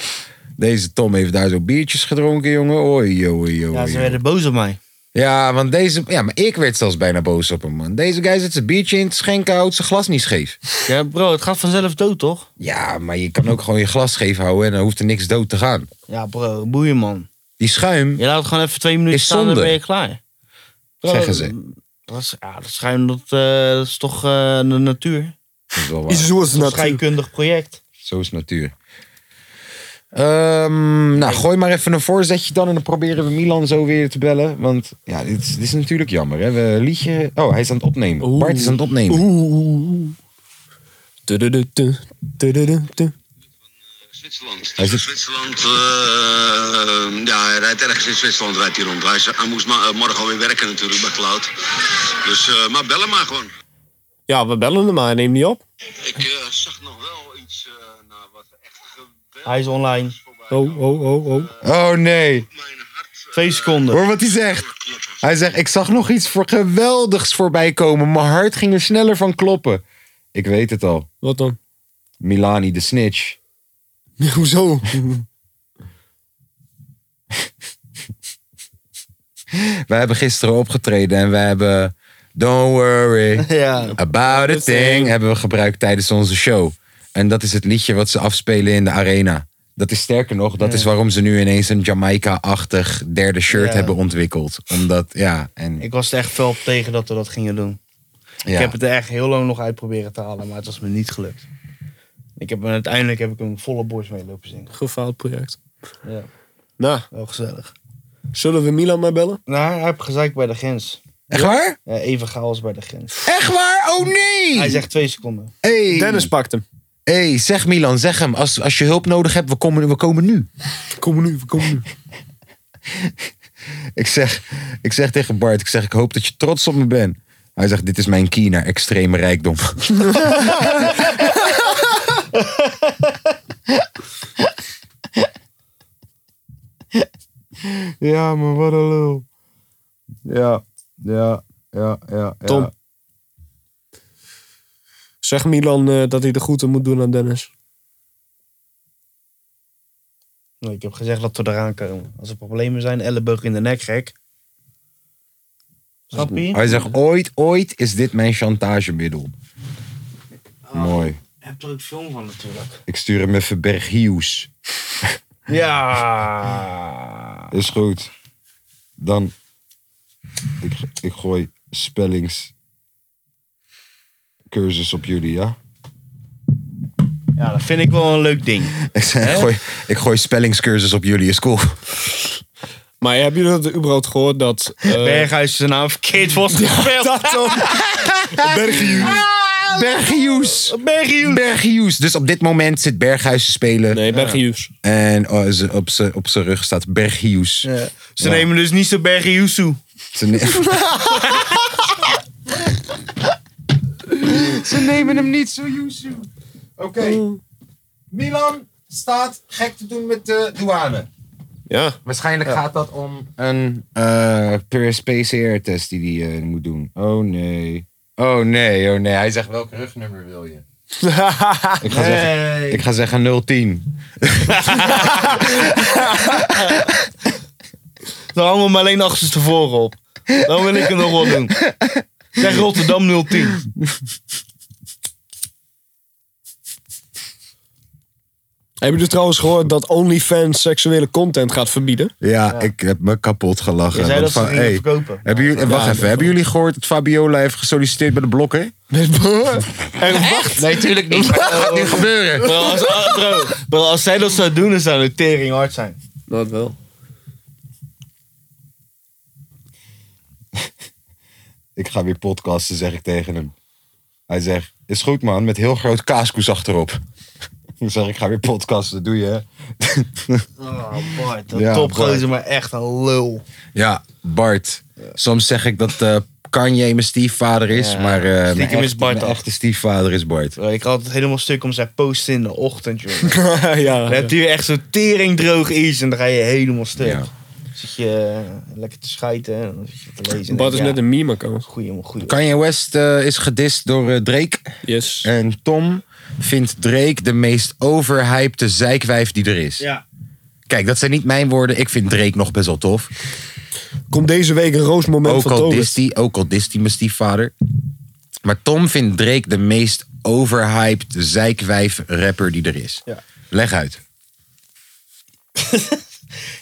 Speaker 5: Deze Tom heeft daar zo biertjes gedronken, jongen. Oei, oei, oei.
Speaker 6: Ja, ze
Speaker 5: oei.
Speaker 6: werden boos op mij.
Speaker 5: Ja, want deze... Ja, maar ik werd zelfs bijna boos op hem, man. Deze guy zet zijn biertje in, te schenken, houdt zijn glas niet scheef.
Speaker 6: Ja, bro, het gaat vanzelf dood, toch?
Speaker 5: Ja, maar je kan ook gewoon je glas scheef houden en dan hoeft er niks dood te gaan.
Speaker 6: Ja, bro, boeien, man.
Speaker 5: Die schuim,
Speaker 6: Je laat het gewoon even twee minuten
Speaker 5: Is
Speaker 6: staan en dan
Speaker 5: zonde.
Speaker 6: ben je klaar. Bro,
Speaker 5: zeggen
Speaker 6: dat-
Speaker 5: ze.
Speaker 6: Dat is, ja, dat schuim, dat, eh, dat is toch eh, de natuur.
Speaker 5: Dat is wel waar.
Speaker 7: Is zoals
Speaker 6: Dat is een
Speaker 7: het natuur.
Speaker 6: scheikundig project.
Speaker 5: Zo is natuur. Ehm, nou, gooi maar even een voorzetje dan en dan proberen we Milan zo weer te bellen. Want ja, dit is, dit is natuurlijk jammer. Hè? We liedje. Oh, hij is aan het opnemen. Bart is aan het opnemen.
Speaker 7: Oeh. Tudududu, tudududu.
Speaker 8: Zwitserland.
Speaker 5: Hij zit-
Speaker 8: Zwitserland, eh, ja, hij rijdt ergens in Zwitserland, rijdt hij rond. Hij, is- hij moest ma- eh, morgen alweer werken natuurlijk bij Cloud. Dus, eh, maar bellen maar gewoon.
Speaker 7: Ja, we bellen hem, maar hij neemt niet op.
Speaker 8: Ik eh, zag nog wel iets, eh nou, wat echt geweldig
Speaker 6: Hij is online.
Speaker 8: voorbij.
Speaker 7: Oh, oh, oh, oh.
Speaker 5: Oh nee.
Speaker 8: Mijn hart eh,
Speaker 6: Twee seconden.
Speaker 5: Hoor wat hij zegt.
Speaker 8: klopt.
Speaker 5: Hij zegt: Ik zag nog iets voor geweldigs voorbij komen. Mijn hart ging er sneller van kloppen. Ik weet het al.
Speaker 7: Wat dan?
Speaker 5: Milani de
Speaker 6: <laughs>
Speaker 5: snitch.
Speaker 7: Hoezo?
Speaker 5: Wij hebben gisteren opgetreden en wij hebben. Don't worry.
Speaker 6: <laughs> <laughs> Ja.
Speaker 5: About a thing hebben we gebruikt tijdens onze show. En dat is het liedje wat ze afspelen in de arena. Dat is sterker nog, dat is waarom ze nu ineens een Jamaica-achtig derde shirt
Speaker 6: Ja.
Speaker 5: hebben ontwikkeld. Omdat, ja, en
Speaker 6: Ik was er echt fel op tegen dat we dat gingen doen.
Speaker 5: ja.
Speaker 6: Ik heb het er echt heel lang nog uit proberen te halen, maar het was me niet gelukt. Ik heb, uiteindelijk heb ik een volle borst mee lopen zingen.
Speaker 7: Gefaald project.
Speaker 6: Ja,
Speaker 7: Nou,
Speaker 6: wel gezellig.
Speaker 7: zullen we Milan maar bellen?
Speaker 6: Nou, hij heeft gezeik bij de grens.
Speaker 5: Echt waar?
Speaker 6: Ja, even chaos bij de grens.
Speaker 5: Echt waar? Oh nee!
Speaker 6: Hij zegt twee seconden.
Speaker 5: Hey.
Speaker 7: Dennis pakt hem.
Speaker 5: hey, zeg Milan, zeg hem. Als, als je hulp nodig hebt, we komen, we komen nu.
Speaker 7: Kom nu, kom nu.
Speaker 5: Ik zeg, ik zeg tegen Bart, ik zeg, ik hoop dat je trots op me bent. Hij zegt, dit is mijn key naar extreme <laughs> rijkdom.
Speaker 6: Ja, maar wat een lul.
Speaker 5: Ja, ja, ja, ja.
Speaker 7: Tom. Zeg Milan eh, dat hij de groeten moet doen aan Dennis.
Speaker 6: Nee, Nou, Ik heb gezegd dat we eraan komen. Als er problemen zijn, elleboog in de nek, gek. Snap je?
Speaker 5: Hij zegt, ooit, ooit is dit mijn chantagemiddel. Mooi.
Speaker 6: Ik heb er ook film van natuurlijk.
Speaker 5: Ik stuur hem even Berg Hughes.
Speaker 6: Ja.
Speaker 5: Is goed. Dan, ik, ik gooi spellingscursus op jullie, ja?
Speaker 6: Ja, dat vind ik wel een leuk ding.
Speaker 5: Ik, zeg, ik gooi, ik gooi spellingscursus op jullie, is cool.
Speaker 7: Maar hebben jullie dat überhaupt gehoord <laughs> dat... eh,
Speaker 6: Berghuis is zijn naam verkeerd was gespeeld.
Speaker 5: Bergius.
Speaker 6: Berghuis.
Speaker 5: Bergius. Dus op dit moment zit Berghuis te spelen.
Speaker 7: Nee, Bergius.
Speaker 5: En oh, ze- op zijn op zijn rug staat Bergius.
Speaker 6: Ze nemen dus niet zo Berghuis toe.
Speaker 5: Ze, ne- <laughs> Ze nemen hem niet zo, Yusu. Oké. Oh. Milan staat gek te doen met de douane.
Speaker 7: Ja.
Speaker 5: Waarschijnlijk gaat dat om een eh PCR-test die hij moet doen. Oh nee. Oh nee, oh nee. Hij zegt welk rugnummer wil je? ik, ga zeggen, ik ga zeggen 010.
Speaker 6: Dan hangen we hem alleen achterstevoren op. Dan wil ik het nog wel doen. Zeg Rotterdam 010.
Speaker 7: Hebben jullie trouwens gehoord dat OnlyFans seksuele content gaat verbieden?
Speaker 5: Ja, ik heb me kapot gelachen.
Speaker 6: Je zei
Speaker 5: Want
Speaker 6: dat ze het
Speaker 5: van,
Speaker 6: gingen
Speaker 5: hey,
Speaker 6: verkopen.
Speaker 5: Hebben jullie, wacht
Speaker 7: dat
Speaker 5: even, hebben jullie gehoord dat Fabiola heeft gesolliciteerd bij de blokker? <laughs> Nee, tuurlijk niet. Maar dat gaat nu <laughs> gebeuren.
Speaker 6: Bro, als, ah, bro, bro, als zij dat zou doen, dan zou het tering hard zijn.
Speaker 7: Dat wel.
Speaker 5: Ik ga weer podcasten, zeg ik tegen hem. Hij zegt, is goed man, met heel groot kaaskoes achterop. <laughs> Ik zeg, ik ga weer podcasten, doe je. hè? <laughs>
Speaker 6: Oh, Bart, dat
Speaker 5: Ja,
Speaker 6: topgozer, maar echt een lul.
Speaker 5: Ja, Bart. Soms zeg ik dat eh Kanye mijn stiefvader is,
Speaker 6: Ja.
Speaker 5: maar eh mijn,
Speaker 6: Stiekem is
Speaker 5: echte,
Speaker 6: Bart
Speaker 5: mijn
Speaker 6: al.
Speaker 5: echte stiefvader is Bart.
Speaker 6: Bro, ik had het helemaal stuk om zijn posten in de ochtend, joh.
Speaker 7: <laughs> ja.
Speaker 6: Dan heb je echt zo'n tering droog iets en dan ga je helemaal stuk.
Speaker 5: Ja.
Speaker 6: Zit je eh, lekker te schijten en dan zit je te lezen. en
Speaker 7: Bart is
Speaker 6: denk je,
Speaker 7: net een meme account.
Speaker 6: ja, goeie, man, goeie.
Speaker 5: Kanye West eh, is gedist door eh, Drake.
Speaker 7: Yes.
Speaker 5: En Tom vindt Drake de meest overhypte zeikwijf die er is.
Speaker 6: Ja.
Speaker 5: Kijk, dat zijn niet mijn woorden. Ik vind Drake nog best wel tof.
Speaker 7: Komt deze week een roosmoment
Speaker 5: Ook
Speaker 7: van
Speaker 5: al
Speaker 7: Thomas.
Speaker 5: dist hij, ook al dist hij mijn stiefvader. Maar Tom vindt Drake de meest overhyped zeikwijf rapper die er is.
Speaker 6: Ja.
Speaker 5: Leg uit.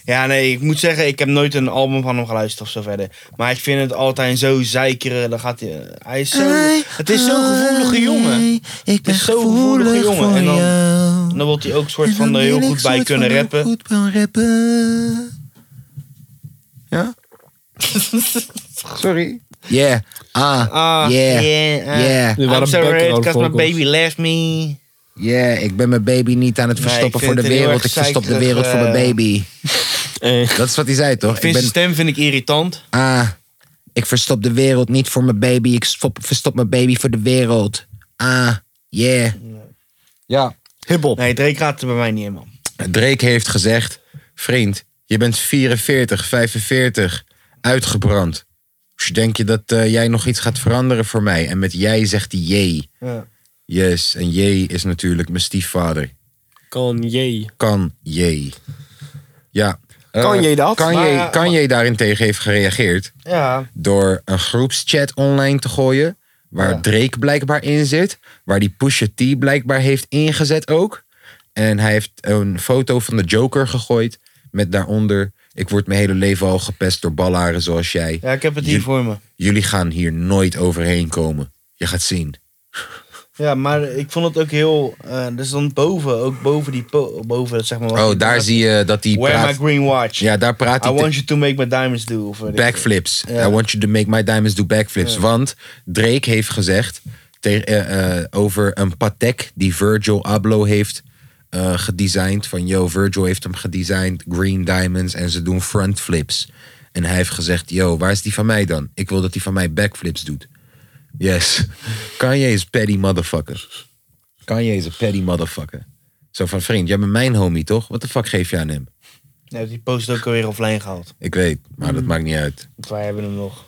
Speaker 6: Ja, nee, ik moet zeggen, ik heb nooit een album van hem geluisterd of zo verder. Maar ik vind het altijd zo zeikeren. Dan gaat hij. eh, Hij is zo. Het is zo'n gevoelige jongen.
Speaker 5: Ik
Speaker 6: ben is zo'n gevoelige gevoelig jongen. voor En dan- En dan wordt hij ook soort van er heel goed bij kunnen rappen.
Speaker 5: eh, Goed kan rappen.
Speaker 6: <laughs>
Speaker 5: Ja? Sorry. Yeah. Ah.
Speaker 6: Ah,
Speaker 5: Yeah.
Speaker 6: yeah, ah.
Speaker 5: Yeah.
Speaker 7: Dit waren
Speaker 6: I'm so red,
Speaker 7: background
Speaker 6: cause my
Speaker 7: vocals.
Speaker 6: baby left me.
Speaker 5: Yeah, ik ben mijn baby niet aan het verstoppen
Speaker 6: ik vind
Speaker 5: voor de
Speaker 6: het heel
Speaker 5: wereld.
Speaker 6: erg
Speaker 5: Ik verstop de
Speaker 6: zeikerig,
Speaker 5: wereld voor mijn
Speaker 6: eh, <laughs>
Speaker 5: baby.
Speaker 7: Eh.
Speaker 5: Dat is wat hij zei, toch?
Speaker 6: Ik vind
Speaker 5: ik
Speaker 6: zijn
Speaker 5: ben,
Speaker 6: stem vind ik irritant.
Speaker 5: ah, ik verstop de wereld niet voor mijn baby. Ik stop- verstop mijn baby voor de wereld. Ah, yeah. Ja,
Speaker 7: Hip-hop.
Speaker 6: Nee, Drake gaat er bij mij niet in, man.
Speaker 5: Drake heeft gezegd: Vriend, je bent 44, 45, uitgebrand. Dus denk je dat eh, jij nog iets gaat veranderen voor mij? En met jij zegt hij jee.
Speaker 6: Ja.
Speaker 5: Yes, en jee is natuurlijk mijn stiefvader.
Speaker 7: Kanye.
Speaker 5: Kan jee. Ja. eh,
Speaker 7: Kan je dat?
Speaker 5: Kan
Speaker 6: Maar,
Speaker 5: je,
Speaker 6: eh,
Speaker 5: kan je daarentegen heeft gereageerd
Speaker 6: Ja.
Speaker 5: door een groepschat online te gooien. Waar
Speaker 6: Ja.
Speaker 5: Drake blijkbaar in zit. Waar die Pusha T blijkbaar heeft ingezet ook. En hij heeft een foto van de Joker gegooid. Met daaronder... Ik word mijn hele leven al gepest door ballaren zoals jij.
Speaker 6: ja, ik heb het hier
Speaker 5: Je-
Speaker 6: voor me.
Speaker 5: Jullie gaan hier nooit overheen komen. Je gaat zien.
Speaker 6: Ja, maar ik vond het ook heel... eh dus dan boven, ook boven die... po- boven, zeg maar... wat
Speaker 5: Oh,
Speaker 6: die-
Speaker 5: daar zie je dat hij
Speaker 6: Wear
Speaker 5: praat...
Speaker 6: my green watch.
Speaker 5: Ja, daar praat
Speaker 6: I
Speaker 5: hij...
Speaker 6: want
Speaker 5: te-
Speaker 6: you to make my diamonds do. Of weet ik
Speaker 5: Backflips.
Speaker 6: Ja.
Speaker 5: I want you to make my diamonds do backflips. Want Drake heeft gezegd te- eh, eh, over een Patek die Virgil Abloh heeft eh, gedesigned. Van yo, Virgil heeft hem gedesigned, Green Diamonds en ze doen front flips. En hij heeft gezegd, yo, waar is die van mij dan? Ik wil dat die van mij backflips doet. Yes. <laughs> Kanye is petty motherfucker. Kanye is een petty motherfucker. Zo van, vriend, jij bent mijn homie toch? Wat de fuck geef je aan hem?
Speaker 6: Nou, die post ook alweer offline gehaald.
Speaker 5: Ik weet, maar dat maakt niet uit.
Speaker 6: Want wij hebben hem nog.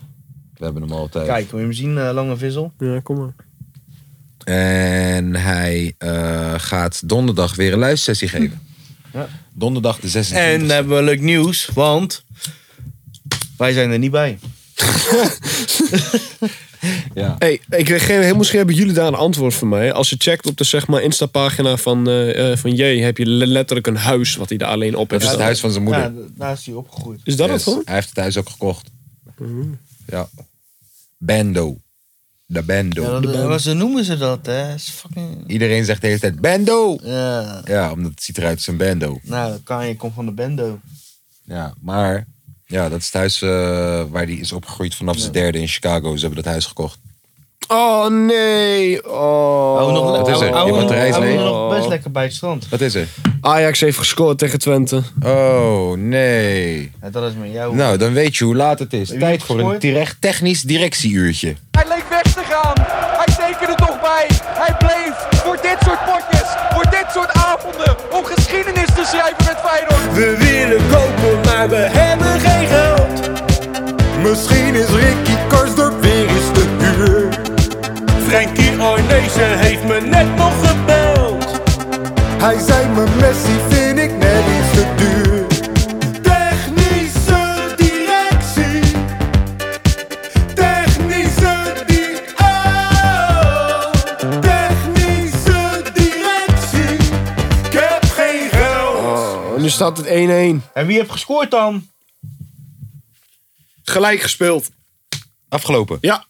Speaker 5: We hebben hem altijd.
Speaker 6: Mm. Kijk, wil je hem zien, eh, Lange Vissel?
Speaker 7: Ja, kom maar.
Speaker 5: En hij eh, gaat donderdag weer een luistersessie geven. Donderdag de 26e.
Speaker 6: En dan hebben we leuk nieuws, want wij zijn er niet bij.
Speaker 5: eh,
Speaker 7: Hey, ik kreeg geen, heel misschien hebben jullie daar een antwoord van mij. Als je checkt op de zeg maar, Insta-pagina van, eh, eh, van J, heb je le- letterlijk een huis wat hij daar alleen op
Speaker 5: dat is
Speaker 7: heeft.
Speaker 5: het
Speaker 7: staan.
Speaker 5: huis van zijn moeder.
Speaker 6: Ja, daar is hij opgegroeid.
Speaker 7: Is dat
Speaker 5: Yes.
Speaker 7: het gewoon?
Speaker 5: Hij heeft het huis ook gekocht. Hm. Ja. Bando. De Bando.
Speaker 6: Ja, dat, wat ze noemen ze dat, hè? Is fucking...
Speaker 5: Iedereen zegt de hele tijd Bando.
Speaker 6: Ja,
Speaker 5: Ja, omdat het ziet eruit als een Bando.
Speaker 6: nou, Kanye komt van de bendo.
Speaker 5: Ja, maar ja, dat is het huis eh, waar hij is opgegroeid vanaf zijn derde in Chicago. Ze hebben dat huis gekocht.
Speaker 4: Oh nee. Oh.
Speaker 6: Oh, nog,
Speaker 5: Wat is er?
Speaker 6: ouwe-
Speaker 5: Je
Speaker 6: ouwe-
Speaker 5: batterij is
Speaker 6: ouwe-
Speaker 5: leeg.
Speaker 6: nog best lekker bij het strand.
Speaker 5: Wat is er?
Speaker 4: Ajax heeft gescoord tegen Twente.
Speaker 5: Oh, nee.
Speaker 6: Ja, dat is met jou.
Speaker 5: Nou, dan weet je hoe laat het is.
Speaker 6: Wie
Speaker 5: Tijd
Speaker 6: heeft
Speaker 5: voor een
Speaker 6: gescoord?
Speaker 5: terecht technisch directieuurtje.
Speaker 10: Hij leek weg te gaan. Hij tekende toch bij. Hij bleef voor dit soort potjes, voor dit soort avonden, om geschiedenis te schrijven met Feyenoord.
Speaker 3: We willen kopen, maar we hebben geen geld. Misschien is Ricky Karsdorp weer eens te duur. Frankie Arnezen heeft me net nog gebeld. Hij zei me Messi vind ik net iets te duur. Technische directie. Technische di- oh. Technische directie. Ik heb geen geld.
Speaker 4: Oh, nu staat het 1-1.
Speaker 6: En wie heeft gescoord dan?
Speaker 4: Gelijk gespeeld.
Speaker 5: Afgelopen.
Speaker 4: Ja.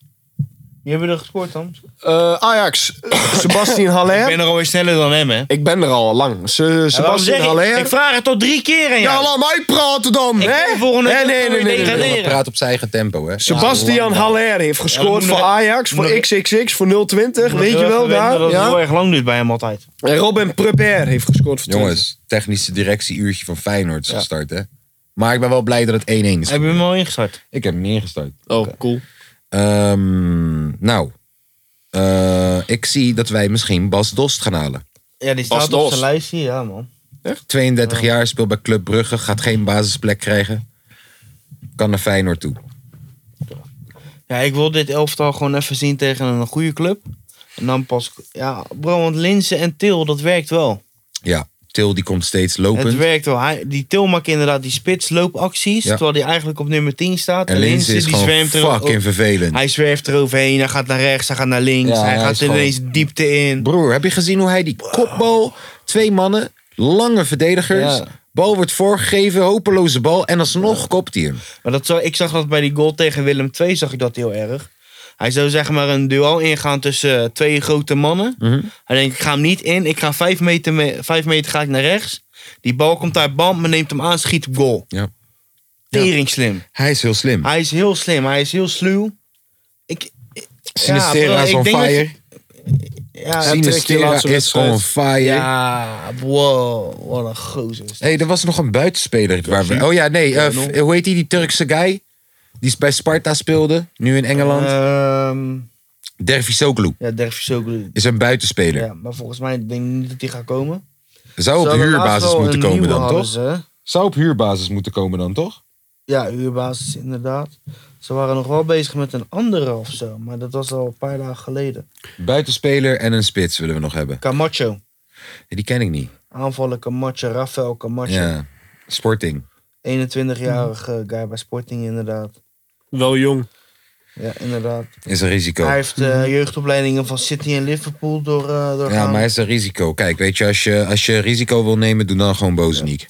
Speaker 6: Wie hebben er gescoord dan?
Speaker 4: Eh, <coughs> Ajax. Sebastian Haller.
Speaker 6: Ik ben er alweer sneller dan hem, hè?
Speaker 4: Ik ben er al lang. Se
Speaker 6: Waarom
Speaker 4: Sebastian
Speaker 6: zeg ik,
Speaker 4: Haller.
Speaker 6: ik vraag het tot drie keer aan
Speaker 4: Ja,
Speaker 6: jou.
Speaker 4: laat mij praten dan.
Speaker 6: Ik
Speaker 4: hè?
Speaker 6: ben volgende
Speaker 4: nee,
Speaker 6: keer
Speaker 4: nee,
Speaker 6: weer
Speaker 4: nee, nee, nee.
Speaker 6: degraderen.
Speaker 5: We praten op zijn eigen tempo, hè?
Speaker 4: Sebastian Haller heeft gescoord
Speaker 6: moet
Speaker 4: voor
Speaker 6: nog-
Speaker 4: Ajax,
Speaker 6: moet
Speaker 4: voor
Speaker 6: nog-
Speaker 4: XXX, voor 020, weet je wel daar.
Speaker 6: Dat het heel
Speaker 4: Ja?
Speaker 6: erg lang duurt bij hem altijd.
Speaker 4: En Robin Prepper heeft gescoord voor Twente.
Speaker 5: Jongens, technische directieuurtje van Feyenoord is gestart, hè? Maar ik ben wel blij dat het 1-1 is.
Speaker 6: Heb je hem al ingestart?
Speaker 5: Ik heb hem niet ingestart.
Speaker 7: Oh, cool.
Speaker 5: Ehm, nou, eh, ik zie dat wij misschien Bas Dost gaan halen.
Speaker 6: Ja, die staat op zijn lijstje, ja man.
Speaker 5: 32 jaar, speelt bij Club Brugge, gaat geen basisplek krijgen. Kan naar Feyenoord toe.
Speaker 6: Ja, ik wil dit elftal gewoon even zien tegen een goede club. En dan pas... Ja, bro, want Linsen en Til, dat werkt wel.
Speaker 5: Ja, Til die komt steeds lopend.
Speaker 6: Het werkt wel. Hij, die Til maakt inderdaad die spitsloopacties,
Speaker 5: Ja.
Speaker 6: terwijl hij eigenlijk op nummer 10 staat.
Speaker 5: en Linse is
Speaker 6: die
Speaker 5: gewoon
Speaker 6: zwemt er- Oh,
Speaker 5: fucking vervelend.
Speaker 6: Hij zwerft eroverheen, hij gaat naar rechts, hij gaat naar links,
Speaker 5: Ja,
Speaker 6: hij
Speaker 5: hij
Speaker 6: gaat
Speaker 5: is
Speaker 6: ineens diepte in.
Speaker 5: Broer, heb je gezien hoe hij die kopbal, twee mannen, lange verdedigers,
Speaker 6: Ja.
Speaker 5: bal wordt voorgegeven, hopeloze bal en alsnog kopt hij hem.
Speaker 6: Maar dat zo, ik zag dat bij die goal tegen Willem II, zag ik dat heel erg. Hij zou zeg maar een duel ingaan tussen eh, twee grote mannen.
Speaker 5: Mhm.
Speaker 6: Hij denkt, ik ga hem niet in, ik ga vijf meter, me- vijf meter ga ik naar rechts. Die bal komt daar, bam, men neemt hem aan, schiet op goal.
Speaker 5: Ja.
Speaker 6: Tering slim.
Speaker 5: Hij is heel slim.
Speaker 6: Hij is heel slim, hij is heel sluw. Ik,
Speaker 5: Sinistera
Speaker 6: bro,
Speaker 5: is
Speaker 6: ik
Speaker 5: on
Speaker 6: denk dat-
Speaker 5: fire.
Speaker 6: ja,
Speaker 5: Sinistera is on fire.
Speaker 6: Ja, wow, wat een gozer. is dat.
Speaker 5: hey, er was nog een buitenspeler. Waar we, oh ja, nee. eh, f- hoe heet die, die Turkse guy? Die bij Sparta speelde, nu in Engeland. Dervis
Speaker 6: Ehm,
Speaker 5: Dervisoglu
Speaker 6: ja, Dervisoglu.
Speaker 5: is een buitenspeler.
Speaker 6: Ja, maar volgens mij denk ik niet dat die gaat komen.
Speaker 5: Zou Oh, op
Speaker 6: Ze hadden laatst
Speaker 5: huurbasis
Speaker 6: wel
Speaker 5: moeten
Speaker 6: een
Speaker 5: komen
Speaker 6: nieuwe
Speaker 5: dan,
Speaker 6: hadden
Speaker 5: toch?
Speaker 6: ze.
Speaker 5: Zou op huurbasis moeten komen dan, toch?
Speaker 6: Ja, huurbasis inderdaad. Ze waren nog wel bezig met een andere of zo, maar dat was al een paar dagen geleden.
Speaker 5: Buitenspeler en een spits willen we nog hebben.
Speaker 6: Camacho.
Speaker 5: Die ken ik niet.
Speaker 6: Aanvallen Camacho, Rafael Camacho.
Speaker 5: Ja. Sporting.
Speaker 6: 21-jarige guy bij Sporting inderdaad.
Speaker 7: Wel jong.
Speaker 6: Ja, inderdaad.
Speaker 5: Is een risico.
Speaker 6: Hij heeft eh, jeugdopleidingen van City en Liverpool door, eh
Speaker 5: Ja,
Speaker 6: doorgaan.
Speaker 5: maar is een risico. Kijk, weet je, als je, als je risico wil nemen, doe dan gewoon Bozeniek.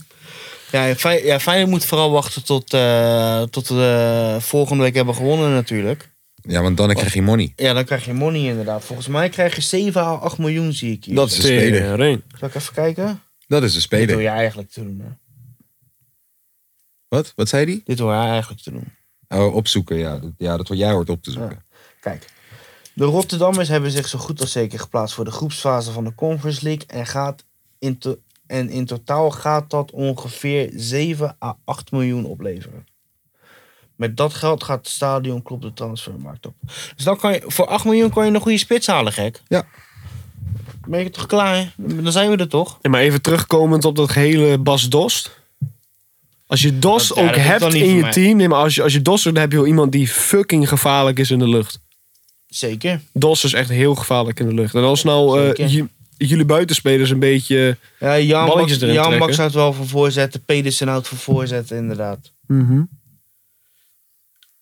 Speaker 6: Ja, en Fey- ja, Feyenoord moet vooral wachten tot, eh, tot we eh, volgende week hebben gewonnen natuurlijk.
Speaker 5: Ja, want dan krijg je money.
Speaker 6: Ja, dan krijg je money inderdaad. Volgens mij krijg je 7 à 8 miljoen, zie ik hier.
Speaker 5: Dat is een speler.
Speaker 7: Tering.
Speaker 6: Zal ik even kijken?
Speaker 5: Dat is een
Speaker 6: Dit wil
Speaker 5: speler.
Speaker 6: je eigenlijk te doen, hè?
Speaker 5: Wat? Wat zei die?
Speaker 6: Dit wil je eigenlijk te doen.
Speaker 5: Oh, opzoeken, ja. Ja, dat wat jij hoort op te zoeken.
Speaker 6: Kijk. De Rotterdammers hebben zich zo goed als zeker geplaatst voor de groepsfase van de Conference League. En, gaat in to- en in totaal gaat dat ongeveer 7 à 8 miljoen opleveren. Met dat geld gaat het stadion klopt de transfermarkt op. Dus dan kan je, voor 8 miljoen kan je een goede spits halen, gek.
Speaker 5: Ja.
Speaker 6: Ben je toch klaar? hè? Dan zijn we er toch?
Speaker 7: Nee, maar even terugkomend op dat gehele Bas Dost. Als je Dost
Speaker 6: Dat- ja,
Speaker 7: ook
Speaker 6: dat hoeft
Speaker 7: hebt
Speaker 6: dan niet
Speaker 7: in
Speaker 6: voor
Speaker 7: je
Speaker 6: mij.
Speaker 7: team. Nee, maar als je, als je Dost hebt, dan heb je wel iemand die fucking gevaarlijk is in de lucht.
Speaker 6: Zeker.
Speaker 7: Dost is echt heel gevaarlijk in de lucht. En als nou eh,
Speaker 6: Zeker.
Speaker 7: ju- jullie buitenspelers een beetje...
Speaker 6: Ja, Jan,
Speaker 7: Balletjes
Speaker 6: Baks,
Speaker 7: erin
Speaker 6: Jan
Speaker 7: trekken.
Speaker 6: Baks houdt wel voor voorzetten. Pedersen houdt voor voorzetten, inderdaad.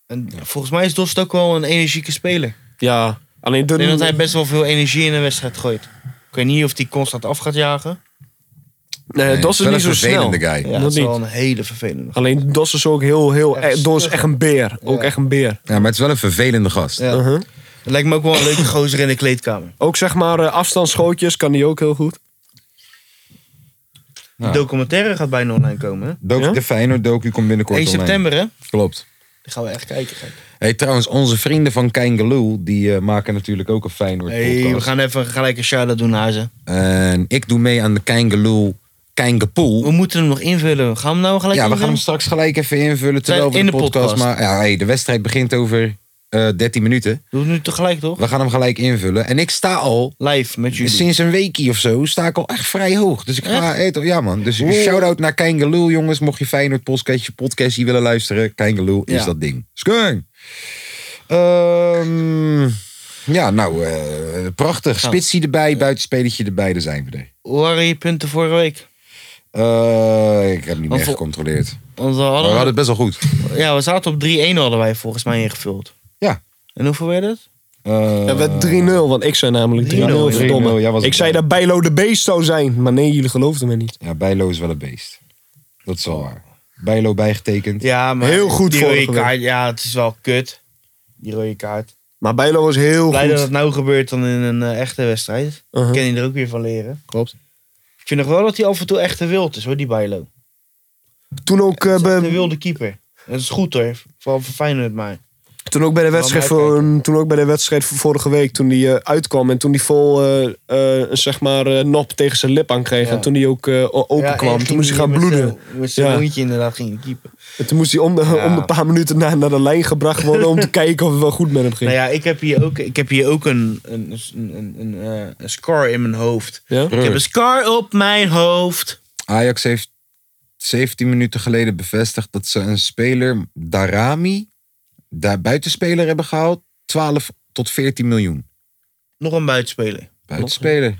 Speaker 6: En volgens mij is Dost ook wel een energieke speler.
Speaker 7: Ja, alleen
Speaker 6: Ik denk dat
Speaker 7: de...
Speaker 6: hij best wel veel energie in een wedstrijd gooit. Ik weet niet of hij constant af gaat jagen.
Speaker 7: Nee, Dost is
Speaker 5: wel
Speaker 7: niet
Speaker 5: een
Speaker 7: zo snel.
Speaker 5: vervelende guy.
Speaker 6: Ja,
Speaker 7: dat
Speaker 6: dat is wel
Speaker 7: niet.
Speaker 6: een hele vervelende.
Speaker 7: Alleen Dos is ook heel, heel...
Speaker 6: Echt
Speaker 7: eh, Dos is
Speaker 6: stug.
Speaker 7: echt een beer. Ook
Speaker 6: Ja.
Speaker 7: echt een beer.
Speaker 5: Ja, maar het is wel een vervelende gast.
Speaker 6: Ja.
Speaker 7: Uh-huh.
Speaker 6: Het lijkt me ook wel een leuke gozer in de kleedkamer.
Speaker 7: Ook zeg maar eh, afstandsschootjes kan die ook heel goed.
Speaker 6: Die documentaire gaat bijna online komen. hè?
Speaker 5: Docu,
Speaker 7: Ja?
Speaker 5: De Feyenoord docu komt binnenkort
Speaker 6: 1
Speaker 5: online.
Speaker 6: september, hè?
Speaker 5: Klopt.
Speaker 6: Die gaan we echt kijken. gek.
Speaker 5: Hey, trouwens, onze vrienden van Kangaloo, die eh, maken natuurlijk ook een Feyenoord podcast.
Speaker 6: Hey, we gaan even gelijk een shout-out doen naar ze.
Speaker 5: En ik doe mee aan de Kangaloo
Speaker 6: We
Speaker 5: Kangapool.
Speaker 6: moeten hem nog invullen. Gaan we hem nou gelijk
Speaker 5: Ja, we gaan
Speaker 6: invullen?
Speaker 5: hem straks gelijk even invullen terwijl we
Speaker 6: In
Speaker 5: de
Speaker 6: de
Speaker 5: podcast...
Speaker 6: podcast.
Speaker 5: Maar ja, hey, de wedstrijd begint over eh 13 minuten.
Speaker 6: Doe het nu tegelijk, toch?
Speaker 5: We gaan hem gelijk invullen. En ik sta al,
Speaker 6: Live met jullie.
Speaker 5: sinds een weekie of zo, sta ik al echt vrij hoog. Dus ik ga... hey, toch- ja man, dus shout-out naar Kangaloo, jongens. Mocht je Feyenoord podcastje, podcastje willen luisteren, Kangaloo is
Speaker 6: Ja.
Speaker 5: dat ding. Skung! Ehm, ja, nou, eh, prachtig. Spitsie erbij, buitenspelletje erbij, daar zijn we er.
Speaker 6: Hoe waren je punten vorige week?
Speaker 5: Eh, ik heb niet
Speaker 6: Want
Speaker 5: meer
Speaker 6: voor-
Speaker 5: gecontroleerd.
Speaker 6: Want we,
Speaker 5: Maar we
Speaker 6: hadden,
Speaker 5: hadden het best wel goed.
Speaker 6: ja, we zaten op 3-1 hadden wij volgens mij ingevuld.
Speaker 5: Ja.
Speaker 6: En hoeveel werd het?
Speaker 5: Eh,
Speaker 7: Ja, werd 3-0, want ik zei namelijk 3-0,
Speaker 6: 3-0,
Speaker 7: verdomme.
Speaker 5: 3-0, jij was
Speaker 7: ik
Speaker 5: het
Speaker 7: zei
Speaker 5: wel.
Speaker 7: dat Bijlo de beest zou zijn, maar nee, jullie geloofden me niet.
Speaker 5: Ja, Bijlo is wel een beest. Dat is wel waar. Bijlo bijgetekend.
Speaker 6: Oh. Ja, maar
Speaker 7: Heel goed
Speaker 6: die
Speaker 7: vorige
Speaker 6: rode
Speaker 7: week.
Speaker 6: kaart, Ja, het is wel kut. Die rode kaart.
Speaker 7: Maar Bijlo was heel
Speaker 6: Blij dat
Speaker 7: goed.
Speaker 6: het nou gebeurt dan in een eh, echte wedstrijd.
Speaker 7: Uh-huh.
Speaker 6: Kan je er ook weer van leren.
Speaker 7: Klopt.
Speaker 6: Ik vind nog wel dat hij af en toe echt te wild is hoor, die Bijlo.
Speaker 7: Toen ook, eh,
Speaker 6: Dat is echt een
Speaker 7: bij,
Speaker 6: wilde keeper. Dat is goed hoor. Vooral voor Feyenoord maar.
Speaker 7: toen, ook bij de wedstrijd
Speaker 6: Laat mij
Speaker 7: voor, toen ook bij de wedstrijd van vorige week, toen die eh, uitkwam en toen die vol eh, eh, zeg maar eh, nop tegen zijn lip aan kreeg.
Speaker 6: Ja.
Speaker 7: En toen die ook eh, o- open
Speaker 6: Ja, en
Speaker 7: kwam,
Speaker 6: ging
Speaker 7: toen moest hij gaan
Speaker 6: met
Speaker 7: bloeden.
Speaker 6: zijn- Met zijn
Speaker 7: Ja.
Speaker 6: mondje inderdaad ging hij keeper.
Speaker 7: En toen moest hij om de,
Speaker 6: Ja.
Speaker 7: om de paar minuten naar, naar de lijn gebracht worden om te kijken of het wel goed met hem ging.
Speaker 6: Nou ja, ik heb hier ook, ik heb hier ook een, een, een, een, een, eh, een scar in mijn hoofd.
Speaker 7: Ja?
Speaker 6: Ik heb een scar op mijn hoofd.
Speaker 5: Ajax heeft 17 minuten geleden bevestigd dat ze een speler, Darami, daar buitenspeler hebben gehaald. 12 tot 14 miljoen.
Speaker 6: Nog een buitenspeler.
Speaker 5: Buitenspeler.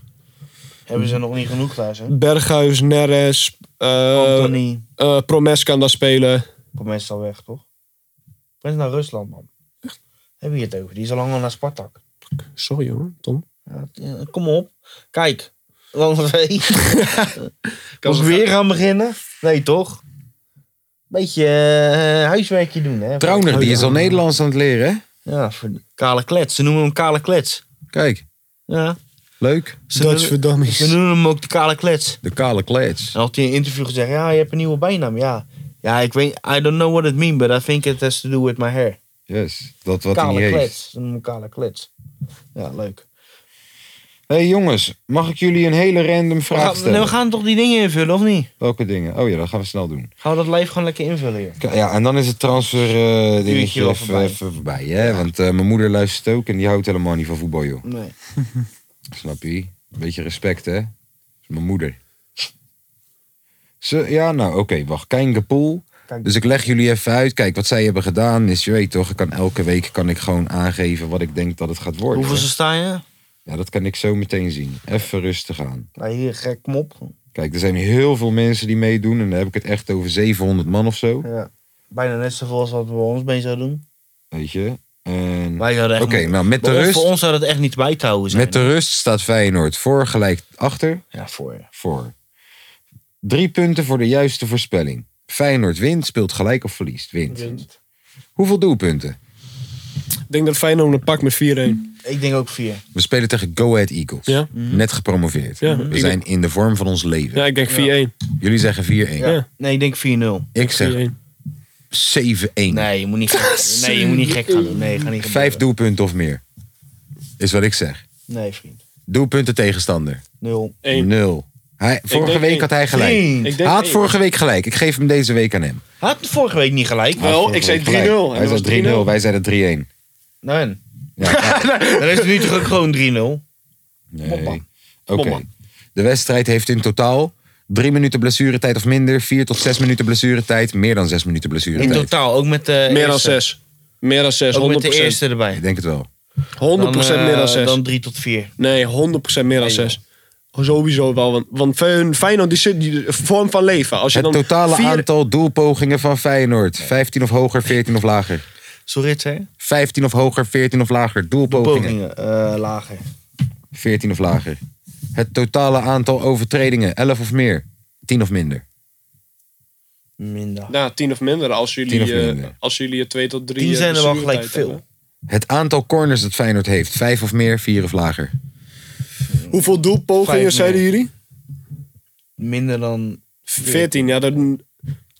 Speaker 6: Hebben ze nog niet genoeg daar, hè?
Speaker 7: Berghuis, Neres, eh
Speaker 6: Anthony.
Speaker 7: eh, Promes kan daar spelen.
Speaker 6: Komt mensen al weg, toch? Kom eens naar Rusland, man. Hebben we het over? Die is al lang al naar Spartak.
Speaker 7: Sorry hoor, Tom.
Speaker 6: Ja, t- ja, kom op. Kijk.
Speaker 5: <laughs>
Speaker 6: Land 2. kan ik weer gaan beginnen? Nee, toch? Beetje eh, huiswerkje doen, hè?
Speaker 5: Trauner, die is al Nederlands aan het leren, hè?
Speaker 6: Ja, voor die kale klets. Ze noemen hem kale klets.
Speaker 5: Kijk,
Speaker 6: Ja.
Speaker 5: leuk.
Speaker 6: Ze
Speaker 7: Dutch
Speaker 6: noemen-
Speaker 7: for dummies.
Speaker 6: Ze noemen hem ook de kale klets.
Speaker 5: De kale klets.
Speaker 6: En had hij in een interview gezegd, ja, je hebt een nieuwe bijnaam, ja. Ja, ik weet, I don't know what it means, but I think it has to do with my hair.
Speaker 5: Yes, dat wat hij niet
Speaker 6: kale
Speaker 5: heeft.
Speaker 6: klets. Ze noemen hem kale klets. Ja, leuk.
Speaker 5: hey jongens, mag ik jullie een hele random
Speaker 6: We
Speaker 5: vraag
Speaker 6: gaan, nee,
Speaker 5: stellen?
Speaker 6: we gaan toch die dingen invullen, of niet?
Speaker 5: Welke dingen? Oh ja, dat gaan we snel doen.
Speaker 6: Gaan we dat live gewoon lekker invullen hier?
Speaker 5: K- Ja, en dan is het transfer eh, dingetje
Speaker 6: wel
Speaker 5: even
Speaker 6: voorbij.
Speaker 5: voorbij. Even voorbij hè? Want eh, mijn moeder luistert ook en die houdt helemaal niet van voetbal, joh.
Speaker 6: Nee.
Speaker 5: Snap je? Beetje respect, hè? Dat is mijn moeder. Ze, ja, nou oké, wacht. Kijngepoel.
Speaker 6: Kijk.
Speaker 5: Dus ik leg jullie even uit. Kijk, wat zij hebben gedaan is, je weet toch, ik kan elke week kan ik gewoon aangeven wat ik denk dat het gaat worden.
Speaker 6: Hoeveel
Speaker 5: hè?
Speaker 6: ze staan je?
Speaker 5: Ja, dat kan ik zo meteen zien. Even rustig aan.
Speaker 6: Nou, hier, gek, kom op.
Speaker 5: Kijk, er zijn heel veel mensen die meedoen. En dan heb ik het echt over 700 man of zo.
Speaker 6: Ja. Bijna net zoveel als wat we bij ons mee zouden doen.
Speaker 5: Weet je? En... Oké,
Speaker 6: Wij zouden echt...
Speaker 5: nou met de
Speaker 6: Voor ons- Voor
Speaker 5: rust.
Speaker 6: ons zou dat echt niet bij te houden zijn.
Speaker 5: Met de rust staat Feyenoord voor, gelijk achter,
Speaker 6: Ja, voor je.
Speaker 5: voor. Drie punten voor de juiste voorspelling. Feyenoord wint, speelt gelijk of verliest. Wint. Hoeveel doelpunten?
Speaker 7: Ik denk dat Feyenoord het pak met 4-1.
Speaker 6: Ik denk ook vier.
Speaker 5: We spelen tegen Go Ahead Eagles.
Speaker 7: Ja.
Speaker 5: Net gepromoveerd.
Speaker 7: Ja,
Speaker 5: We
Speaker 7: ik-
Speaker 5: zijn in de vorm van ons leven.
Speaker 6: Hm.
Speaker 7: Ja, ik denk 4-1.
Speaker 5: Jullie zeggen 4-1.
Speaker 7: Ja.
Speaker 6: Nee, ik denk 4-0.
Speaker 5: Ik zeg
Speaker 7: 4-1.
Speaker 5: 7-1. <laughs>
Speaker 6: Nee, je moet niet gek, nee, je moet niet gek gaan doen. Nee, ga niet
Speaker 5: Vijf
Speaker 6: gebeuren.
Speaker 5: doelpunten of meer. Is wat ik zeg.
Speaker 6: Nee, vriend.
Speaker 5: Doelpunten tegenstander.
Speaker 6: Nul.
Speaker 7: Eén.
Speaker 5: Nul. Hij, vorige
Speaker 7: denk
Speaker 5: week
Speaker 7: één.
Speaker 5: had hij gelijk.
Speaker 6: Vriend.
Speaker 7: Ik
Speaker 5: Hij
Speaker 7: denk
Speaker 5: had
Speaker 7: één.
Speaker 5: vorige week gelijk. Ik geef hem deze week aan hem.
Speaker 6: Had vorige week niet gelijk.
Speaker 5: Hij had
Speaker 7: Wel,
Speaker 5: vorige
Speaker 7: Oh, ik zei
Speaker 5: week gelijk.
Speaker 7: 3-0 en
Speaker 5: Hij
Speaker 7: dat was
Speaker 5: zei 3-0.
Speaker 7: 3-0.
Speaker 5: Wij zeiden 3-1.
Speaker 6: Nee. Nou,
Speaker 7: <laughs>
Speaker 6: Dan is het nu toch ook gewoon 3-0.
Speaker 5: Nee.
Speaker 6: Bomba.
Speaker 5: Oké.
Speaker 7: Bomba.
Speaker 5: De wedstrijd heeft in totaal drie minuten blessuretijd of minder, vier tot zes minuten blessuretijd, meer dan zes minuten
Speaker 6: In
Speaker 5: blessuretijd.
Speaker 6: totaal, ook met de
Speaker 7: Meer dan
Speaker 6: eerste.
Speaker 7: zes. Meer dan zes, 100%.
Speaker 6: Ook met de eerste erbij.
Speaker 5: Ik denk het wel.
Speaker 7: 100%
Speaker 6: Dan, eh,
Speaker 7: meer dan zes.
Speaker 6: Dan 3 tot 4.
Speaker 7: Nee, 100% meer dan
Speaker 6: Nee,
Speaker 7: 6. Sowieso wel, want, want Fey- Feyenoord die zit die vorm van leven. Als je
Speaker 5: Het
Speaker 7: dan
Speaker 5: totale
Speaker 7: vier-
Speaker 5: aantal doelpogingen van Feyenoord. 15 of hoger, 14 of lager.
Speaker 6: Sorry, het zei?
Speaker 5: 15 of hoger, 14 of lager. Doelpogingen.
Speaker 6: Pogingen. eh, lager.
Speaker 5: 14 of lager. Het totale aantal overtredingen, 11 of meer. 10 of minder.
Speaker 6: Minder.
Speaker 7: Nou, 10 of minder als jullie,
Speaker 5: Tien of
Speaker 7: eh,
Speaker 5: minder.
Speaker 7: als jullie het 2 tot eh, 3
Speaker 6: 10 zijn er wel gelijk veel.
Speaker 5: Het aantal corners dat Feyenoord heeft, 5 of meer, 4 of lager.
Speaker 4: Hoeveel doelpogingen
Speaker 6: Vijf
Speaker 4: zeiden
Speaker 6: nul.
Speaker 4: jullie?
Speaker 6: Minder dan...
Speaker 7: 14, ja, dan,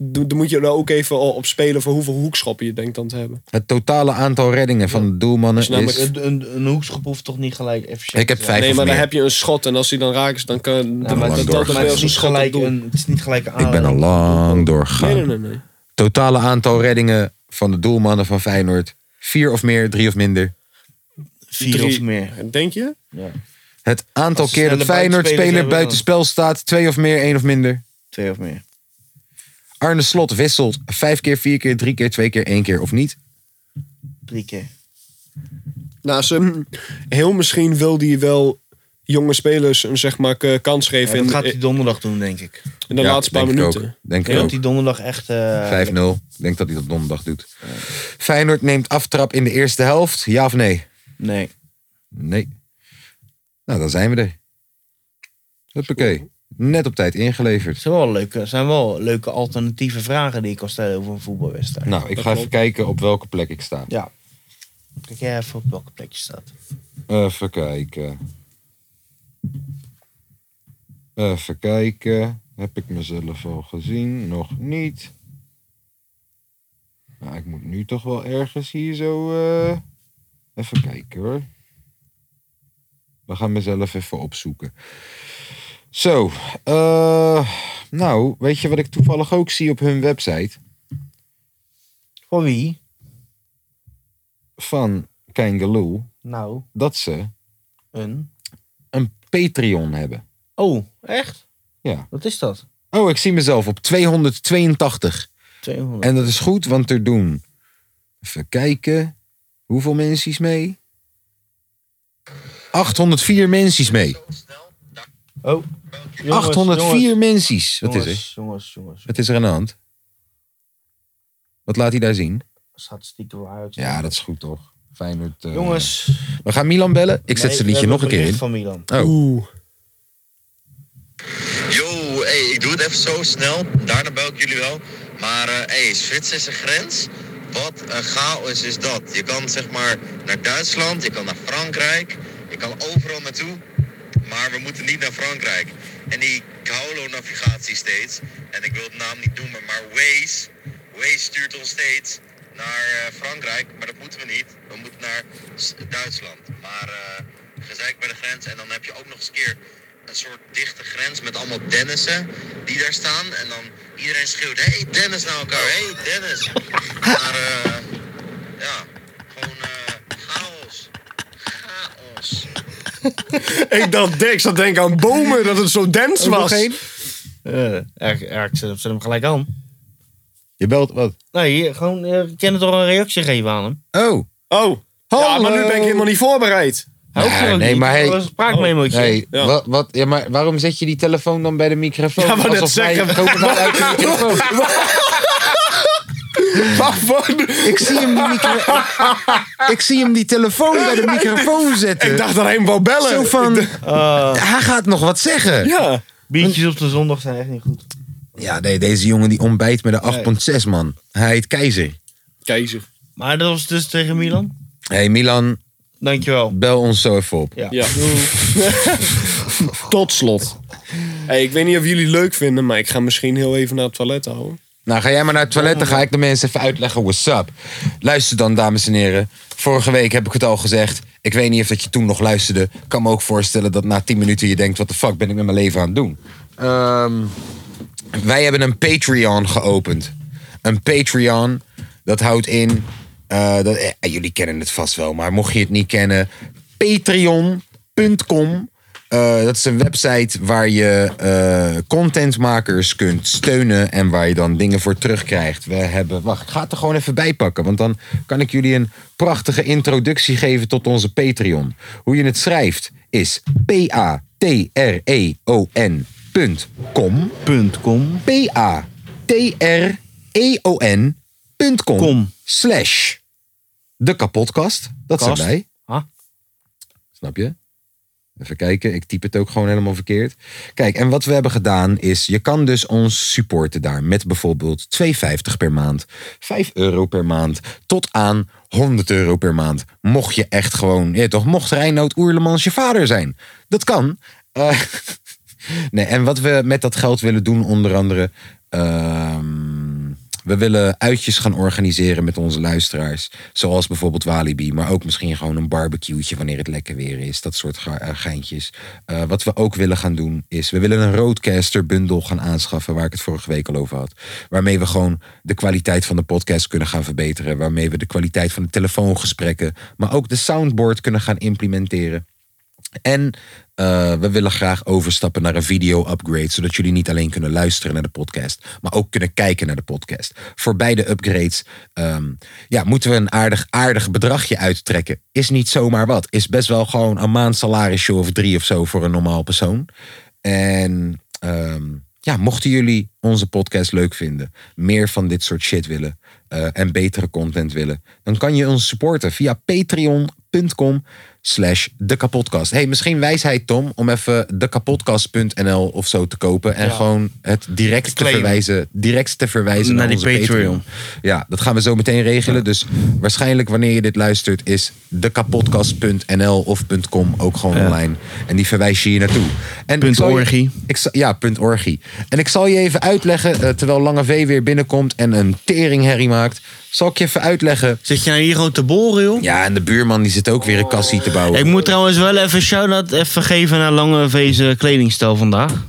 Speaker 7: dan moet je er ook even op spelen voor hoeveel hoekschoppen je denkt dan te hebben.
Speaker 5: Het totale aantal reddingen van de doelmannen
Speaker 7: namelijk
Speaker 5: is...
Speaker 6: Een, een, een hoekschop hoeft toch niet gelijk efficiënt
Speaker 5: Ik heb
Speaker 6: te
Speaker 5: 5
Speaker 6: zijn?
Speaker 7: nee,
Speaker 5: of
Speaker 7: maar
Speaker 5: meer.
Speaker 7: dan heb je een schot en als die dan raakt, is, dan kan
Speaker 6: Ja, maar
Speaker 5: lang
Speaker 7: dat, dat,
Speaker 5: doorgegaan.
Speaker 7: dat
Speaker 6: maar
Speaker 7: is
Speaker 6: het,
Speaker 7: wel
Speaker 6: is
Speaker 7: zo'n
Speaker 6: niet
Speaker 7: schot op
Speaker 6: gelijk
Speaker 7: doel.
Speaker 6: een, het is niet gelijk een
Speaker 5: Ik ben al
Speaker 6: aanleiding.
Speaker 5: lang
Speaker 7: Nee,
Speaker 5: doorgegaan.
Speaker 7: nee, nee. nee.
Speaker 5: Totale aantal reddingen van de doelmannen van Feyenoord. Vier of meer, drie of minder.
Speaker 6: Vier
Speaker 7: Drie.
Speaker 6: of meer.
Speaker 7: Denk je?
Speaker 5: Het aantal
Speaker 6: Als ze
Speaker 5: keer dat
Speaker 6: snelle
Speaker 5: Feyenoord
Speaker 6: buitenspelers
Speaker 5: speler
Speaker 6: hebben, dan-
Speaker 5: buitenspel staat. Twee of meer, één of minder.
Speaker 6: Twee of meer.
Speaker 5: Arne Slot wisselt vijf keer, vier keer, drie keer, twee keer, één keer of niet.
Speaker 6: Drie keer.
Speaker 7: Nou, ze, heel misschien wil die wel jonge spelers een zeg maar, k- kans
Speaker 6: Ja,
Speaker 7: geven
Speaker 6: dat
Speaker 7: in,
Speaker 6: gaat hij donderdag doen, denk ik. Ik
Speaker 7: in de
Speaker 5: Ja,
Speaker 7: laatste paar
Speaker 5: denk ik
Speaker 7: minuten.
Speaker 5: ook. Denk ik
Speaker 6: denk
Speaker 5: ook.
Speaker 6: dat hij donderdag echt... eh,
Speaker 5: 5-0. Ik denk dat hij dat donderdag doet. Feyenoord neemt aftrap in de eerste helft. Ja of nee?
Speaker 6: Nee.
Speaker 5: Nee. Nou, dan zijn we er. Huppakee. Net op tijd ingeleverd.
Speaker 6: Het zijn wel, leuke, zijn wel leuke alternatieve vragen die ik kan stellen over een voetbalwedstrijd.
Speaker 5: Nou, ik ga even kijken op welke plek ik sta.
Speaker 6: Ja. Kijk jij even op welke plek je staat.
Speaker 5: Even kijken. Even kijken. Heb ik mezelf al gezien? Nog niet. Nou, ik moet nu toch wel ergens hier zo. eh, Even kijken hoor. We gaan mezelf even opzoeken. Zo. eh, nou, weet je wat ik toevallig ook zie op hun website?
Speaker 6: Voor wie?
Speaker 5: Van Kangaloo.
Speaker 6: Nou,
Speaker 5: Dat ze
Speaker 6: een.
Speaker 5: een Patreon hebben.
Speaker 6: Oh, echt?
Speaker 5: Ja.
Speaker 6: Wat is dat?
Speaker 5: Oh, ik zie mezelf op 282.
Speaker 6: 200.
Speaker 5: En dat is goed, want er doen. Even kijken. Hoeveel mensen is mee? 804 mensen is mee.
Speaker 6: Oh. jongens,
Speaker 5: 804 mensen. is. Wat is
Speaker 6: jongens,
Speaker 5: er?
Speaker 6: Jongens, jongens.
Speaker 5: Wat is er aan de hand? Wat laat hij daar zien?
Speaker 6: Statistieken voor Ajax.
Speaker 5: Ja, dat is goed toch? Feyenoord. eh,
Speaker 6: Jongens.
Speaker 5: We gaan Milan bellen. Ik zet
Speaker 6: nee,
Speaker 5: zijn
Speaker 6: we
Speaker 5: liedje
Speaker 6: hebben
Speaker 5: nog een keer in.
Speaker 6: bericht van Milan.
Speaker 5: Oh,
Speaker 8: Yo, hey, ik doe het even zo snel. Daarna bel ik jullie wel. Maar eh hey, Zwitser is een grens. Wat een chaos is dat. Je kan zeg maar naar Duitsland, je kan naar Frankrijk, je kan overal naartoe. Maar we moeten niet naar Frankrijk. En die Kaolo-navigatie steeds. En ik wil de naam niet noemen, maar Waze. Waze stuurt ons steeds naar eh, Frankrijk. Maar dat moeten we niet. We moeten naar S- Duitsland. Maar eh gezeik bij de grens. En dan heb je ook nog eens een keer een soort dichte grens met allemaal Dennissen die daar staan. En dan iedereen schreeuwt, hey Dennis naar elkaar, hey Dennis. maar eh, ja, gewoon eh, chaos. Chaos.
Speaker 4: Ik dacht Dex, dat denk aan bomen, dat het zo dens was.
Speaker 6: Eh, ja, ik- ja, ik zet hem- zet hem gelijk aan.
Speaker 5: je belt wat?
Speaker 6: Nee, hier, gewoon, eh, ik kan er toch een reactie geven aan hem.
Speaker 5: Oh,
Speaker 7: Oh, ja, maar nu ben ik helemaal niet voorbereid.
Speaker 6: <laughs> Hij hoeft
Speaker 5: Nee,
Speaker 6: er ook
Speaker 5: nee,
Speaker 6: niet.
Speaker 5: maar hij-
Speaker 6: Dat was een spraakmemootje.
Speaker 5: hey,
Speaker 7: Ja.
Speaker 5: Wat, wat, ja, maar waarom zet je die telefoon dan bij de microfoon?
Speaker 7: Ja, wou net
Speaker 5: Alsof wij
Speaker 7: zeggen.
Speaker 5: komen nou uit
Speaker 6: <laughs>
Speaker 5: de microfoon. Ik zie hem die micro...
Speaker 4: <laughs>
Speaker 5: Ik zie hem die telefoon bij de microfoon zetten.
Speaker 4: Ik dacht dat hij hem wou bellen.
Speaker 5: Zo van,
Speaker 6: Ah,
Speaker 5: hij gaat nog wat zeggen.
Speaker 7: Ja.
Speaker 6: biertjes op de zondag zijn echt niet goed.
Speaker 5: Ja, nee, deze jongen die ontbijt met een 8.6, man. Hij heet Keizer.
Speaker 7: Keizer.
Speaker 6: Maar dat was dus tegen Milan.
Speaker 5: hey, Milan,
Speaker 6: Dankjewel.
Speaker 5: bel ons zo even op.
Speaker 6: Ja.
Speaker 7: Ja. <laughs> Tot slot. Hey, ik weet niet of jullie het leuk vinden, maar ik ga misschien heel even naar het toilet houden.
Speaker 5: Nou, ga jij maar naar het toilet, dan ga ik de mensen even uitleggen what's up. Luister dan, dames en heren. Vorige week heb ik het al gezegd. Ik weet niet of dat je toen nog luisterde. Ik kan me ook voorstellen dat na 10 minuten je denkt... wat de fuck ben ik met mijn leven aan het doen? Ehm, wij hebben een Patreon geopend. Een Patreon, dat houdt in... eh, dat, eh, jullie kennen het vast wel, maar mocht je het niet kennen... Patreon.com eh, dat is een website waar je eh, contentmakers kunt steunen en waar je dan dingen voor terugkrijgt. We hebben, wacht, ik ga het er gewoon even bij pakken, want dan kan ik jullie een prachtige introductie geven tot onze Patreon. Hoe je het schrijft is E p-a-t-r-e-o-n.com.
Speaker 6: Punt com.
Speaker 5: E p-a-t-r-e-o-n.com
Speaker 6: Kom.
Speaker 5: slash de kapotkast. Dat
Speaker 6: Kast.
Speaker 5: zijn wij.
Speaker 6: Ah.
Speaker 5: Snap je? Even kijken, ik typ het ook gewoon helemaal verkeerd. Kijk, en wat we hebben gedaan is, je kan dus ons supporten daar met bijvoorbeeld 2,50 per maand, 5 euro per maand, tot aan 100 euro per maand. Mocht je echt gewoon, ja toch, mocht Reinoud Oerlemans je vader zijn. Dat kan. Eh, <laughs> nee, en wat we met dat geld willen doen, onder andere, ehm, we willen uitjes gaan organiseren met onze luisteraars. Zoals bijvoorbeeld Walibi, maar ook misschien gewoon een barbecue'tje wanneer het lekker weer is. Dat soort ge- eh, geintjes. Eh, wat we ook willen gaan doen is, we willen een roadcaster bundel gaan aanschaffen, waar ik het vorige week al over had. Waarmee we gewoon de kwaliteit van de podcast kunnen gaan verbeteren. Waarmee we de kwaliteit van de telefoongesprekken, maar ook de soundboard kunnen gaan implementeren. En eh, we willen graag overstappen naar een video-upgrade, zodat jullie niet alleen kunnen luisteren naar de podcast, maar ook kunnen kijken naar de podcast. Voor beide upgrades ehm, ja, moeten we een aardig, aardig bedragje uittrekken. Is niet zomaar wat. Is best wel gewoon een maand salarisje of drie of zo voor een normaal persoon. En ehm, ja, mochten jullie onze podcast leuk vinden, meer van dit soort shit willen eh, en betere content willen, dan kan je ons supporten via patreon.com slash de kapotkast. Hey, misschien wijsheid Tom om even dekapotkast.nl of zo te kopen en gewoon het direct te,
Speaker 6: claimen.
Speaker 5: verwijzen, direct te verwijzen
Speaker 6: Naar
Speaker 5: naar,
Speaker 6: die
Speaker 5: onze Patreon.
Speaker 6: Patreon.
Speaker 5: Ja, dat gaan we zo meteen regelen. Dus waarschijnlijk wanneer je dit luistert is dekapotkast.nl of .com ook gewoon online. En die verwijs je hier naartoe. En
Speaker 6: Punt
Speaker 5: ik zal je-
Speaker 6: orgie.
Speaker 5: ik zal- ja, punt orgie. En ik zal je even uitleggen, eh, terwijl Lange V weer binnenkomt en een teringherrie maakt. Zal ik je even uitleggen.
Speaker 6: Zit je nou hier gewoon te boren, joh?
Speaker 5: Ja, en de buurman die zit ook weer een kassie te bouwen.
Speaker 6: Ik moet trouwens wel even shout-out even geven naar Lange V's kledingstijl vandaag.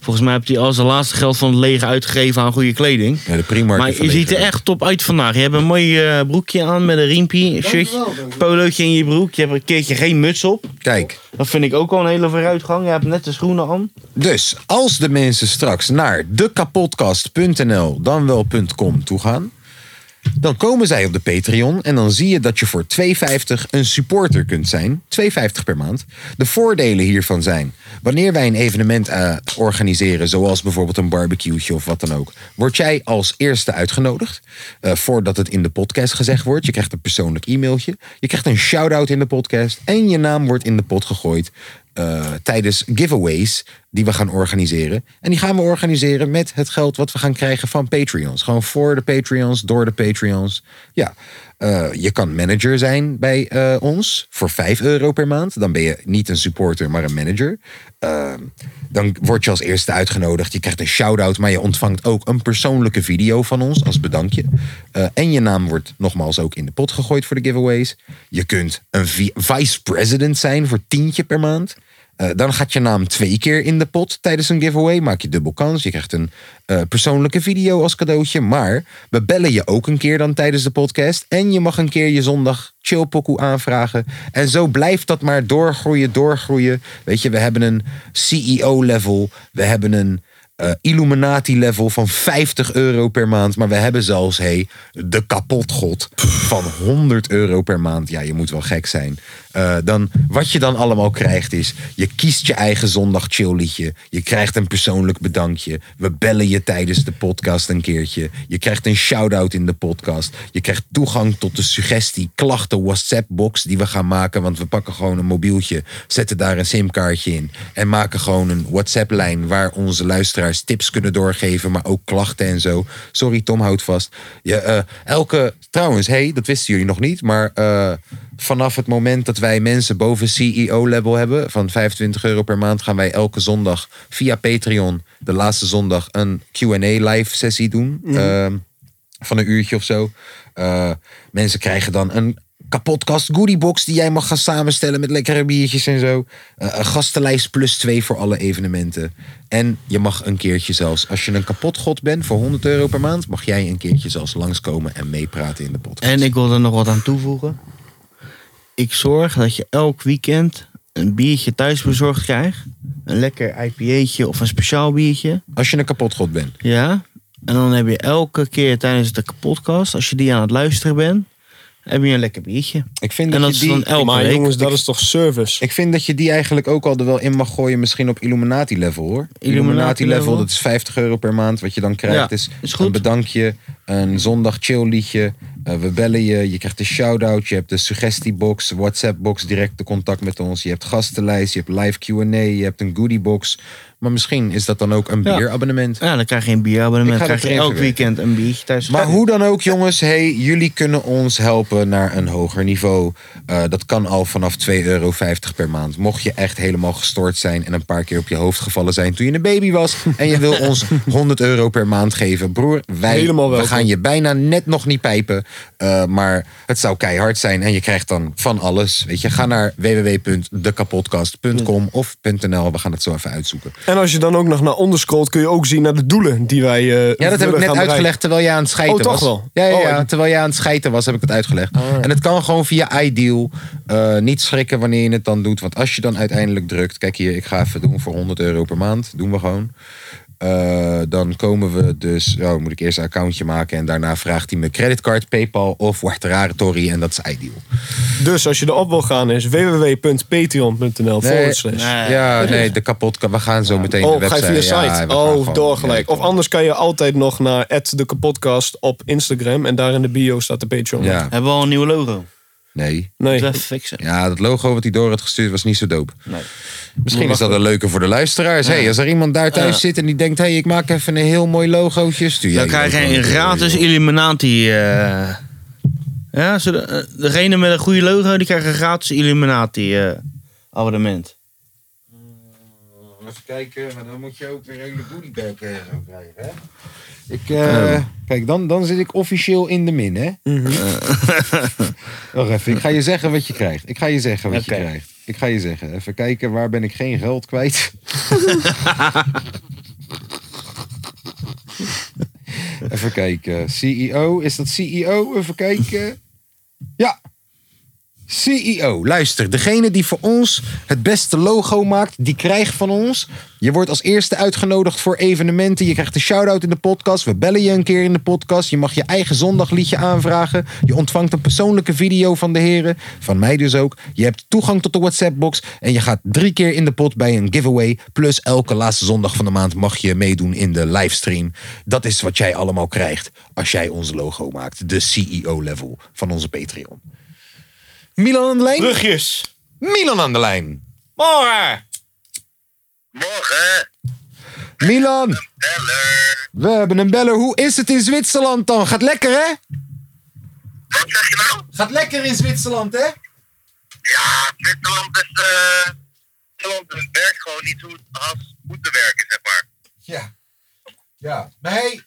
Speaker 6: Volgens mij heeft hij al zijn laatste geld van het leger uitgegeven aan goede kleding.
Speaker 5: Ja, de Primark
Speaker 6: Maar
Speaker 5: heeft
Speaker 6: je ziet er
Speaker 5: geleverd.
Speaker 6: echt top uit vandaag. Je hebt een mooi eh, broekje aan met een riempie, shirtje, polootje in je broek. Je hebt een keertje geen muts op.
Speaker 5: Kijk,
Speaker 6: Dat vind ik ook al een hele vooruitgang. Je hebt net de schoenen aan.
Speaker 5: dus als de mensen straks naar dekapotkast.nl dan wel .com toe gaan... dan komen zij op de Patreon en dan zie je dat je voor 2,50 een supporter kunt zijn. 2,50 per maand. De voordelen hiervan zijn... wanneer wij een evenement eh, organiseren, zoals bijvoorbeeld een barbecue of wat dan ook... word jij als eerste uitgenodigd, eh, voordat het in de podcast gezegd wordt. Je krijgt een persoonlijk e-mailtje, je krijgt een shout-out in de podcast... en je naam wordt in de pot gegooid eh, tijdens giveaways die we gaan organiseren. En die gaan we organiseren met het geld wat we gaan krijgen van Patreons. Gewoon voor de Patreons, door de Patreons. Ja, eh, je kan manager zijn bij eh, ons voor 5 euro per maand. Dan ben je niet een supporter, maar een manager. Eh, dan word je als eerste uitgenodigd. Je krijgt een shout-out, maar je ontvangt ook een persoonlijke video van ons als bedankje. Eh, en je naam wordt nogmaals ook in de pot gegooid voor de giveaways. Je kunt een vi- vice president zijn voor tientje per maand. Eh, dan gaat je naam twee keer in de pot tijdens een giveaway. Maak je dubbel kans. Je krijgt een eh, persoonlijke video als cadeautje. Maar we bellen je ook een keer dan tijdens de podcast. En je mag een keer je zondag chillpokoe aanvragen. En zo blijft dat maar doorgroeien, doorgroeien. Weet je, we hebben een CEO-level. We hebben een eh, Illuminati-level van 50 euro per maand. Maar we hebben zelfs, hey, de kapotgod van 100 euro per maand. Ja, je moet wel gek zijn. Eh, dan, wat je dan allemaal krijgt is, je kiest je eigen zondag chillliedje. Je krijgt een persoonlijk bedankje. We bellen je tijdens de podcast een keertje. Je krijgt een shout-out in de podcast. Je krijgt toegang tot de suggestie klachten WhatsApp-box die we gaan maken. Want we pakken gewoon een mobieltje, zetten daar een simkaartje in. En maken gewoon een WhatsApp-lijn waar onze luisteraars tips kunnen doorgeven. Maar ook klachten en zo. Sorry, Tom houdt vast. Je, eh, elke, trouwens, hey, dat wisten jullie nog niet. Maar eh, vanaf het moment dat wij wij mensen boven CEO-level hebben van 25 euro per maand, gaan wij elke zondag via Patreon, de laatste zondag, een QA live sessie doen. Ehm, van een uurtje of zo. Eh, mensen krijgen dan een kapotkast goodiebox die jij mag gaan samenstellen met lekkere biertjes en zo. Eh, een gastenlijst plus twee voor alle evenementen. En je mag een keertje zelfs, als je een kapotgod bent voor 100 euro per maand, mag jij een keertje zelfs langskomen en meepraten in de podcast.
Speaker 6: En ik wil er nog wat aan toevoegen. Ik zorg dat je elk weekend een biertje thuis bezorgd krijgt. Een lekker IPA'tje of een speciaal biertje.
Speaker 5: Als je een kapotgod bent.
Speaker 6: Ja. En dan heb je elke keer tijdens de podcast, als je die aan het luisteren bent, heb je een lekker biertje.
Speaker 5: Ik vind
Speaker 6: En
Speaker 5: dat,
Speaker 6: dat
Speaker 5: je
Speaker 6: is
Speaker 5: die,
Speaker 6: dan elke
Speaker 7: Maar
Speaker 6: week.
Speaker 7: jongens, dat is toch service?
Speaker 5: Ik vind dat je die eigenlijk ook al er wel in mag gooien, misschien op Illuminati level hoor. Illuminati level,
Speaker 6: level.
Speaker 5: dat is 50 euro per maand. Wat je dan krijgt
Speaker 6: Ja,
Speaker 5: is,
Speaker 6: is goed.
Speaker 5: een bedankje, een zondag chill liedje. eh, we bellen je, je krijgt een shout-out, je hebt de suggestiebox, WhatsApp-box, directe contact met ons. Je hebt gastenlijst, je hebt live Q&A, je hebt een goodiebox. Maar misschien is dat dan ook een
Speaker 6: Ja.
Speaker 5: bierabonnement.
Speaker 6: Ja, dan krijg je een
Speaker 5: Ik
Speaker 6: bierabonnement.
Speaker 5: ga
Speaker 6: Dan krijg
Speaker 5: dat
Speaker 6: je
Speaker 5: erin
Speaker 6: elk
Speaker 5: verwerken.
Speaker 6: weekend een biertje thuis.
Speaker 5: Maar hoe dan ook, jongens, hey, jullie kunnen ons helpen naar een hoger niveau. Eh, dat kan al vanaf 2,50 euro per maand. Mocht je echt helemaal gestoord zijn en een paar keer op je hoofd gevallen zijn toen je een baby was. en je wil
Speaker 7: <laughs>
Speaker 5: ons 100 euro per maand geven. Broer, wij
Speaker 7: Helemaal
Speaker 5: we
Speaker 7: welkom.
Speaker 5: gaan je bijna net nog niet pijpen. Eh, maar het zou keihard zijn en je krijgt dan van alles. Weet je, ga naar www.dekapodcast.com of .nl. We gaan het zo even uitzoeken.
Speaker 7: En als je dan ook nog naar onder scrolt, kun je ook zien naar de doelen die wij. eh,
Speaker 5: Ja, dat heb ik
Speaker 7: willen
Speaker 5: net
Speaker 7: gaan bereiken.
Speaker 5: uitgelegd terwijl jij aan het scheiden
Speaker 7: Oh, toch
Speaker 5: was.
Speaker 7: wel?
Speaker 5: Ja, ja,
Speaker 7: Oh,
Speaker 5: ja,
Speaker 7: ik-
Speaker 5: terwijl jij aan het scheiden was, heb ik het uitgelegd. En het kan gewoon via iDeal. Eh, niet schrikken wanneer je het dan doet. Want als je dan uiteindelijk drukt... Kijk hier, ik ga even doen voor 100 euro per maand. Doen we gewoon. Eh, dan komen we dus... Oh, moet ik eerst een accountje maken. En daarna vraagt hij me creditcard, Paypal of Wateraretory. En dat is iDeal.
Speaker 7: Dus als je erop wil gaan, is www.patreon.nl.
Speaker 5: Nee,
Speaker 7: forward slash.
Speaker 6: Nee.
Speaker 5: Ja, nee, de kapot. We gaan zo meteen de
Speaker 7: Oh, ga je
Speaker 5: website.
Speaker 7: via site?
Speaker 5: Ja, we gaan
Speaker 7: oh,
Speaker 5: gewoon-
Speaker 7: doorgelijk.
Speaker 5: ja,
Speaker 7: of anders kan je altijd nog naar de podcast op Instagram. En daar in de bio staat de Patreon.
Speaker 5: Ja,
Speaker 6: Hebben we al een nieuw logo?
Speaker 5: nee.
Speaker 7: Nee.
Speaker 6: Even fixen.
Speaker 5: Ja, dat logo wat hij door had gestuurd was niet zo dope.
Speaker 6: Nee.
Speaker 5: Misschien is dat een leuke voor de luisteraars. Hey, als er iemand daar thuis
Speaker 6: Ja.
Speaker 5: zit en die denkt... hey, ik maak even een heel mooi logootje. Stuur jij
Speaker 6: Dan krijg je
Speaker 5: logo
Speaker 6: een
Speaker 5: door,
Speaker 6: gratis
Speaker 5: joh.
Speaker 6: Illuminati. eh. Ja, zodat, eh, degene met een goede logo, die krijgt een gratis Illuminati eh, abonnement.
Speaker 5: Even kijken, maar dan moet je ook weer een hele boodybag zo krijgen, hè? Ik, eh, Kijk, dan, dan zit ik officieel in de min, hè? Eh, Wacht even, ik ga je zeggen wat je krijgt. Ik ga je zeggen wat
Speaker 6: Oké.
Speaker 5: je krijgt. Ik ga je zeggen. Even kijken, waar ben ik geen geld kwijt? even kijken. CEO, is dat CEO? Even kijken. Ja. CEO, E luister. Degene die voor ons het beste logo maakt, die krijgt van ons. Je wordt als eerste uitgenodigd voor evenementen. Je krijgt een shout-out in de podcast. We bellen je een keer in de podcast. Je mag je eigen zondagliedje aanvragen. Je ontvangt een persoonlijke video van de heren. Van mij dus ook. Je hebt toegang tot de WhatsApp-box. En je gaat drie keer in de pot bij een giveaway. Plus elke laatste zondag van de maand mag je meedoen in de livestream. Dat is wat jij allemaal krijgt als jij ons logo maakt. De CEO-level van onze Patreon. Milan aan de lijn?
Speaker 6: Brugjes!
Speaker 5: Milan aan de lijn.
Speaker 6: Morgen!
Speaker 8: Morgen,
Speaker 5: Milan,
Speaker 8: beller.
Speaker 5: we hebben een beller. Hoe is het in Zwitserland dan? Gaat lekker, hè?
Speaker 8: Wat zeg je nou?
Speaker 5: Gaat lekker in Zwitserland, hè?
Speaker 8: Ja, Zwitserland is, eh, Zwitserland is- werkt gewoon niet hoe het als moet te werken, zeg maar.
Speaker 5: Ja. Ja. Maar hey,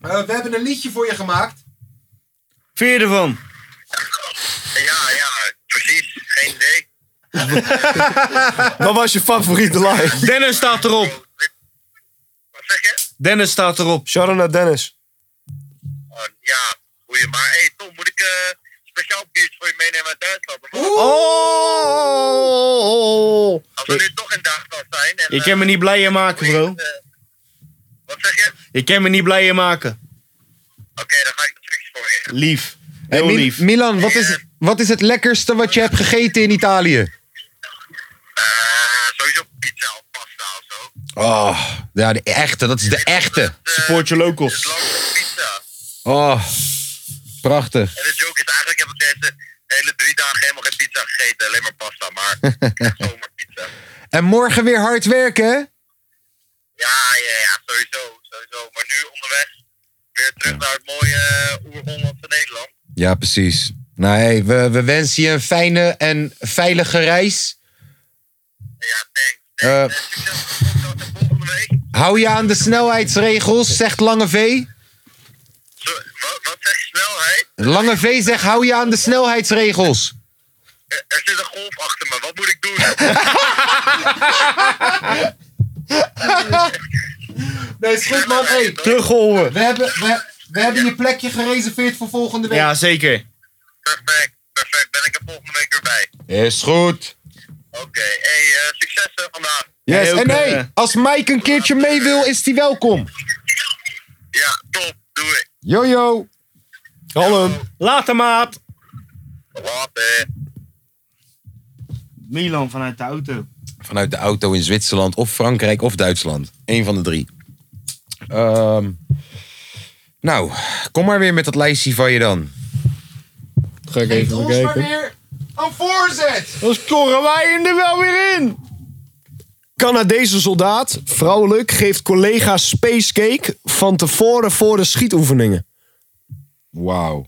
Speaker 5: eh, we hebben een liedje voor je gemaakt.
Speaker 6: Vind je ervan?
Speaker 8: Ja, ja, precies. Geen idee.
Speaker 7: Wat was je favoriete
Speaker 5: <laughs>
Speaker 7: live?
Speaker 6: Dennis staat erop!
Speaker 8: Wat zeg je?
Speaker 6: Dennis staat erop.
Speaker 7: Sharon naar Dennis.
Speaker 8: Oh, ja, goeie. Maar hey, Tom, moet ik eh speciaal biertje voor je meenemen uit Duitsland? Of wat?
Speaker 6: Oh!
Speaker 8: Als we nu toch in Duitsland zijn. En,
Speaker 6: Je kan me
Speaker 8: eh,
Speaker 6: niet blijer maken,
Speaker 8: goeie,
Speaker 6: bro.
Speaker 8: eh, wat zeg je?
Speaker 6: Je kan me niet blijer maken.
Speaker 8: Oké, dan ga ik de fix voor je.
Speaker 6: Lief.
Speaker 5: Hey,
Speaker 6: Heel
Speaker 5: Mi-
Speaker 6: lief.
Speaker 5: Milan, wat is, het, wat is het lekkerste wat je hebt gegeten in Italië?
Speaker 8: Eh, sowieso pizza of pasta of zo.
Speaker 5: Oh, ja, de echte. Dat is de echte.
Speaker 6: Support your locals.
Speaker 8: Lang pizza.
Speaker 5: Oh, prachtig.
Speaker 8: En de joke is eigenlijk heb ik deze hele drie dagen helemaal geen pizza gegeten. Alleen maar pasta,
Speaker 6: <laughs>
Speaker 8: maar ik heb zomerpizza.
Speaker 5: En morgen weer hard werken, hè?
Speaker 8: Ja, ja, ja, sowieso, sowieso. Maar nu onderweg weer terug naar het mooie eh, oer-Hollandse Nederland.
Speaker 5: Ja, precies. Nee, Nou, we, we wensen je een fijne en veilige reis.
Speaker 8: Ja, thanks.
Speaker 5: Eh,
Speaker 8: Tot volgende week.
Speaker 5: hou je aan de snelheidsregels, zegt Lange V.
Speaker 8: Zo, wat, wat zeg je snelheid?
Speaker 5: Lange V zegt, hou je aan de snelheidsregels.
Speaker 8: Er, er zit een golf achter me, wat moet ik doen?
Speaker 6: <laughs>
Speaker 5: Nee, is goed man. Hey, We hebben, we, we hebben je plekje gereserveerd voor volgende week.
Speaker 6: Ja, zeker.
Speaker 8: perfect, perfect. Ben ik er volgende week weer bij.
Speaker 5: Is goed.
Speaker 8: Oké, hey, eh, succes eh, vandaag.
Speaker 5: Yes,
Speaker 6: Hey, ook,
Speaker 5: en hey,
Speaker 6: eh,
Speaker 5: als Mike een keertje mee wil, is hij welkom.
Speaker 8: Ja, top, doe ik.
Speaker 5: Jojo.
Speaker 7: Kalm.
Speaker 6: Later, maat.
Speaker 8: Later.
Speaker 6: Milan vanuit de auto.
Speaker 5: Vanuit de auto in Zwitserland of Frankrijk of Duitsland. Eén van de drie. Ehm, nou, kom maar weer met dat lijstje van je dan.
Speaker 7: Ga ik even bekijken.
Speaker 5: weer een voorzet.
Speaker 7: Dan scoren wij hem er wel weer in. Canadese soldaat, vrouwelijk, geeft collega spacecake van tevoren voor de schietoefeningen.
Speaker 5: Wauw.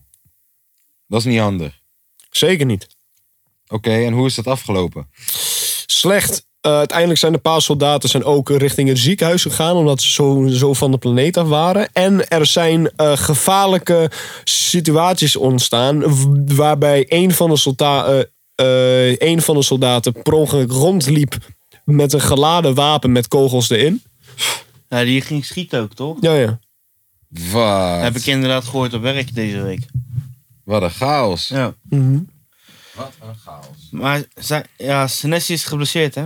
Speaker 5: Dat is niet handig.
Speaker 7: Zeker niet.
Speaker 5: Oké, en hoe is dat afgelopen?
Speaker 7: Slecht. Eh, uiteindelijk zijn de paar soldaten zijn ook richting het ziekenhuis gegaan. Omdat ze zo, zo van de planeet af waren. En er zijn eh, gevaarlijke situaties ontstaan. w- Waarbij een van de, solda eh, eh, een van de soldaten per ongeluk rondliep. Met een geladen wapen met kogels erin.
Speaker 6: Ja, die ging schieten ook, toch?
Speaker 7: Ja, ja.
Speaker 5: Wat?
Speaker 6: Heb ik inderdaad gehoord op werk deze week.
Speaker 5: Wat een chaos.
Speaker 6: Ja.
Speaker 5: Wat een chaos.
Speaker 6: Maar zij- ja, Senesi is geblesseerd, hè?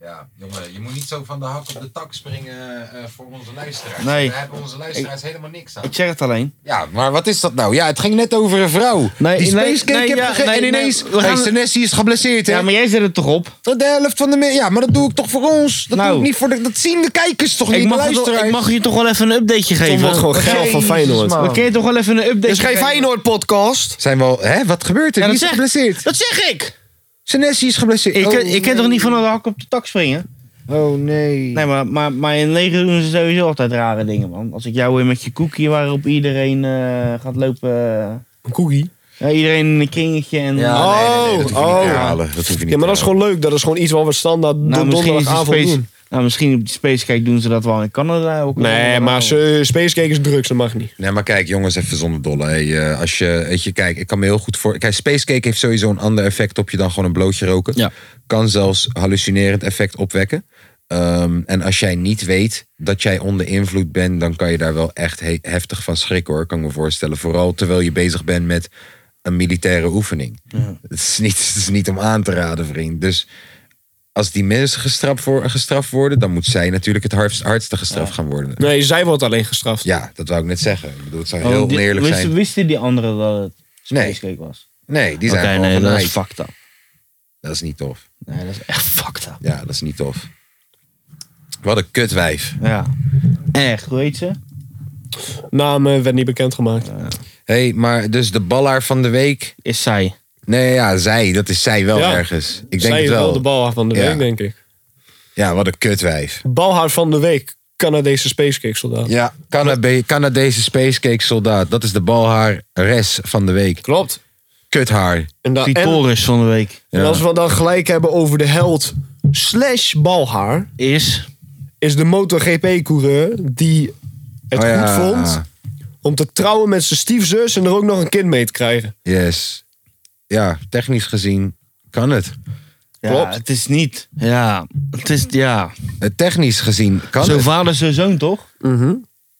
Speaker 5: Ja, jongen, je moet niet zo van de hak op de tak springen eh, voor onze luisteraars.
Speaker 6: Nee.
Speaker 5: Daar hebben onze luisteraars helemaal niks aan.
Speaker 6: Ik zeg het alleen.
Speaker 5: Ja, maar wat is dat nou? Ja, het ging net over een vrouw.
Speaker 6: Nee,
Speaker 5: die
Speaker 6: nee,
Speaker 5: spacecake
Speaker 6: nee,
Speaker 5: heb
Speaker 6: ja,
Speaker 5: gegeven
Speaker 6: nee,
Speaker 5: en ineens...
Speaker 6: nee, we
Speaker 5: hey,
Speaker 6: gaan-
Speaker 5: Senesi is geblesseerd, hè?
Speaker 6: Ja, maar jij zet het toch op?
Speaker 5: De helft van de... me- Ja, maar dat doe ik toch voor ons? Dat
Speaker 6: Nou.
Speaker 5: doe ik niet voor de... Dat zien de kijkers toch niet,
Speaker 6: Ik
Speaker 5: de
Speaker 6: mag, het,
Speaker 5: luisteraars?
Speaker 6: ik mag je toch wel even een
Speaker 7: Tom
Speaker 6: updateje
Speaker 7: wordt
Speaker 6: geven?
Speaker 7: gewoon geil van
Speaker 5: Jezus,
Speaker 7: Feyenoord.
Speaker 5: man.
Speaker 6: We kun je toch wel even een update
Speaker 7: Dus geen Feyenoord-podcast.
Speaker 5: Zijn we al... Hè, wat gebeurt er?
Speaker 6: Ja,
Speaker 5: Wie
Speaker 6: dat
Speaker 5: is
Speaker 6: zeg,
Speaker 5: geblesseerd?
Speaker 6: dat zeg ik!
Speaker 5: Senesi is geblesseerd.
Speaker 6: Ik,
Speaker 5: oh,
Speaker 6: kan- ik kan toch niet van de hak op de tak springen?
Speaker 5: Oh, nee.
Speaker 6: Nee, maar, maar, maar in leger doen ze sowieso altijd rare dingen, man. Als ik jou weer met je koekie waarop iedereen eh, gaat lopen...
Speaker 7: Een cookie.
Speaker 6: ja, iedereen in een kringetje en...
Speaker 5: Ja,
Speaker 6: Nou,
Speaker 5: nee, nee, nee, dat hoef je
Speaker 7: Oh,
Speaker 5: niet te
Speaker 7: oh.
Speaker 5: herhalen. Dat hoef je niet
Speaker 7: Ja, maar
Speaker 5: te
Speaker 7: dat is gewoon leuk. Dat is gewoon iets wat we standaard nou,
Speaker 6: misschien, is die
Speaker 7: donderdagavond
Speaker 6: space,
Speaker 7: doen.
Speaker 6: nou, misschien op die Spacecake doen ze dat wel in Canada ook.
Speaker 7: Nee,
Speaker 6: nou.
Speaker 7: maar ze- spacecake is drugs. Dat mag niet.
Speaker 5: Nee, maar kijk, jongens, even zonder dolle. Hey, eh, als je, weet je, kijk, ik kan me heel goed voor. Kijk, spacecake heeft sowieso een ander effect op je dan gewoon een blootje roken.
Speaker 6: Ja.
Speaker 5: Kan zelfs hallucinerend effect opwekken. Ehm, en als jij niet weet dat jij onder invloed bent, dan kan je daar wel echt he- heftig van schrikken hoor, kan ik me voorstellen. Vooral terwijl je bezig bent met een militaire oefening. Het, is niet, het is niet om aan te raden, vriend. Dus als die mensen gestraft, voor, gestraft worden, dan moet zij natuurlijk het hardst, hardste gestraft gaan worden.
Speaker 7: Nee, zij wordt alleen gestraft.
Speaker 5: Ja, dat wou ik net zeggen. Ik bedoel, het zou
Speaker 6: Oh,
Speaker 5: heel
Speaker 6: die-
Speaker 5: oneerlijk
Speaker 6: wisten,
Speaker 5: zijn.
Speaker 6: Wisten die anderen dat het
Speaker 5: Nee.
Speaker 6: Spacecake was?
Speaker 5: Nee, die
Speaker 6: Oké,
Speaker 5: zijn gewoon
Speaker 6: nee,
Speaker 5: van
Speaker 6: dat
Speaker 5: Nike.
Speaker 6: is fucked up.
Speaker 5: Dat is niet tof.
Speaker 6: Nee, dat is echt fucked up.
Speaker 5: Ja, dat is niet tof. Wat een kutwijf.
Speaker 6: Ja. Echt, hoe heet ze?
Speaker 7: Naam eh, werd niet bekendgemaakt.
Speaker 5: Hé, hey, maar dus de ballaar van de week.
Speaker 6: Is zij.
Speaker 5: Nee, ja, zij. Dat is zij wel
Speaker 7: Ja.
Speaker 5: ergens. Ik denk
Speaker 7: zij
Speaker 5: het
Speaker 7: is
Speaker 5: wel.
Speaker 7: de balhaar van de
Speaker 5: Ja.
Speaker 7: week, denk ik.
Speaker 5: Ja, wat een kutwijf.
Speaker 7: Balhaar van de week. Canadese spacecake soldaat.
Speaker 5: Ja, Canada- Canadese spacecake soldaat. Dat is de balhaarres van de week.
Speaker 7: Klopt.
Speaker 5: Kuthaar.
Speaker 7: En, da- en,
Speaker 6: Clitoris van de week.
Speaker 7: en als we dan gelijk hebben over de held slash balhaar...
Speaker 6: Is.
Speaker 7: is de MotoGP-coureur die het
Speaker 5: Oh ja.
Speaker 7: goed vond... om te trouwen met zijn stiefzus en er ook nog een kind mee te krijgen.
Speaker 5: Yes. Ja, technisch gezien kan het.
Speaker 6: Ja,
Speaker 7: Klopt.
Speaker 6: het is niet. Ja. Het is, ja.
Speaker 5: Eh, Technisch gezien kan
Speaker 6: Zo
Speaker 5: het. Mhm.
Speaker 6: vader, zo zoon, toch?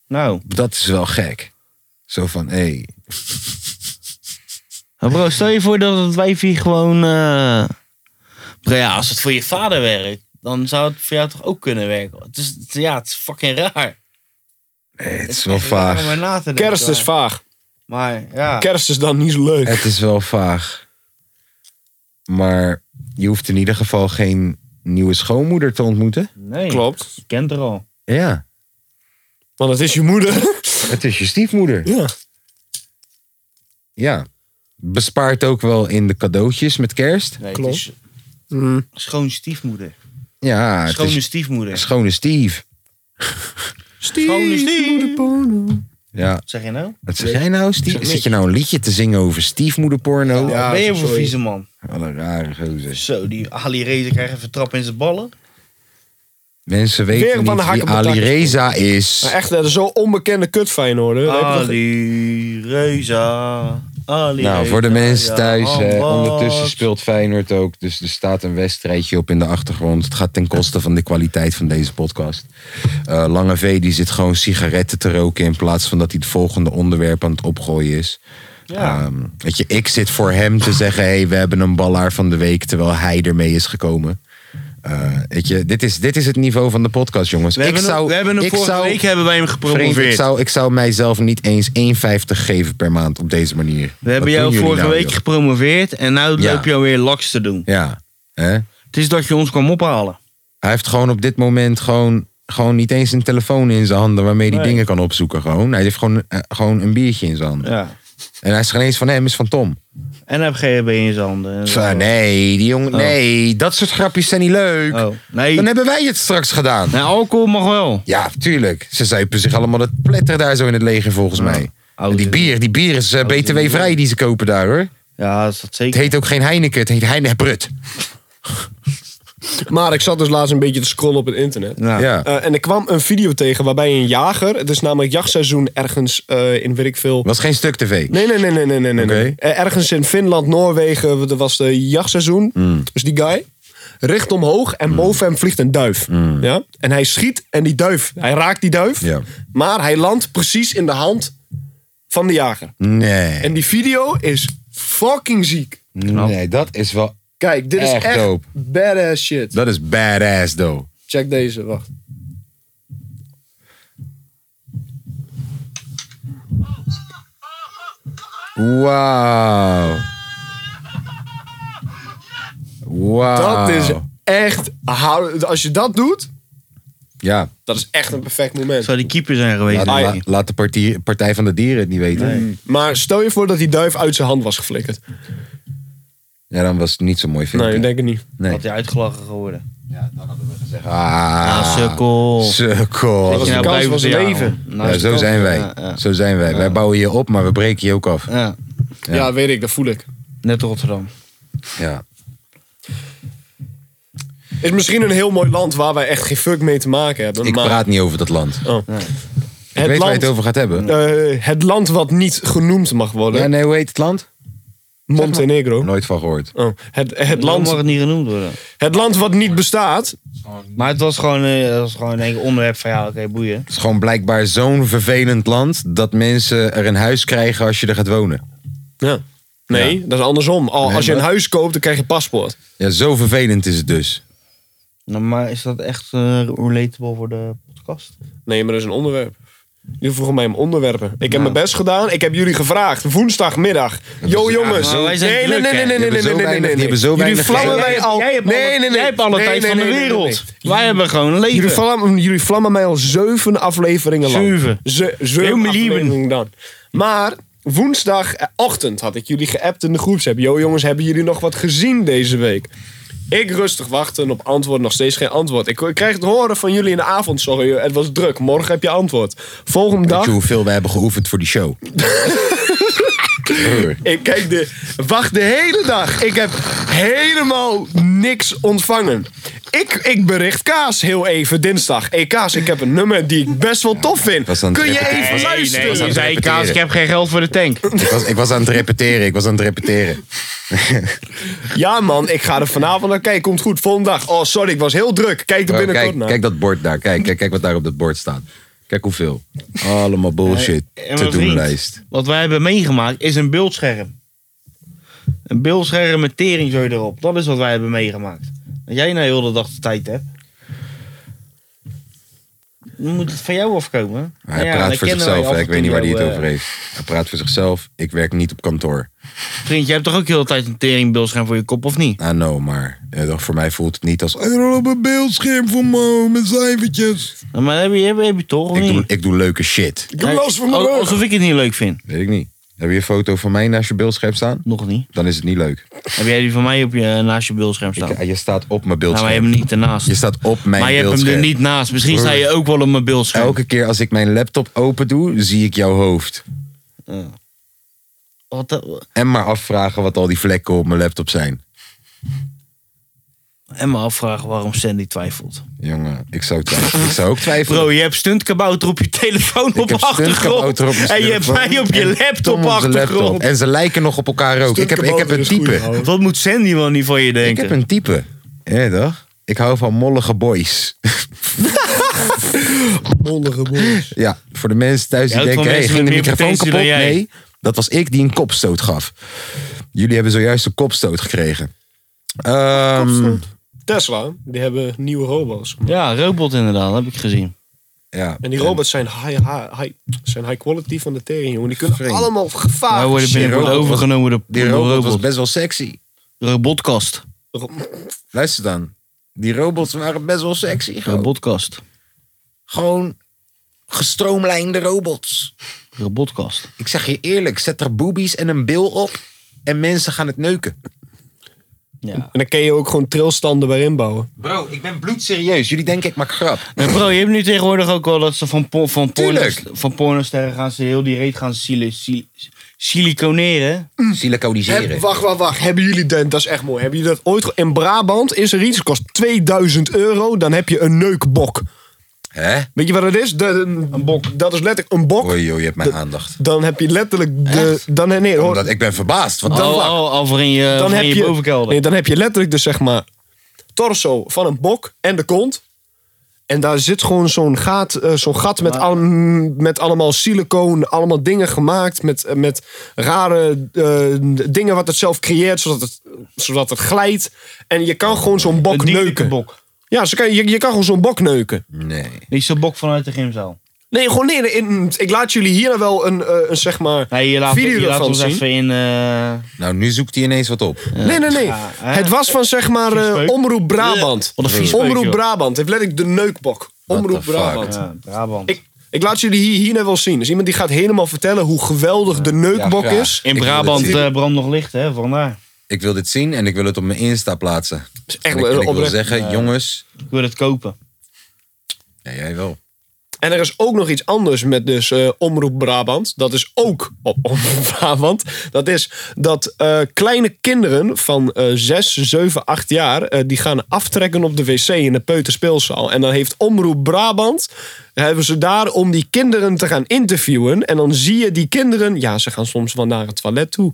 Speaker 6: Nou.
Speaker 5: Dat is wel gek. Zo van, hé, hey,
Speaker 6: Maar bro, stel je voor dat het wijf hier gewoon... eh, Bro, ja, als het voor je vader werkt, dan zou het voor jou toch ook kunnen werken? Het is, het- ja, het is fucking raar.
Speaker 5: eh, het is wel
Speaker 6: Om
Speaker 5: vaag.
Speaker 6: er na te denken,
Speaker 7: Kerst is
Speaker 6: maar-
Speaker 7: vaag.
Speaker 6: Maar ja.
Speaker 7: Kerst is dan niet zo leuk.
Speaker 5: <laughs> Het is wel vaag. Maar je hoeft in ieder geval geen nieuwe schoonmoeder te ontmoeten.
Speaker 6: Nee.
Speaker 7: Klopt.
Speaker 6: Je kent er al.
Speaker 5: Ja,
Speaker 7: Want het is je moeder. <laughs>
Speaker 5: het is je stiefmoeder.
Speaker 7: ja.
Speaker 5: Ja. Bespaart ook wel in de cadeautjes met kerst.
Speaker 6: Nee,
Speaker 7: Klopt.
Speaker 6: Het is schoon stiefmoeder.
Speaker 5: Mm. Ja, het
Speaker 6: Schone
Speaker 5: is
Speaker 6: stiefmoeder.
Speaker 5: schone Steve.
Speaker 6: Schone stiefmoeder.
Speaker 5: Ja.
Speaker 6: Wat zeg je nou?
Speaker 5: Wat zeg jij nou, Steve?
Speaker 7: niks.
Speaker 5: Zit je nou een liedje te zingen over stiefmoederporno?
Speaker 6: Wat ben je voor vieze man?
Speaker 5: Wat een rare gozer.
Speaker 6: Zo, die Ali Reza krijgt even trap in zijn ballen.
Speaker 5: Mensen
Speaker 7: Weer
Speaker 5: weten
Speaker 7: op aan
Speaker 5: niet
Speaker 7: de hak
Speaker 5: wie
Speaker 7: op de tak.
Speaker 5: Ali Reza is.
Speaker 7: Maar echt, eh, zo'n onbekende kut Feyenoord. hè. Daar heb je toch-
Speaker 6: Ah, Ali Reza. Ali
Speaker 5: Nou, voor de
Speaker 6: Reza,
Speaker 5: mensen thuis,
Speaker 6: ja, Oh,
Speaker 5: eh, ondertussen
Speaker 6: Abbas.
Speaker 5: speelt Feyenoord ook. Dus er staat een wedstrijdje op in de achtergrond. Het gaat ten koste van de kwaliteit van deze podcast. Eh, Lange V die zit gewoon sigaretten te roken in plaats van dat hij het volgende onderwerp aan het opgooien is.
Speaker 6: Ja.
Speaker 5: Ehm, weet je, ik zit voor hem te zeggen, hé, hey, we hebben een ballaar van de week, terwijl hij ermee is gekomen. Eh, weet je, dit is, dit is het niveau van de podcast, jongens.
Speaker 6: We hebben,
Speaker 5: ik
Speaker 6: hem-
Speaker 5: zou,
Speaker 6: we hebben hem
Speaker 5: ik
Speaker 6: vorige
Speaker 5: zou,
Speaker 6: week hebben wij hem
Speaker 5: Vriend, ik
Speaker 6: gepromoveerd.
Speaker 5: zou, ik zou mijzelf niet eens 1,50 geven per maand op deze manier.
Speaker 6: We hebben jou vorige week gepromoveerd en nu
Speaker 5: nou, Ja.
Speaker 6: loop je alweer laks te doen.
Speaker 5: Ja, hè?
Speaker 6: Het is dat je ons kwam ophalen.
Speaker 5: Hij heeft gewoon op dit moment gewoon, gewoon niet eens een telefoon in zijn handen waarmee hij
Speaker 6: Nee.
Speaker 5: dingen kan opzoeken. Gewoon. Hij heeft gewoon, eh, gewoon een biertje in zijn handen.
Speaker 6: Ja.
Speaker 5: En hij is geen eens van hem, is van Tom.
Speaker 6: En heb GHB in zijn handen. en zo.
Speaker 5: Zo, nee, die jongen,
Speaker 6: Oh.
Speaker 5: nee, dat soort grapjes zijn niet leuk.
Speaker 6: Oh, nee.
Speaker 5: Dan hebben wij het straks gedaan.
Speaker 6: Nee, alcohol mag wel.
Speaker 5: Ja, tuurlijk. Ze zuipen zich allemaal dat pletter daar zo in het leger, volgens mij. En die bier, die bier is eh, BTW vrij die ze kopen daar hoor.
Speaker 6: Ja, dat is dat
Speaker 5: Het
Speaker 6: zeker.
Speaker 5: heet ook geen Heineken, het heet Heine Brut.
Speaker 7: Maar ik zat dus laatst een beetje te scrollen op het internet.
Speaker 6: Ja.
Speaker 5: Ja.
Speaker 7: Eh, en er kwam een video tegen waarbij een jager... Het is namelijk jachtseizoen ergens eh, in weet ik veel...
Speaker 5: Was geen stuk tv.
Speaker 7: Nee, nee, nee, nee, nee, nee. nee.
Speaker 5: Oké.
Speaker 7: Eh, Ergens in Finland, Noorwegen, dat was de jachtseizoen.
Speaker 5: Mm.
Speaker 7: Dus die guy richt omhoog en boven hem vliegt een duif. Ja? En hij schiet en die duif, hij raakt die duif.
Speaker 5: Mm. Ja.
Speaker 7: Maar hij landt precies in de hand van de jager.
Speaker 5: Nee.
Speaker 7: En die video is fucking ziek.
Speaker 5: Nee, dat is wel.
Speaker 7: Kijk, dit is
Speaker 5: Echt
Speaker 7: echt
Speaker 5: dope.
Speaker 7: badass shit.
Speaker 5: Dat is badass, though.
Speaker 7: Check deze, wacht.
Speaker 5: Wauw. Wauw.
Speaker 7: Dat is echt... hou- Als je dat doet,
Speaker 5: Ja,
Speaker 7: dat is echt een perfect moment.
Speaker 6: Zou die keeper zijn geweest?
Speaker 5: laat,
Speaker 6: denk
Speaker 5: la-
Speaker 6: ik.
Speaker 5: laat de partij, partij van de Dieren het niet weten.
Speaker 7: Maar stel je voor dat die duif uit zijn hand was geflikkerd.
Speaker 5: Ja, dan was het niet zo mooi filmpje.
Speaker 7: Nee, ik denk het niet.
Speaker 5: Nee.
Speaker 6: Had hij uitgelachen geworden.
Speaker 5: Ah,
Speaker 6: Ah, sukkel.
Speaker 5: sukkel.
Speaker 6: Zit je
Speaker 7: de
Speaker 6: nou
Speaker 7: kans
Speaker 6: blij
Speaker 7: van
Speaker 6: voor
Speaker 7: zijn
Speaker 6: jou?
Speaker 7: leven.
Speaker 6: Nou,
Speaker 5: Ja,
Speaker 6: is
Speaker 5: zo
Speaker 6: het
Speaker 5: zijn
Speaker 6: ook.
Speaker 5: wij.
Speaker 6: Ja, ja.
Speaker 5: Zo zijn wij. Wij bouwen je op, maar we breken je ook af.
Speaker 6: Ja,
Speaker 7: Ja, weet ik, dat voel ik.
Speaker 6: net Rotterdam.
Speaker 5: Ja.
Speaker 7: Is misschien een heel mooi land waar wij echt geen fuck mee te maken hebben.
Speaker 5: Ik
Speaker 7: maar
Speaker 5: praat niet over dat land.
Speaker 7: Oh.
Speaker 5: Ik
Speaker 7: het,
Speaker 5: weet waar
Speaker 7: land,
Speaker 5: je het over gaat hebben.
Speaker 7: eh, het land wat niet genoemd mag worden.
Speaker 5: Ja, nee, hoe heet het land?
Speaker 7: Montenegro.
Speaker 5: Nooit van gehoord.
Speaker 7: Oh, het, het,
Speaker 6: Land mag
Speaker 7: land,
Speaker 6: het niet genoemd worden.
Speaker 7: het land wat niet bestaat.
Speaker 6: Maar het was gewoon, eh, het was gewoon een onderwerp van ja, oké, boeien.
Speaker 5: Het is gewoon blijkbaar zo'n vervelend land dat mensen er een huis krijgen als je er gaat wonen.
Speaker 7: Ja. Nee, dat is andersom. Al,
Speaker 5: Nee,
Speaker 7: als je een
Speaker 5: maar-
Speaker 7: huis koopt, dan krijg je paspoort.
Speaker 5: Ja, zo vervelend is het dus.
Speaker 6: Nou, maar is dat echt eh, relatable voor de podcast?
Speaker 7: Nee, maar dat is een onderwerp. Jullie vroegen mij om onderwerpen. Ik heb
Speaker 6: Nou.
Speaker 7: mijn best gedaan. Ik heb jullie gevraagd. Woensdagmiddag. Yo jongens.
Speaker 6: maar wij zijn
Speaker 7: nee, nee,
Speaker 6: druk,
Speaker 7: nee, nee,
Speaker 6: hè.
Speaker 7: nee,
Speaker 5: Die hebben
Speaker 7: nee, nee,
Speaker 5: zo
Speaker 7: nee, nee,
Speaker 5: weinig-
Speaker 7: nee.
Speaker 5: die hebben zo
Speaker 7: Jullie
Speaker 5: weinig
Speaker 7: vlammen
Speaker 5: tijd.
Speaker 7: mij
Speaker 5: Jij-
Speaker 7: al.
Speaker 6: jij hebt alle-
Speaker 7: nee, nee, nee.
Speaker 6: jij hebt alle
Speaker 7: Nee,
Speaker 6: tijd
Speaker 7: nee,
Speaker 6: van de
Speaker 7: nee, nee,
Speaker 6: wereld.
Speaker 7: nee,
Speaker 6: Wij hebben gewoon een leven.
Speaker 7: Jullie vlammen, jullie vlammen mij al zeven afleveringen lang.
Speaker 6: Zeven.
Speaker 7: Ze,
Speaker 6: Heel
Speaker 7: zeven
Speaker 6: mijn
Speaker 7: afleveringen dan. Maar woensdagochtend had ik jullie geappt in de groepsapp. Yo jongens, hebben jullie nog wat gezien deze week? Ik rustig wachten op antwoord, nog steeds geen antwoord. Ik, ik krijg het horen van jullie in de avond, sorry, het was druk. Morgen heb je antwoord. Volgende
Speaker 5: Weet
Speaker 7: dag,
Speaker 5: je hoeveel we hebben geoefend voor die show? Broer.
Speaker 7: ik kijk de, wacht de hele dag. Ik heb helemaal niks ontvangen. Ik, ik bericht Kaas heel even dinsdag. Hé Kaas, ik heb een nummer die ik best wel tof vind.
Speaker 5: was aan het
Speaker 7: Kun je
Speaker 5: repeteren.
Speaker 7: even
Speaker 5: Nee,
Speaker 7: luisteren?
Speaker 5: was aan het
Speaker 6: zei
Speaker 5: repeteren.
Speaker 6: Kaas, ik heb geen geld voor de tank.
Speaker 5: ik, was, ik was aan het repeteren, ik was aan het
Speaker 6: <laughs>
Speaker 5: repeteren.
Speaker 7: Ja, man, ik ga er vanavond naar kijken. Komt goed, volgende dag. Oh, sorry, ik was heel druk. Kijk er
Speaker 5: Oh,
Speaker 7: binnenkort
Speaker 5: kijk,
Speaker 7: naar.
Speaker 5: kijk dat bord daar, kijk, kijk, kijk wat daar op dat bord staat. Kijk hoeveel. Allemaal bullshit.
Speaker 6: En
Speaker 5: Te
Speaker 6: mijn
Speaker 5: doen
Speaker 6: vriend,
Speaker 5: lijst.
Speaker 6: Wat wij hebben meegemaakt is een beeldscherm. Een beeldscherm met tering zo erop. Dat is wat wij hebben meegemaakt. Dat jij nou heel de dag de tijd hebt. Dan moet het van jou afkomen.
Speaker 5: Hij
Speaker 6: Ja,
Speaker 5: praat
Speaker 6: dan
Speaker 5: voor
Speaker 6: kennen wij
Speaker 5: zichzelf,
Speaker 6: af
Speaker 5: hè.
Speaker 6: en
Speaker 5: ik weet niet
Speaker 6: toe
Speaker 5: waar hij het
Speaker 6: jou,
Speaker 5: over
Speaker 6: eh,
Speaker 5: heeft. Hij praat voor zichzelf, ik werk niet op kantoor.
Speaker 6: Vriend, jij hebt toch ook heel de tijd een teringbeeldscherm voor je kop, of niet?
Speaker 5: Ah, no, maar eh, voor mij voelt het niet als... "Hey, er op een beeldscherm voor me, met cijfertjes.
Speaker 6: Nou, Maar heb je, heb je, heb je toch, of
Speaker 5: Ik doe,
Speaker 6: niet?
Speaker 5: ik doe leuke shit.
Speaker 7: Ik heb last van mijn
Speaker 6: Al-
Speaker 7: rug.
Speaker 6: Alsof ik het niet leuk vind.
Speaker 5: Weet ik niet. Heb je een foto van mij naast je beeldscherm staan?
Speaker 6: Nog niet.
Speaker 5: Dan is het niet leuk.
Speaker 6: Heb jij die van mij op je, naast je beeldscherm staan?
Speaker 5: Ik- je staat op mijn
Speaker 6: nou, maar je
Speaker 5: beeldscherm.
Speaker 6: hebt hem niet ernaast.
Speaker 5: je staat op mijn
Speaker 6: maar je hebt hem
Speaker 5: beeldscherm.
Speaker 6: er niet naast. Misschien sta je ook wel op mijn beeldscherm.
Speaker 5: Elke keer als ik mijn laptop open doe, zie ik jouw hoofd.
Speaker 6: Wat de-
Speaker 5: En maar afvragen wat al die vlekken op mijn laptop zijn.
Speaker 6: En me afvragen waarom Sandy twijfelt.
Speaker 5: Jongen, ik zou,
Speaker 6: <laughs>
Speaker 5: twijfelen. ik zou ook twijfelen.
Speaker 6: Bro, je hebt stuntkabouter op je telefoon op
Speaker 5: heb
Speaker 6: achtergrond.
Speaker 5: stuntkabouter op mijn
Speaker 6: en je hebt
Speaker 5: telefoon.
Speaker 6: mij op je
Speaker 5: En Tom
Speaker 6: laptop
Speaker 5: op zijn
Speaker 6: achtergrond.
Speaker 5: laptop. En ze lijken nog op elkaar ook. Ik heb, ik heb een type.
Speaker 6: Wat moet Sandy wel niet van je
Speaker 5: Ik
Speaker 6: denken?
Speaker 5: heb een type. Ja, toch? Ik hou van mollige boys.
Speaker 7: Mondige boys.
Speaker 5: Ja, voor de mensen thuis die
Speaker 6: Je
Speaker 5: denken,
Speaker 6: houdt
Speaker 5: hey,
Speaker 6: van mensen
Speaker 5: ging de
Speaker 6: met meer
Speaker 5: microfoon
Speaker 6: potentie
Speaker 5: kapot?
Speaker 6: dan jij.
Speaker 5: Nee, dat was ik die een kopstoot gaf. Jullie hebben zojuist een kopstoot gekregen. Ehm,
Speaker 7: Tesla, die hebben nieuwe robots.
Speaker 6: Ja, robot inderdaad, heb ik gezien.
Speaker 5: ja.
Speaker 7: En die robots zijn high, high, high, zijn high quality van de tering, jongen. Die kunnen
Speaker 5: Vreemd.
Speaker 7: allemaal
Speaker 6: Wij
Speaker 7: gevaar.
Speaker 6: worden binnenkort
Speaker 5: Ah, robot was-
Speaker 6: overgenomen door
Speaker 5: Die
Speaker 6: door
Speaker 5: robot, was
Speaker 6: robot.
Speaker 5: best wel sexy.
Speaker 6: Robotkast.
Speaker 5: Luister dan. Die robots waren best wel sexy.
Speaker 6: Oh.
Speaker 5: Gewoon,
Speaker 6: Robotkast.
Speaker 5: gewoon gestroomlijnde robots.
Speaker 6: Robotkast.
Speaker 5: Ik zeg je eerlijk, zet er boobies en een bil op en mensen gaan het neuken.
Speaker 6: Ja.
Speaker 7: En dan kun je ook gewoon trilstanden bij inbouwen.
Speaker 5: Bro, ik ben bloedserieus. Jullie denken ik maak grap.
Speaker 6: <laughs> Maar bro, je hebt nu tegenwoordig ook wel dat ze van, por van, porno
Speaker 5: Tuurlijk.
Speaker 6: van pornosterren gaan ze heel die reet gaan sili sili- siliconeren.
Speaker 5: Hm. Siliconiseren.
Speaker 7: Heb- wacht, wacht, wacht. Hebben jullie dat? Dat is echt mooi. Hebben jullie dat ooit? ge- In Brabant is er iets. Het kost 2000 euro. Dan heb je een neukbok.
Speaker 5: Hè?
Speaker 7: Weet je wat het is? een bok. Dat is letterlijk een bok.
Speaker 5: Oei, joh, je hebt mijn aandacht.
Speaker 7: Dan heb je letterlijk de. Dan, nee, hoor,
Speaker 5: Omdat ik ben verbaasd. Want
Speaker 6: Al,
Speaker 5: dan,
Speaker 6: al, al voor in je,
Speaker 7: dan
Speaker 6: voor in
Speaker 7: heb
Speaker 6: je,
Speaker 7: je.
Speaker 6: bovenkelder.
Speaker 7: Nee, dan heb je letterlijk dus zeg maar. Torso van een bok en de kont. En daar zit gewoon zo'n gat, eh, zo'n gat met, al- met allemaal siliconen, allemaal dingen gemaakt. Met, eh, met rare eh, dingen wat het zelf creëert, zodat het, zodat het glijdt. En je kan gewoon zo'n bok
Speaker 6: Een
Speaker 7: neuken.
Speaker 6: dierlijke bok.
Speaker 7: Ja, zo kan, je, je kan gewoon zo'n bok neuken.
Speaker 5: nee.
Speaker 6: Niet zo'n bok vanuit de gymzaal.
Speaker 7: Nee, gewoon nee. nee, in- ik laat jullie hier wel een, eh, een zeg maar,
Speaker 6: Nee, je laat,
Speaker 7: video
Speaker 6: je laat
Speaker 7: ervan
Speaker 6: ons
Speaker 7: zien.
Speaker 6: even in... eh,
Speaker 5: Nou, nu zoekt hij ineens wat op.
Speaker 7: Nee, nee, nee.
Speaker 6: hè?
Speaker 7: het was van zeg maar eh,
Speaker 6: Viespeuk.
Speaker 7: Omroep Brabant. Eh.
Speaker 6: Wat een viespeuk,
Speaker 7: Omroep
Speaker 6: joh.
Speaker 7: Brabant. Heeft letterlijk de neukbok.
Speaker 5: What
Speaker 7: Omroep
Speaker 5: the fuck?
Speaker 7: Brabant.
Speaker 6: ja, Brabant.
Speaker 7: Ik, ik laat jullie hier, hier net wel zien. Dus iemand die gaat helemaal vertellen hoe geweldig de neukbok
Speaker 5: Ja, graag.
Speaker 7: is.
Speaker 6: in
Speaker 5: Ik wil
Speaker 6: Brabant
Speaker 5: het zien.
Speaker 6: eh brandt nog licht, hè, vandaar.
Speaker 5: Ik wil dit zien en ik wil het op mijn Insta plaatsen.
Speaker 7: echt
Speaker 5: en ik,
Speaker 7: wel
Speaker 5: en ik wil
Speaker 7: oprecht.
Speaker 5: zeggen, jongens...
Speaker 6: Ik wil het kopen.
Speaker 5: Ja, jij wel.
Speaker 7: En er is ook nog iets anders met dus eh, Omroep Brabant. Dat is ook op <laughs> Omroep Brabant. Dat is dat eh, kleine kinderen van eh 6, 7, 8 jaar... eh, die gaan aftrekken op de wc in de peuterspeelzaal. En dan heeft Omroep Brabant... hebben ze daar om die kinderen te gaan interviewen. En dan zie je die kinderen... Ja, ze gaan soms wel naar het toilet toe.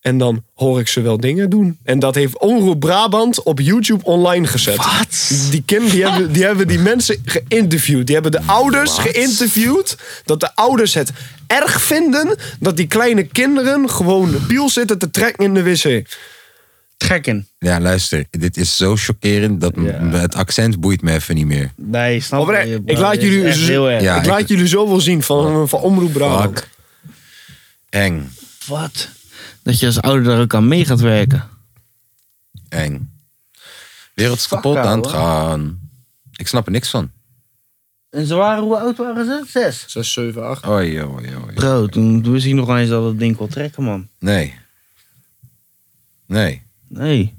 Speaker 7: En dan hoor ik ze wel dingen doen. En dat heeft Omroep Brabant op YouTube online gezet. Die, kind, die, hebben, die hebben die mensen geïnterviewd. Die hebben de ouders geïnterviewd. Dat de ouders het erg vinden dat die kleine kinderen gewoon piel zitten te trekken in de wc.
Speaker 6: Oh, Trekken.
Speaker 5: Ja, luister. Dit is zo chockerend dat m- m- het accent boeit me even niet meer.
Speaker 6: Nee, snap
Speaker 7: Oprecht,
Speaker 6: je,
Speaker 7: ik
Speaker 6: maar
Speaker 7: laat
Speaker 6: dit is
Speaker 7: jullie dus-
Speaker 6: echt
Speaker 7: zo-
Speaker 6: heel erg.
Speaker 5: Ja,
Speaker 7: ik laat
Speaker 5: ik-
Speaker 7: jullie zo wel zien van, van Omroep Brabant.
Speaker 5: Fuck. Eng.
Speaker 6: Wat? Dat je als ouder daar ook aan mee gaat werken.
Speaker 5: Eng. Wereld is
Speaker 6: Fuck,
Speaker 5: kapot aan het
Speaker 6: ouwe.
Speaker 5: gaan. Ik snap er niks van.
Speaker 6: En ze waren, hoe oud waren ze? Zes.
Speaker 7: 6, 7, 8.
Speaker 5: Oei, oei, oei.
Speaker 6: Bro, toen toen wist ik nog eens dat dat ding kon trekken, man.
Speaker 5: Nee. Nee.
Speaker 6: Nee.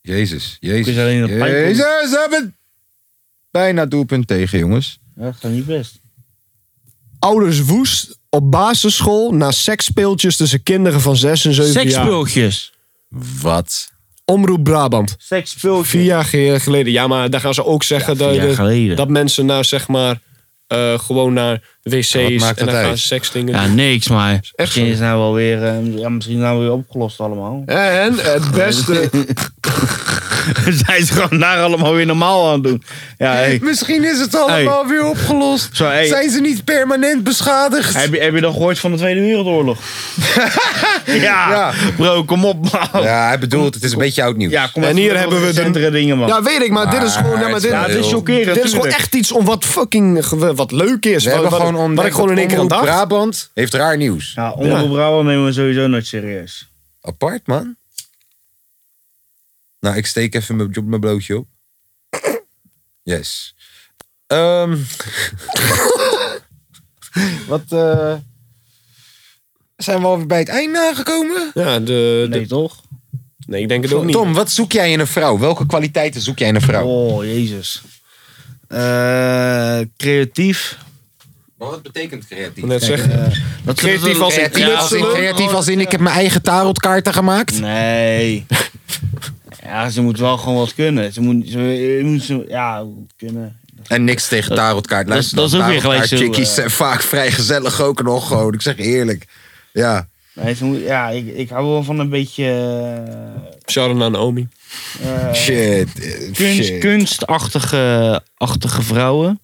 Speaker 5: Jezus. Jezus.
Speaker 6: Ik wist alleen dat pijn-
Speaker 5: Jezus, we hebben bijna doelpunt tegen, jongens.
Speaker 6: Ja, dat gaat niet best.
Speaker 7: Ouders woest op basisschool na seksspeeltjes tussen kinderen van 6 en 7 jaar.
Speaker 6: Sekspultjes.
Speaker 5: Wat?
Speaker 7: Omroep Brabant.
Speaker 6: Sekspultjes.
Speaker 7: Vier jaar ge- geleden. Ja, maar daar gaan ze ook zeggen
Speaker 6: vier jaar
Speaker 7: dat,
Speaker 6: geleden.
Speaker 7: dat mensen naar, zeg maar, eh, gewoon naar wc's
Speaker 5: Ja, wat
Speaker 7: en
Speaker 5: maakt
Speaker 7: dan
Speaker 5: dat uit?
Speaker 7: gaan ze seksdingen
Speaker 6: Ja,
Speaker 7: doen.
Speaker 6: niks, maar misschien
Speaker 7: zo.
Speaker 6: is het nou wel weer, eh, ja, misschien nou weer opgelost allemaal. <laughs>
Speaker 7: En het beste...
Speaker 6: Zijn ze gewoon daar allemaal weer normaal aan het doen. Ja, hey.
Speaker 5: Misschien is het allemaal weer opgelost.
Speaker 6: Zo, hey.
Speaker 5: Zijn ze niet permanent beschadigd?
Speaker 6: Heb je, heb je dan gehoord van de Tweede Wereldoorlog?
Speaker 7: <laughs>
Speaker 6: ja,
Speaker 5: Ja.
Speaker 6: bro, kom op, man. Ja,
Speaker 5: Ja, hij bedoelt, het is een beetje oud nieuws.
Speaker 6: kom
Speaker 7: En
Speaker 6: even
Speaker 7: hier
Speaker 6: met
Speaker 7: hebben we de-
Speaker 6: recentere dingen, man.
Speaker 7: Ja, weet ik, maar dit is gewoon... Ja, maar dit,
Speaker 5: Ah, Ja, het is
Speaker 6: chockerend,
Speaker 7: Dit is gewoon
Speaker 6: tuurlijk.
Speaker 7: echt iets om wat fucking... gewe- Wat leuk is.
Speaker 5: we
Speaker 7: Wat,
Speaker 5: hebben
Speaker 7: wat,
Speaker 5: gewoon ontdekt
Speaker 7: wat ik gewoon in één keer aan
Speaker 5: dat
Speaker 7: dacht.
Speaker 5: Omroep Brabant heeft raar nieuws.
Speaker 6: Ja, onder
Speaker 7: Ja.
Speaker 6: Brabant nemen we sowieso nooit serieus.
Speaker 5: Apart, man. Nou, ik steek even mijn, mijn blootje op. Yes. <laughs> Ehm, wat, eh, Zijn we alweer bij het einde aangekomen?
Speaker 7: Ja, de, de-
Speaker 6: Nee, toch?
Speaker 7: nee, ik denk het ook niet.
Speaker 5: Tom, wat zoek jij in een vrouw? Welke kwaliteiten zoek jij in een vrouw?
Speaker 6: Oh, jezus. Eh, creatief.
Speaker 5: Wat betekent creatief?
Speaker 7: Net zeggen.
Speaker 5: eh,
Speaker 6: Dat
Speaker 7: Creatief als in
Speaker 5: Creatief, als in, creatief als in ik heb mijn eigen tarotkaarten gemaakt?
Speaker 6: Nee. Ja, ze moet wel gewoon wat kunnen. Ze moet, ze, je moet ze, ja, kunnen.
Speaker 5: En niks tegen tarotkaart. Luister,
Speaker 6: dat is ook weer gelijk zo,
Speaker 5: Chickies
Speaker 6: eh.
Speaker 5: zijn vaak vrij gezellig ook nog gewoon. Ik zeg je eerlijk. Ja.
Speaker 6: Nee, ze moet, ja, ik, ik hou wel van een beetje
Speaker 7: Sharon en Naomi.
Speaker 6: eh, eh,
Speaker 5: Shit. eh,
Speaker 6: kunst,
Speaker 5: shit.
Speaker 6: kunstachtige achtige vrouwen.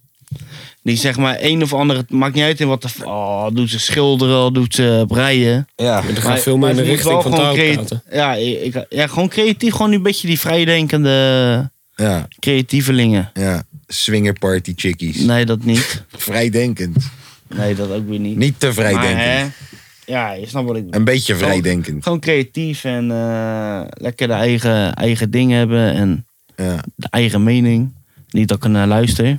Speaker 6: Die zeg maar een of andere, het maakt niet uit in wat de, oh, doet ze schilderen, al doet ze breien.
Speaker 5: Ja.
Speaker 7: Er gaan veel meer in de
Speaker 6: ze moet wel
Speaker 7: richting van
Speaker 6: gewoon creat-
Speaker 7: tarotkaarten.
Speaker 6: ja, ik, ik- ja, gewoon creatief, gewoon een beetje die vrijdenkende
Speaker 5: Ja.
Speaker 6: creatievelingen.
Speaker 5: Ja. Swingerparty chickies.
Speaker 6: Nee, dat niet.
Speaker 5: Vrijdenkend.
Speaker 6: Nee, dat ook weer niet.
Speaker 5: Niet te vrijdenkend.
Speaker 6: Maar, hè, Oh. ja, je snapt wat ik bedoel.
Speaker 5: Een beetje vrijdenkend.
Speaker 6: Gewoon creatief en eh, lekker de eigen, eigen ding hebben en
Speaker 5: Ja.
Speaker 6: de eigen mening. Niet dat ik naar luister.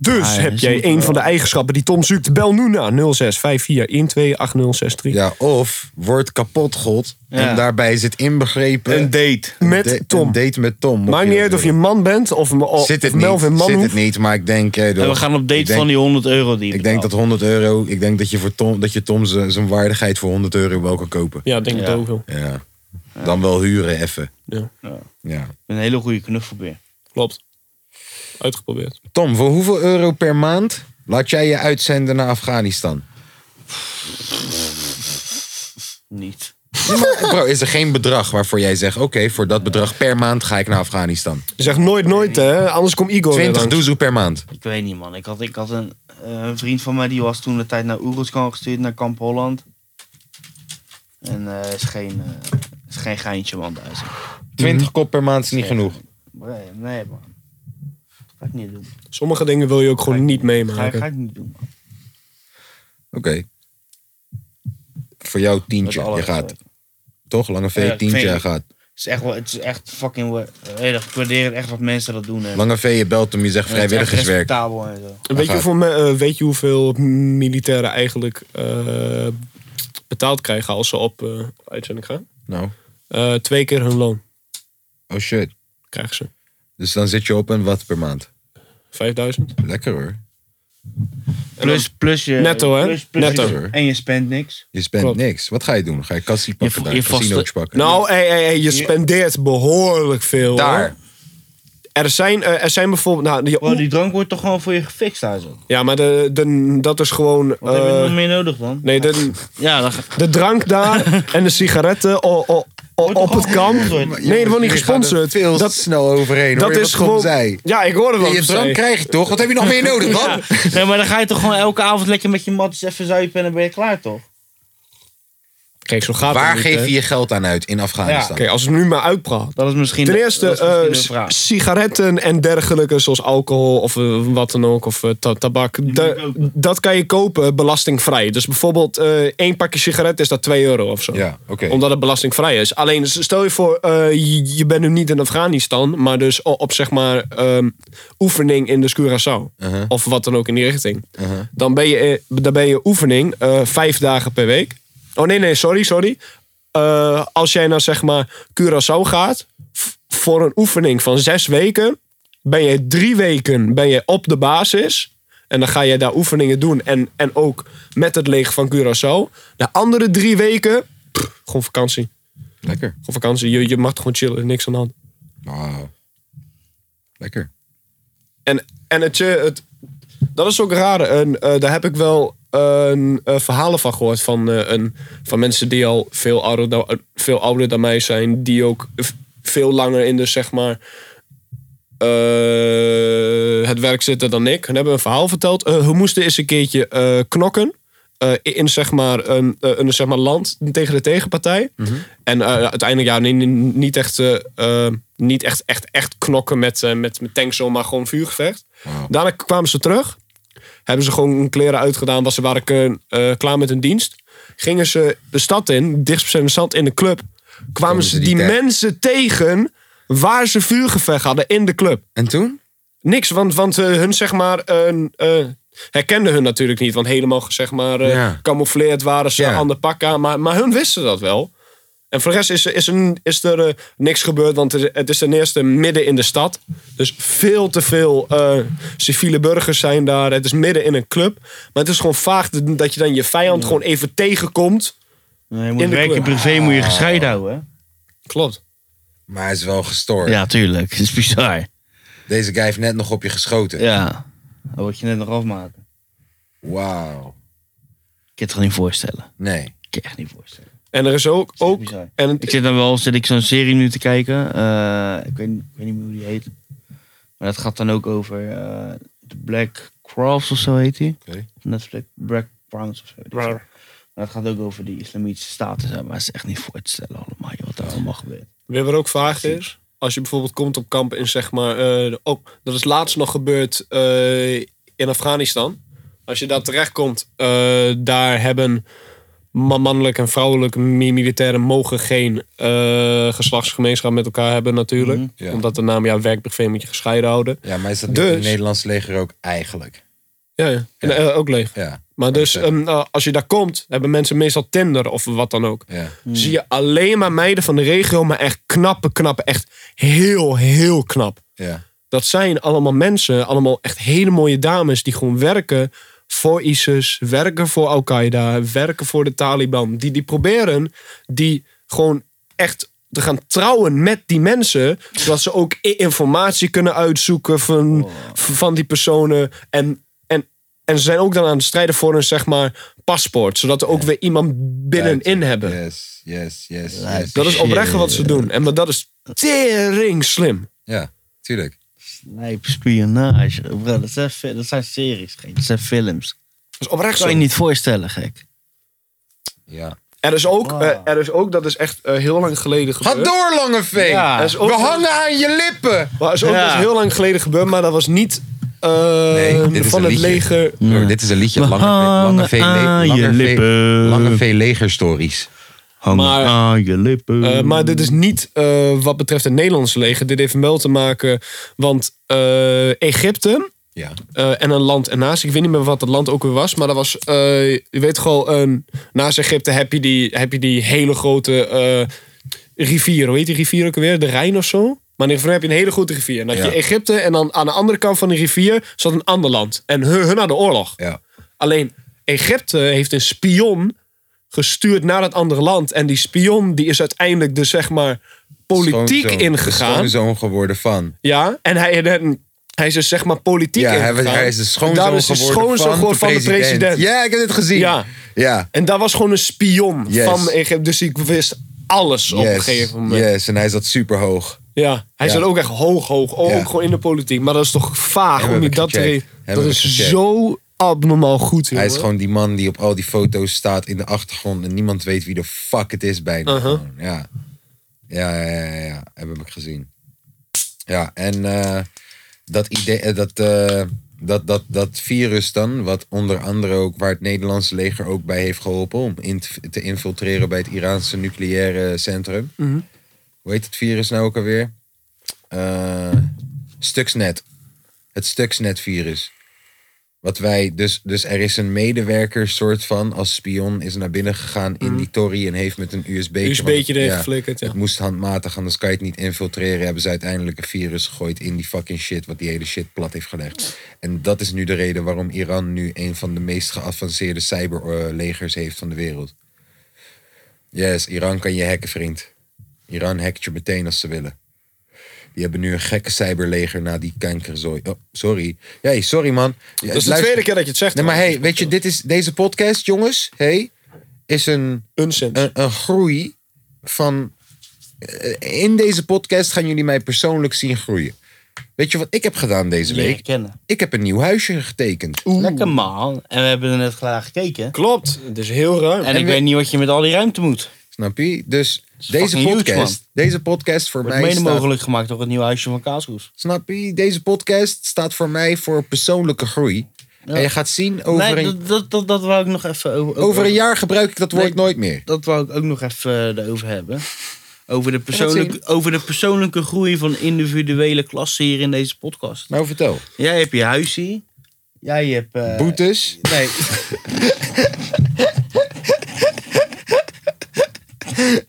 Speaker 7: Dus
Speaker 6: Ah, ja,
Speaker 7: heb
Speaker 6: ze
Speaker 7: jij
Speaker 6: moeten
Speaker 7: een
Speaker 6: wel-
Speaker 7: van de eigenschappen die Tom zoekt? Bel nu naar 0654 128063.
Speaker 5: ja. Of wordt kapot god.
Speaker 6: Ja.
Speaker 5: En daarbij zit inbegrepen. Een
Speaker 6: date.
Speaker 7: Met Tom.
Speaker 5: Een date met Tom. mocht
Speaker 7: Maakt
Speaker 5: je
Speaker 7: niet
Speaker 5: dat
Speaker 7: uit of je
Speaker 5: willen.
Speaker 7: man bent of, m- of
Speaker 5: Zit het
Speaker 7: Melvin
Speaker 5: niet. Zit
Speaker 7: Manhoef.
Speaker 5: het niet. Maar ik denk. eh,
Speaker 6: En we
Speaker 5: door-
Speaker 6: gaan op
Speaker 5: ik
Speaker 6: date
Speaker 5: denk-
Speaker 6: van die 100 euro die je
Speaker 5: Ik denk dat
Speaker 6: betaalt.
Speaker 5: 100 euro. Ik denk dat je voor Tom, dat je Tom zijn zijn waardigheid voor 100 euro wel kan kopen.
Speaker 7: Ja, ik denk
Speaker 6: Ja.
Speaker 7: het ook wel.
Speaker 5: Ja. Dan wel huren even.
Speaker 7: Ja.
Speaker 5: Ja.
Speaker 6: Een hele goede knuffelbeer.
Speaker 7: Klopt. Uitgeprobeerd.
Speaker 5: Tom, voor hoeveel euro per maand laat jij je uitzenden naar Afghanistan?
Speaker 6: Niet.
Speaker 5: Bro, is er geen bedrag waarvoor jij zegt: oké, voor dat bedrag per maand ga ik naar Afghanistan?
Speaker 7: Zeg nooit nooit, hè? Anders komt Igor
Speaker 5: 20
Speaker 7: 20
Speaker 5: doezoe per maand.
Speaker 6: Ik weet niet, man. Ik had, ik had een, eh, een vriend van mij die was toen de tijd naar Oeruzkan gestuurd, naar Kamp Holland. En eh, is, geen, eh, is geen geintje, man. Daar is
Speaker 5: 20 kop per maand is niet genoeg.
Speaker 6: Nee, nee, man. Ga ik niet doen.
Speaker 7: Sommige dingen wil je ook gewoon niet
Speaker 6: Ga,
Speaker 7: meemaken.
Speaker 6: ga ik niet doen, man.
Speaker 5: Oké. Voor jou
Speaker 6: Met
Speaker 5: tientje.
Speaker 6: alle
Speaker 5: Je
Speaker 6: respect.
Speaker 5: gaat. Toch? Lange V,
Speaker 6: Ja,
Speaker 5: tientje.
Speaker 6: vind-
Speaker 5: Je gaat.
Speaker 6: Het is echt, wel- het is echt fucking... wa- Weet je, ik waardeer het echt wat mensen dat doen. hè.
Speaker 5: Lange V, je belt hem, je zegt
Speaker 6: Het is echt
Speaker 5: vrijwilligerswerk.
Speaker 6: respectabel en zo.
Speaker 7: Weet je,
Speaker 5: gaat-
Speaker 7: hoeveel, me- eh, weet je hoeveel militairen eigenlijk eh, betaald krijgen als ze op eh, uitzending gaan?
Speaker 5: Nou,
Speaker 7: Eh, twee keer hun loon
Speaker 5: oh shit.
Speaker 7: krijgen ze.
Speaker 5: Dus dan zit je op een wat per maand.
Speaker 7: 5000.
Speaker 5: Lekker hoor.
Speaker 6: Plus, plus je...
Speaker 7: Netto, hè?
Speaker 6: plus- plus
Speaker 7: Netto.
Speaker 6: je- en je spent niks.
Speaker 5: Je spent
Speaker 7: Klopt.
Speaker 5: niks. Wat ga je doen? Ga je kassie pakken?
Speaker 6: v-
Speaker 5: daar,
Speaker 6: je vaste-
Speaker 5: casinootje pakken?
Speaker 7: Nou, hey, hey, hey, je spendeert behoorlijk veel.
Speaker 5: daar.
Speaker 7: hoor. Er zijn, eh, er zijn bijvoorbeeld. Nou, die,
Speaker 6: Bro, die drank wordt toch gewoon voor je gefixt daar zo?
Speaker 7: Ja, maar de, de, dat is gewoon.
Speaker 6: Wat heb je
Speaker 7: eh,
Speaker 6: nog meer nodig dan?
Speaker 7: nee, de,
Speaker 6: Ja, dan ga-
Speaker 7: de drank
Speaker 6: <laughs>
Speaker 7: daar en de sigaretten o- o- o-
Speaker 6: Wordt
Speaker 7: op
Speaker 6: toch
Speaker 7: het
Speaker 6: al
Speaker 7: kamp.
Speaker 6: gesponsord?
Speaker 7: Nee, dat wordt niet gesponsord.
Speaker 5: Veel dat,
Speaker 7: dus- Dat,
Speaker 5: snel overheen.
Speaker 7: dat is gewoon.
Speaker 5: Zij.
Speaker 7: Ja, ik hoorde wel.
Speaker 5: je drank krijg je toch? Wat heb je nog
Speaker 7: <laughs>
Speaker 5: meer nodig dan?
Speaker 6: Nee, maar dan ga je toch gewoon elke avond lekker met je matjes even zuipen en dan ben je klaar, toch?
Speaker 7: Kijk, zo gaat
Speaker 5: Waar
Speaker 7: het niet,
Speaker 5: geef
Speaker 7: hè.
Speaker 5: je je geld aan uit in Afghanistan?
Speaker 7: Kijk, als we nu maar uitpraat.
Speaker 6: Dat is misschien...
Speaker 7: Ten eerste,
Speaker 6: dat is misschien
Speaker 7: eh,
Speaker 6: een
Speaker 7: s-
Speaker 6: vraag.
Speaker 7: sigaretten en dergelijke, zoals alcohol of eh, wat dan ook, of eh, ta- tabak,
Speaker 6: moet
Speaker 7: da-
Speaker 6: je kopen.
Speaker 7: dat kan je kopen belastingvrij. Dus bijvoorbeeld eh, één pakje sigaretten is dat 2 euro of zo.
Speaker 5: Ja, oké.
Speaker 7: Omdat het belastingvrij is. Alleen s- stel je voor, eh, je, je bent nu niet in Afghanistan, maar dus o- op zeg maar ehm, oefening in de Curaçao. Of wat dan ook in die richting. Dan, ben je, eh, dan ben je oefening eh, vijf dagen per week. Oh nee, nee, sorry, sorry. Eh, als jij naar zeg maar Curaçao gaat, v- voor een oefening van zes weken, ben je drie weken ben je op de basis. En dan ga je daar oefeningen doen. En, en ook met het leger van Curaçao. De andere drie weken gewoon vakantie.
Speaker 5: Lekker.
Speaker 7: Gewoon vakantie. Je, je mag gewoon chillen. Niks aan de hand.
Speaker 5: Wauw. Lekker.
Speaker 7: En, en het, eh, het, dat is ook raar. En, eh, daar heb ik wel een eh, verhalen van gehoord. Van, eh, een, van mensen die al veel ouder, dan- veel ouder dan mij zijn. Die ook v- veel langer in de, zeg maar, eh, het werk zitten dan ik. En hebben een verhaal verteld. Eh we moesten eens een keertje eh, knokken. eh, in zeg maar een, eh, een zeg maar land tegen de tegenpartij. En eh, uiteindelijk, ja, ni- ni- niet echt, eh, eh, niet echt, echt, echt knokken met, eh, met, met tanks, zo, maar gewoon vuurgevecht. Daarna kwamen ze terug. Hebben ze gewoon hun kleren uitgedaan. Was ze waren ke- eh, klaar met hun dienst. Gingen ze de stad in, dichtstbijzijnde stad in de club. Kwamen ze
Speaker 5: ze
Speaker 7: die
Speaker 5: die tag-
Speaker 7: mensen tegen waar ze vuurgevecht hadden in de club.
Speaker 5: En toen?
Speaker 7: Niks, want, want eh, hun zeg maar... een eh, herkenden hun natuurlijk niet. Want helemaal, zeg maar, eh
Speaker 5: Ja.
Speaker 7: camoufleerd waren ze,
Speaker 5: Ja.
Speaker 7: ander pak aan. Maar, maar hun wisten dat wel. En voor de rest is, er- is, er- is er eh, niks gebeurd, want het is- het is ten eerste midden in de stad. Dus veel te veel eh, civiele burgers zijn daar. Het is midden in een club. Maar het is gewoon vaag dat- dat je dan je vijand gewoon even tegenkomt.
Speaker 6: Nee, je moet
Speaker 7: In de
Speaker 6: werk en
Speaker 7: club.
Speaker 6: privé moet je gescheiden houden.
Speaker 7: Klopt.
Speaker 5: Maar hij is wel gestoord.
Speaker 6: hè? Ja, tuurlijk. Dat is bizar.
Speaker 5: Deze guy heeft net nog op je geschoten.
Speaker 6: Ja. Dat word je net nog afmaken.
Speaker 5: Wauw.
Speaker 6: Ik kan het toch niet voorstellen.
Speaker 5: Nee.
Speaker 6: Ik kan het echt niet voorstellen.
Speaker 7: En er is ook... ook
Speaker 6: bizar.
Speaker 7: en het-
Speaker 6: Ik zit dan wel, zit ik zo'n serie nu te kijken. eh, ik, weet, ik weet niet meer hoe die heet. Maar dat gaat dan ook over eh, de Black Crafts of zo heet die.
Speaker 5: Oké.
Speaker 6: Netflix, Black Browns of zo. weet ik veel. Maar dat gaat ook over die islamitische staten. zeg Maar het is echt niet voor te stellen allemaal, joh, wat daar allemaal gebeurt.
Speaker 7: Weet wat ook vaag is? Als je bijvoorbeeld komt op kamp in zeg maar... eh, ook, dat is laatst nog gebeurd eh, in Afghanistan. Als je daar terechtkomt, eh daar hebben ma- mannelijk en vrouwelijk mi- militairen mogen geen eh, geslachtsgemeenschap met elkaar hebben natuurlijk.
Speaker 5: Ja.
Speaker 7: Omdat de naam, ja, werkprivé moet je gescheiden houden.
Speaker 5: Ja, maar is dat
Speaker 7: Dus-
Speaker 5: in het Nederlands leger ook eigenlijk?
Speaker 7: Ja, ja. En, eh, ook leeg.
Speaker 5: Ja.
Speaker 7: Maar dus,
Speaker 5: Oké.
Speaker 7: ehm, eh, als je daar komt, hebben mensen meestal Tinder of wat dan ook.
Speaker 5: Ja.
Speaker 7: Zie je alleen maar meiden van de regio, maar echt knappe, knappe, echt heel, heel knap.
Speaker 5: Ja.
Speaker 7: Dat zijn allemaal mensen, allemaal echt hele mooie dames die gewoon werken voor ISIS, werken voor Al-Qaeda, werken voor de Taliban. Die, die proberen die gewoon echt te gaan trouwen met die mensen, zodat ze ook i- informatie kunnen uitzoeken van,
Speaker 6: Oh.
Speaker 7: van die personen. En, en, en ze zijn ook dan aan het strijden voor een zeg maar paspoort, zodat er ook weer iemand binnenin hebben.
Speaker 5: Yes, yes, yes.
Speaker 6: Ja,
Speaker 5: yes.
Speaker 7: Dat is oprecht wat ze doen. En maar dat is tering slim.
Speaker 5: Ja, tuurlijk.
Speaker 6: Lijp spionage. Bro, dat, zijn, fi- dat zijn series, gek. dat zijn films.
Speaker 7: Dat is oprecht
Speaker 6: Dat kan je
Speaker 7: slim.
Speaker 6: niet voorstellen, gek.
Speaker 5: Ja.
Speaker 7: Er is ook, eh, er is ook dat is echt eh, heel lang geleden
Speaker 5: Ga
Speaker 7: gebeurd.
Speaker 5: door, Langeveen!
Speaker 6: Ja.
Speaker 7: Er is ook,
Speaker 5: We hangen aan je lippen!
Speaker 7: Maar er is ook
Speaker 6: Ja.
Speaker 7: dat is heel lang geleden gebeurd, maar dat was niet eh,
Speaker 5: Nee, dit is
Speaker 7: van
Speaker 5: een
Speaker 7: het
Speaker 5: liedje.
Speaker 7: leger.
Speaker 5: Broer, dit is een liedje.
Speaker 6: We hangen
Speaker 5: Langeveen
Speaker 6: aan je lippen.
Speaker 5: legerstories.
Speaker 6: Hang
Speaker 7: Maar-
Speaker 6: aan je lippen.
Speaker 5: Mm.
Speaker 7: Eh, maar dit is niet eh, wat betreft het Nederlands leger. Dit heeft wel te maken, want eh, Egypte
Speaker 5: Ja.
Speaker 7: eh, en een land ernaast, ik weet niet meer wat het land ook weer was, maar dat was, eh, je weet gewoon, een naast Egypte heb je die, heb je die hele grote eh, rivier. Hoe heet die rivier ook weer? De Rijn of zo? Maar in ieder geval heb je een hele grote rivier. En dan had je
Speaker 5: Ja.
Speaker 7: Egypte en dan aan de andere kant van de rivier zat een ander land. En hun, hun hadden oorlog.
Speaker 5: Ja.
Speaker 7: Alleen Egypte heeft een spion gestuurd naar dat andere land. En die spion die is uiteindelijk de zeg maar politiek
Speaker 5: Schoonzoon. De
Speaker 7: ingegaan.
Speaker 5: schoonzoon geworden van.
Speaker 7: Ja, en hij, en hij is dus zeg maar politiek
Speaker 5: Ja, hij,
Speaker 7: ingegaan.
Speaker 5: hij is de
Speaker 7: Daar
Speaker 5: schoonzoon
Speaker 7: is hij
Speaker 5: geworden
Speaker 7: schoonzoon
Speaker 5: van,
Speaker 7: geworden van de president.
Speaker 5: Ja, ik heb dit gezien.
Speaker 7: Ja.
Speaker 5: ja.
Speaker 7: En dat was gewoon een spion
Speaker 5: Yes.
Speaker 7: van Egypte. Dus ik wist alles Dus op een
Speaker 5: Yes.
Speaker 7: gegeven moment.
Speaker 5: Yes, en hij zat super hoog.
Speaker 7: Ja, hij
Speaker 5: Ja.
Speaker 7: zat ook echt hoog, hoog. Ook
Speaker 5: Ja.
Speaker 7: gewoon in de politiek. Maar dat is toch vaag
Speaker 5: Hebben
Speaker 7: om je
Speaker 5: we
Speaker 7: dat te
Speaker 5: gecheckt.
Speaker 7: re-
Speaker 5: Hebben
Speaker 7: Dat
Speaker 5: we
Speaker 7: is
Speaker 5: gecheckt.
Speaker 7: zo abnormaal goed,
Speaker 5: Hij is
Speaker 7: jongen.
Speaker 5: gewoon die man die op al die foto's staat in de achtergrond en niemand weet wie de fuck het is bijna.
Speaker 7: Uh-huh.
Speaker 5: Gewoon, ja. Ja, ja, ja, ja, ja. Heb ik gezien. Ja, en eh, dat idee, eh, dat, eh, dat, dat, dat virus dan, wat onder andere ook waar het Nederlandse leger ook bij heeft geholpen om in te, te infiltreren bij het Iraanse nucleaire centrum. Hoe heet het virus nou ook alweer? Eh, Stuxnet. Het Stuxnet-virus. Wat wij, dus, dus er is een medewerker soort van als spion is naar binnen gegaan
Speaker 7: Mhm.
Speaker 5: in die torrie en heeft met een USB-tje.
Speaker 7: USB'tje erin geflikkerd, ja.
Speaker 5: Het moest handmatig, anders kan je het niet infiltreren. Hebben ze uiteindelijk een virus gegooid in die fucking shit, wat die hele shit plat heeft gelegd. En dat is nu de reden waarom Iran nu een van de meest geavanceerde cyberlegers heeft van de wereld. Yes, Iran kan je hacken, vriend. Iran hackt je meteen als ze willen. Die hebben nu een gekke cyberleger na die kankerzooi. Oh, sorry. Hey, sorry man.
Speaker 7: Dat is de tweede keer dat je het zegt.
Speaker 5: Nee, maar
Speaker 7: hoor.
Speaker 5: hey, weet je, dit is, deze podcast, jongens, hey, is een,
Speaker 7: Unsens.
Speaker 5: een, een groei van... eh, In deze podcast gaan jullie mij persoonlijk zien groeien. Weet je wat ik heb gedaan deze
Speaker 6: Leren
Speaker 5: week?
Speaker 6: kennen.
Speaker 5: Ik heb een nieuw huisje getekend.
Speaker 6: Lekker man. En we hebben er net graag gekeken.
Speaker 7: Klopt. Het is heel ruim.
Speaker 6: En ik
Speaker 5: we-
Speaker 6: weet niet wat je met al die ruimte moet.
Speaker 5: Snap je? Dus deze
Speaker 6: fucking huge,
Speaker 5: podcast, deze podcast voor
Speaker 6: Wordt
Speaker 5: mij
Speaker 6: mede
Speaker 5: staat...
Speaker 6: mogelijk gemaakt door het nieuwe huisje van Kaashoes.
Speaker 5: Snap je? Deze podcast staat voor mij voor persoonlijke groei. En je gaat zien, over,
Speaker 6: Nee,
Speaker 5: een,
Speaker 6: dat, dat, dat, dat wou ik nog even over.
Speaker 5: over een jaar gebruik ik dat woord
Speaker 6: Nee.
Speaker 5: nooit meer.
Speaker 6: Dat wou ik ook nog even eh, erover hebben. Over de, persoonlijke, over de persoonlijke groei van individuele klassen hier in deze podcast.
Speaker 5: Nou, vertel.
Speaker 6: Jij hebt je huisje. Jij hebt... eh,
Speaker 5: Boetes. <laughs>
Speaker 6: Nee.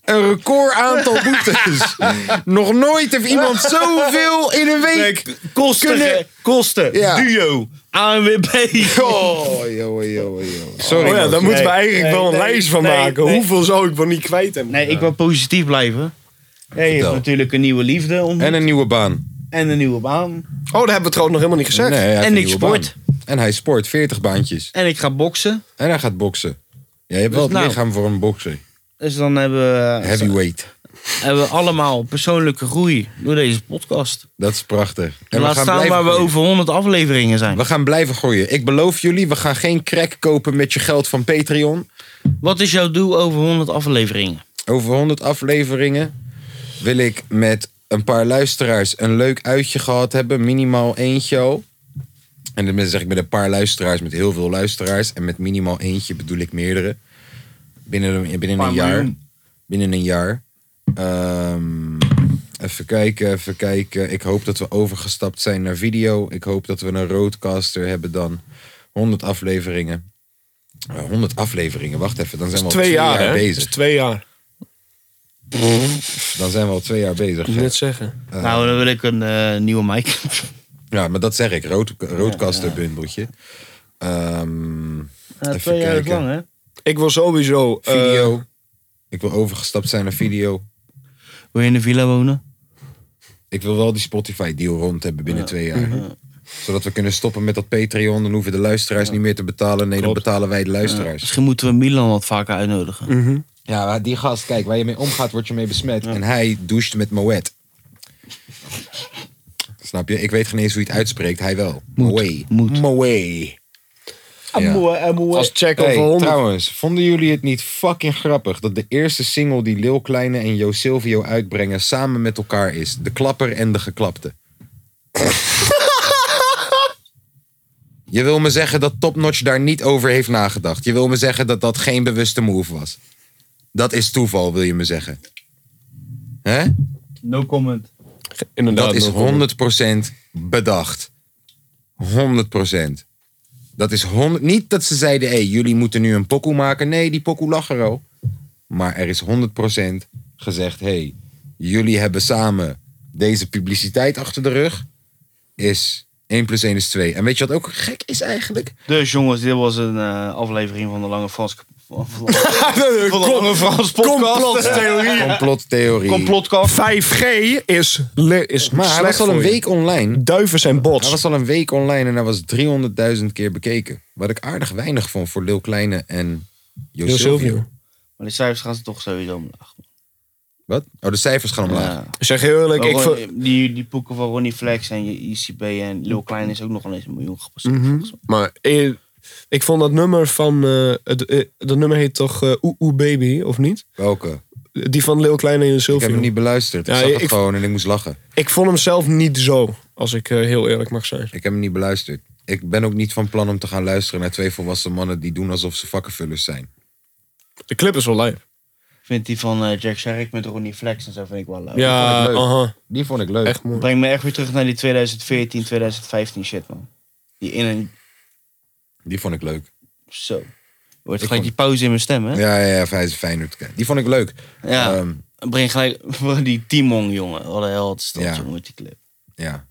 Speaker 5: Een record aantal
Speaker 6: <laughs>
Speaker 5: boetes. Nog nooit heeft iemand zoveel in een week.
Speaker 6: kosten.
Speaker 5: Kunnen-
Speaker 6: Kosten.
Speaker 5: Ja.
Speaker 6: Duo.
Speaker 5: <laughs>
Speaker 6: ANWB.
Speaker 5: Oh, joh, joh, joh. Sorry.
Speaker 7: Oh ja,
Speaker 5: man.
Speaker 7: daar moeten we
Speaker 6: Nee,
Speaker 7: eigenlijk
Speaker 6: nee,
Speaker 7: wel een
Speaker 6: nee,
Speaker 7: lijst van
Speaker 6: nee,
Speaker 7: maken.
Speaker 6: nee.
Speaker 7: Hoeveel zou ik wel niet kwijt hebben?
Speaker 6: Nee, ik wil positief blijven. Ja, je hebt
Speaker 5: Vertel.
Speaker 6: natuurlijk een nieuwe liefde ontmoet.
Speaker 5: En een nieuwe baan.
Speaker 6: en een nieuwe baan.
Speaker 7: Oh, daar hebben we het trouwens nog helemaal niet gezegd.
Speaker 5: Nee, hij heeft
Speaker 6: En
Speaker 5: een
Speaker 6: ik
Speaker 5: nieuwe baan.
Speaker 6: sport.
Speaker 5: En hij sport 40 baantjes.
Speaker 6: En ik ga boksen.
Speaker 5: En hij gaat boksen. Ja, je hebt
Speaker 6: Dus
Speaker 5: wel het
Speaker 6: nou.
Speaker 5: lichaam voor een bokser.
Speaker 6: Dus dan hebben we,
Speaker 5: Heavyweight.
Speaker 6: hebben we allemaal persoonlijke groei door deze podcast.
Speaker 5: Dat is prachtig. En
Speaker 6: Laat staan
Speaker 5: blijven
Speaker 6: waar we
Speaker 5: groeien.
Speaker 6: over 100 afleveringen zijn.
Speaker 5: We gaan blijven groeien. Ik beloof jullie, we gaan geen crack kopen met je geld van Patreon.
Speaker 6: Wat is jouw doel over 100 afleveringen?
Speaker 5: Over 100 afleveringen wil ik met een paar luisteraars een leuk uitje gehad hebben. Minimaal eentje al. En dan zeg ik met een paar luisteraars, met heel veel luisteraars. En met minimaal eentje bedoel ik meerdere. Binnen een, binnen een jaar. Binnen een jaar. Ehm, even kijken, even kijken. Ik hoop dat we overgestapt zijn naar video. Ik hoop dat we een roadcaster hebben dan. 100 afleveringen. Eh, 100 afleveringen, wacht even. Dan zijn we al
Speaker 7: Twee jaar, hè? Dat
Speaker 5: bezig.
Speaker 7: is twee jaar.
Speaker 5: Dan zijn we al twee jaar bezig.
Speaker 7: Ik moet net zeggen.
Speaker 6: Nou, dan wil ik een eh, nieuwe mic. <laughs>
Speaker 5: Ja, maar dat zeg ik. Rood, roodkastenbundeltje. Ehm,
Speaker 6: Ja,
Speaker 5: Even
Speaker 6: Eh, twee jaar is
Speaker 5: kijken.
Speaker 6: lang, hè?
Speaker 7: Ik wil sowieso... eh,
Speaker 5: video. ik wil overgestapt zijn naar video.
Speaker 6: Wil je in de villa wonen?
Speaker 5: Ik wil wel die Spotify deal rond hebben binnen twee jaar. Zodat we kunnen stoppen met dat Patreon. Dan hoeven de luisteraars niet meer te betalen. Nee, dan betalen wij de luisteraars.
Speaker 6: Misschien moeten we Milan wat vaker uitnodigen.
Speaker 5: Ja, maar die gast, kijk, waar je mee omgaat, word je mee besmet. En hij doucht met Moet. Snap je? Ik weet geen eens hoe je het uitspreekt. Hij wel. Moet.
Speaker 6: Moet.
Speaker 5: Moet. Ja.
Speaker 7: Als check over
Speaker 5: Hey,
Speaker 7: 100.
Speaker 5: trouwens, vonden jullie het niet fucking grappig dat de eerste single die Lil Kleine en Jo Silvio uitbrengen samen met elkaar is? De klapper en de geklapte. <laughs> Je wil me zeggen dat Topnotch daar niet over heeft nagedacht. Je wil me zeggen dat dat geen bewuste move was. Dat is toeval, wil je me zeggen. Hè?
Speaker 6: No comment.
Speaker 7: Inderdaad,
Speaker 5: Dat is
Speaker 7: <laughs> nog honderd.
Speaker 5: 100% bedacht. 100%. Dat is 100, niet dat ze zeiden, hé, jullie moeten nu een pokoe maken. Nee, die pokoe lag er al. Maar er is 100% gezegd, hé, hey, jullie hebben samen deze publiciteit achter de rug. Is 1 plus 1 is 2. En weet je wat ook gek is eigenlijk?
Speaker 6: Dus jongens, dit was een eh, aflevering van de Lange Frans... Van
Speaker 7: Kom-
Speaker 6: de Lange Frans podcast.
Speaker 7: Complottheorie.
Speaker 5: Complottheorie.
Speaker 6: Complotcast.
Speaker 7: 5G is, le- is
Speaker 5: maar hij
Speaker 7: slecht
Speaker 5: was al een
Speaker 7: voor je.
Speaker 5: week online.
Speaker 7: Duiven zijn
Speaker 5: Hij
Speaker 7: bots.
Speaker 5: was al een week online en hij was 300.000 keer bekeken. Wat ik aardig weinig vond voor Lil Kleine en Jo
Speaker 7: Lil Silvio.
Speaker 5: Silvio.
Speaker 6: Maar de cijfers gaan ze toch sowieso omlaag.
Speaker 5: Wat? Oh, de cijfers gaan omlaag.
Speaker 6: Ja.
Speaker 7: Ik zeg heel eerlijk,
Speaker 6: Maar
Speaker 7: ik
Speaker 6: Ron-
Speaker 7: ver-
Speaker 6: die, die boeken van Ronnie Flex en je ICB en Lil Klein is ook nog wel eens een miljoen gepasseerd. volgens mij.
Speaker 7: maar eh, ik vond dat nummer van... eh, het, eh, dat nummer heet toch eh Oeh Oeh Baby, of niet?
Speaker 5: Welke? Ik
Speaker 7: Die van Lil Kleine en
Speaker 5: heb
Speaker 7: Sylvia.
Speaker 5: hem niet beluisterd. Ik
Speaker 7: Ja,
Speaker 5: zag het
Speaker 7: ik-
Speaker 5: gewoon en ik moest lachen.
Speaker 7: Ik vond hem zelf niet zo, als ik eh, heel eerlijk mag zijn.
Speaker 5: Ik heb hem niet beluisterd. Ik ben ook niet van plan om te gaan luisteren naar twee volwassen mannen die doen alsof ze vakkenvullers zijn.
Speaker 7: De clip is wel lijp.
Speaker 6: Ik vind die van eh, Jack Sherrick met Ronnie Flex en zo vind ik wel leuk.
Speaker 7: Ja,
Speaker 5: vond ik leuk.
Speaker 7: aha.
Speaker 5: Die vond ik leuk.
Speaker 7: Echt mooi.
Speaker 6: Breng me echt weer terug naar die 2014, 2015 shit man. Die in een...
Speaker 5: Die vond ik leuk.
Speaker 6: Zo. Je hoort
Speaker 5: Ik
Speaker 6: gelijk die
Speaker 5: vond-
Speaker 6: pauze in mijn stem hè?
Speaker 5: Ja, ja, ja hij is fijn. Die vond ik leuk.
Speaker 6: Ja.
Speaker 5: Ehm,
Speaker 6: Breng gelijk <laughs> die Timon jongen. Wat een held is dat
Speaker 5: Ja.
Speaker 6: jongen met die clip.
Speaker 5: ja.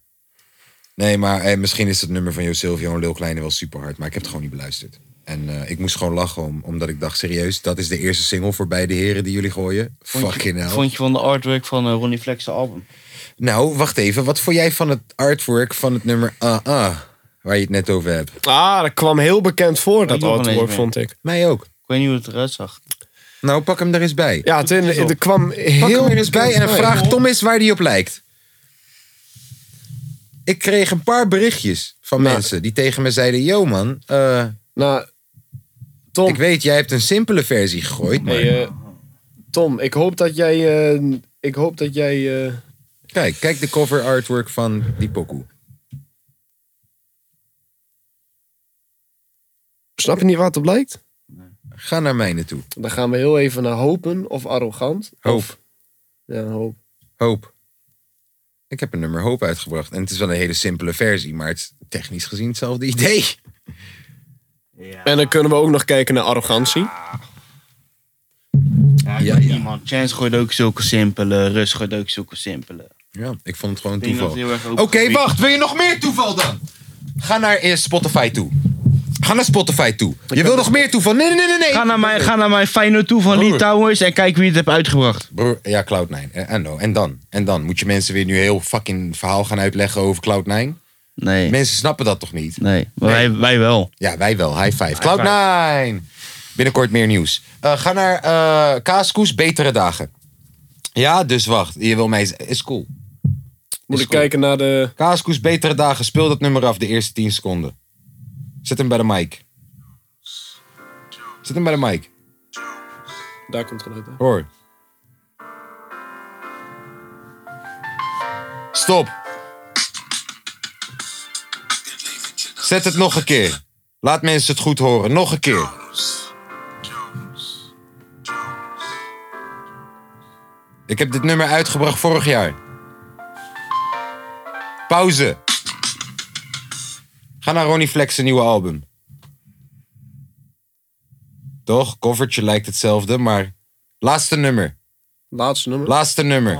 Speaker 5: Nee, maar eh, misschien is het nummer van Jo Silvio en Lil Kleine wel super hard. Maar ik heb het gewoon niet beluisterd. En eh, ik moest gewoon lachen om, omdat ik dacht, serieus, dat is de eerste single voor beide heren die jullie gooien.
Speaker 6: Vond je-
Speaker 5: Fucking hell.
Speaker 6: Vond je van de artwork van eh, Ronnie Flex album?
Speaker 5: Nou, wacht even. Wat vond jij van het artwork van het nummer Ah Ah? Waar je het net over hebt.
Speaker 7: Ah, dat kwam heel bekend voor, dat
Speaker 6: Ik nog wel
Speaker 7: artwork,
Speaker 6: eens
Speaker 7: vond ik.
Speaker 5: Mij ook.
Speaker 6: Ik weet niet hoe het eruit zag.
Speaker 5: Nou, pak hem er eens bij.
Speaker 7: Ja, het, in- het kwam
Speaker 5: Pak
Speaker 7: heel
Speaker 5: hem er eens bij en
Speaker 7: bekend voor.
Speaker 5: vraag Tom eens waar die op lijkt. Ik kreeg een paar berichtjes van
Speaker 7: Nou.
Speaker 5: mensen die tegen me zeiden... Yo man, eh,
Speaker 7: Nou, Tom,
Speaker 5: ik weet, jij hebt een simpele versie gegooid. Maar
Speaker 7: hey, eh, Tom, ik hoop dat jij... eh, ik hoop dat jij... eh,
Speaker 5: kijk, kijk de cover artwork van die pokoe.
Speaker 7: snap je niet wat op lijkt?
Speaker 5: Ga naar mijne toe.
Speaker 7: Dan gaan we heel even naar hopen of arrogant.
Speaker 5: Hoop,
Speaker 7: Ja, hoop.
Speaker 5: hoop. Ik heb een nummer Hoop uitgebracht. En het is wel een hele simpele versie, maar het is technisch gezien hetzelfde <laughs> idee.
Speaker 4: En dan kunnen we ook nog kijken naar arrogantie.
Speaker 6: Ja,
Speaker 5: Ja,
Speaker 6: ja,
Speaker 5: ja.
Speaker 6: man. Chance gooit ook zulke simpele. Rus gooit ook zulke simpele.
Speaker 5: Ja, ik vond het gewoon een
Speaker 6: Ik denk
Speaker 5: toeval.
Speaker 6: dat het heel erg
Speaker 5: Oké,
Speaker 6: open gebied-
Speaker 5: wacht. Wil je nog meer toeval dan? Ga naar eh, Spotify toe. Ga naar Spotify toe. Je wil nog meer toeval? Nee, nee, nee, nee.
Speaker 6: Ga naar, mijn, ga naar mijn Feyenoord toe van Lee
Speaker 5: Broer.
Speaker 6: Towers en kijk wie het heeft uitgebracht.
Speaker 5: Broer, ja, Cloud9. Eh, En, en dan? En dan? Moet je mensen weer nu heel fucking verhaal gaan uitleggen over Cloud9?
Speaker 6: Nee,
Speaker 5: Mensen snappen dat toch niet?
Speaker 6: nee. Maar Wij, wij wel.
Speaker 5: Ja, wij wel. High five. Cloud9. Binnenkort meer nieuws. Eh, ga naar eh Kaaskoes, betere dagen. Ja, dus wacht. Je wil mij... z- Is cool.
Speaker 4: Moet ik kijken naar de...
Speaker 5: Kaaskoes, betere dagen. Speel dat nummer af de eerste 10 seconden. Zet hem bij de mic. Zet hem bij de mic.
Speaker 4: Daar komt het geluid uit.
Speaker 5: Hoor. Stop. Zet het nog een keer. Laat mensen het goed horen. Nog een keer. Ik heb dit nummer uitgebracht vorig jaar. Pauze. Ga naar Ronnie Flex zijn nieuwe album. Toch? Covertje lijkt hetzelfde, maar... Laatste nummer.
Speaker 4: Laatste nummer.
Speaker 5: Laatste nummer.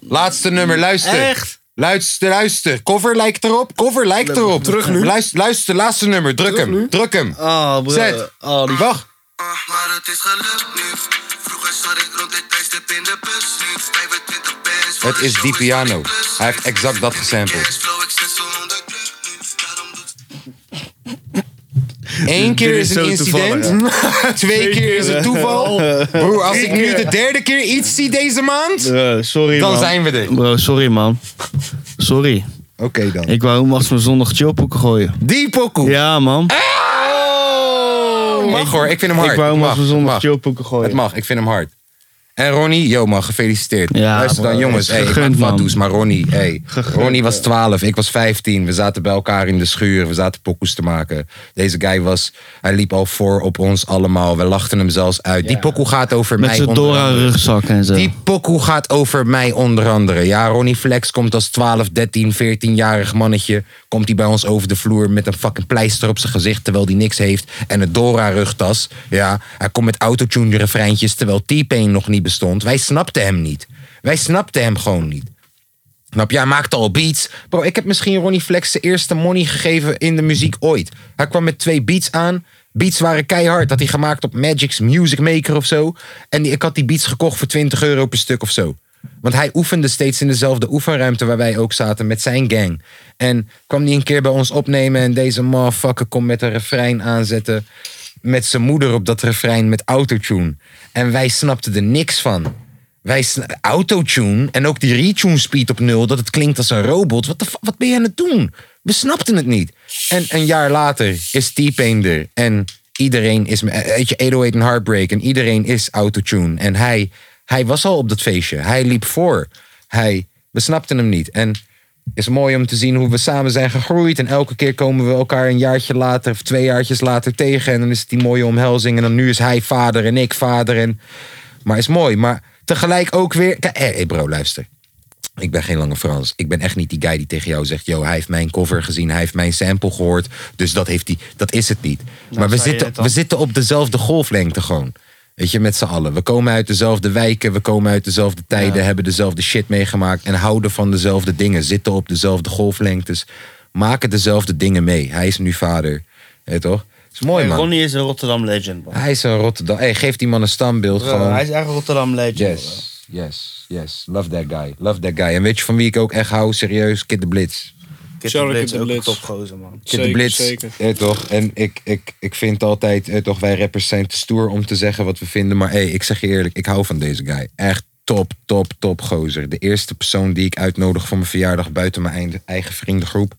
Speaker 5: Laatste nummer, luister.
Speaker 6: Echt?
Speaker 5: Luister, luister. Cover lijkt erop. Cover lijkt erop. Terug nu. Luister, luister laatste nummer. Druk hem. Druk hem.
Speaker 6: Oh, broer.
Speaker 5: Zet.
Speaker 6: Oh, die
Speaker 5: Wacht.
Speaker 8: Ah, maar het is gelukt nu. Vroeger zat ik rond dit tijdstip in de bus. Nu 25 bands. voor
Speaker 5: Het
Speaker 8: de
Speaker 5: is
Speaker 8: show
Speaker 5: die piano.
Speaker 8: plus.
Speaker 5: Hij heeft exact dat gesampled.
Speaker 8: Cashflow, ik zit zo onder druk nu. Daarom doet
Speaker 5: Eén keer
Speaker 6: Dit
Speaker 5: is
Speaker 6: is
Speaker 5: een
Speaker 6: zo
Speaker 5: incident. <laughs> Twee keer is het toeval.
Speaker 6: Oh.
Speaker 5: Broer, als ik nu de derde keer iets zie deze maand,
Speaker 6: Bro, sorry
Speaker 5: dan
Speaker 6: man.
Speaker 5: zijn we er. Oké
Speaker 6: Bro, sorry man. Sorry.
Speaker 5: dan.
Speaker 6: Ik wou Max mijn zondag chillpoeken gooien.
Speaker 5: Die pokoe.
Speaker 6: Ja man.
Speaker 5: Oh, mag hoor, ik vind hem hard.
Speaker 6: Ik wou
Speaker 5: Mag,
Speaker 6: Max mijn zondag
Speaker 5: mag.
Speaker 6: chillpoeken gooien.
Speaker 5: Het mag, ik vind hem hard. En Ronnie, yo man, gefeliciteerd.
Speaker 6: Ja,
Speaker 5: Luister dan,
Speaker 6: man,
Speaker 5: jongens.
Speaker 6: het
Speaker 5: Hey,
Speaker 6: is
Speaker 5: ik
Speaker 6: gegund,
Speaker 5: maak
Speaker 6: man.
Speaker 5: fatsoes, maar Ronnie, hey.
Speaker 6: Gegund,
Speaker 5: Ronnie was 12, ik was 15. We zaten bij elkaar in de schuur, we zaten pokoes te maken. Deze guy was, hij liep al voor op ons allemaal. We lachten hem zelfs uit. Die pokoe gaat over
Speaker 6: Met
Speaker 5: mij.
Speaker 6: zijn
Speaker 5: onder
Speaker 6: Dora
Speaker 5: andere.
Speaker 6: rugzak en zo.
Speaker 5: Die pokoe gaat over mij onder andere. Ja, Ronnie Flex komt als 12, 13, 14-jarig mannetje. Komt hij bij ons over de vloer met een fucking pleister op zijn gezicht. Terwijl hij niks heeft. En een Dora-rugtas. Ja, hij komt met autotune-refreintjes. Terwijl T-Pain nog niet bestond. Wij snapten hem niet. Wij snapten hem gewoon niet. Snap je? Hij maakte al beats. Bro, ik heb misschien Ronnie Flex de eerste money gegeven in de muziek ooit. Hij kwam met twee beats aan. Beats waren keihard. Had hij gemaakt op Magic's Music Maker of zo. En die- ik had die beats gekocht voor 20 euro per stuk of zo. Want hij oefende steeds in dezelfde oefenruimte waar wij ook zaten met zijn gang. En kwam die een keer bij ons opnemen en deze motherfucker kon met een refrein aanzetten. Met zijn moeder op dat refrein met autotune. En wij snapten er niks van. Wij sna- autotune en ook die retune speed op nul, dat het klinkt als een robot. Wat, de fu- wat ben je aan het doen? We snapten het niet. En een jaar later is T-Pain er en iedereen is, me- eh, weet je, 808 en Heartbreak en iedereen is autotune. En hij, hij was al op dat feestje. Hij liep voor. Hij, we snapten hem niet. En is mooi om te zien hoe we samen zijn gegroeid. En elke keer komen we elkaar een jaartje later of twee jaartjes later tegen. En dan is het die mooie omhelzing. En dan nu is hij vader en ik vader. En... Maar is mooi. Maar tegelijk ook weer. Kijk, hé, hé, bro, luister. Ik ben geen lange Frans. Ik ben echt niet die guy die tegen jou zegt: Yo, hij heeft mijn cover gezien, hij heeft mijn sample gehoord. Dus dat, heeft die, dat is het niet. maar we
Speaker 6: zei Nou, je
Speaker 5: zitten,
Speaker 6: het al.
Speaker 5: we zitten op dezelfde golflengte gewoon. Weet je, met z'n allen. We komen uit dezelfde wijken, we komen uit dezelfde tijden, hebben dezelfde shit meegemaakt en houden van dezelfde dingen. Zitten op dezelfde golflengtes, maken dezelfde dingen mee. Hij is nu vader. Hé, toch? Is mooi, man.
Speaker 6: Ronnie is een Rotterdam legend man.
Speaker 5: Hij is een Rotterdam. Hey, geef die man een standbeeld. gewoon.
Speaker 6: Hij is echt een Rotterdam legend. bro.
Speaker 5: Yes, yes, yes. Love that guy. Love that guy. En weet je van wie ik ook echt hou? Serieus, Kid de Blitz.
Speaker 6: Kid
Speaker 4: Sorry,
Speaker 6: de Blitz,
Speaker 4: Kid de
Speaker 6: ook een
Speaker 4: Blitz.
Speaker 6: topgozer man.
Speaker 5: Kid de Blitz. eh, toch? En ik, ik, ik vind altijd, eh, toch, wij rappers zijn te stoer om te zeggen wat we vinden. Maar hey, ik zeg je eerlijk, ik hou van deze guy. Echt top, top, top gozer. De eerste persoon die ik uitnodig voor mijn verjaardag buiten mijn eind- eigen vriendengroep.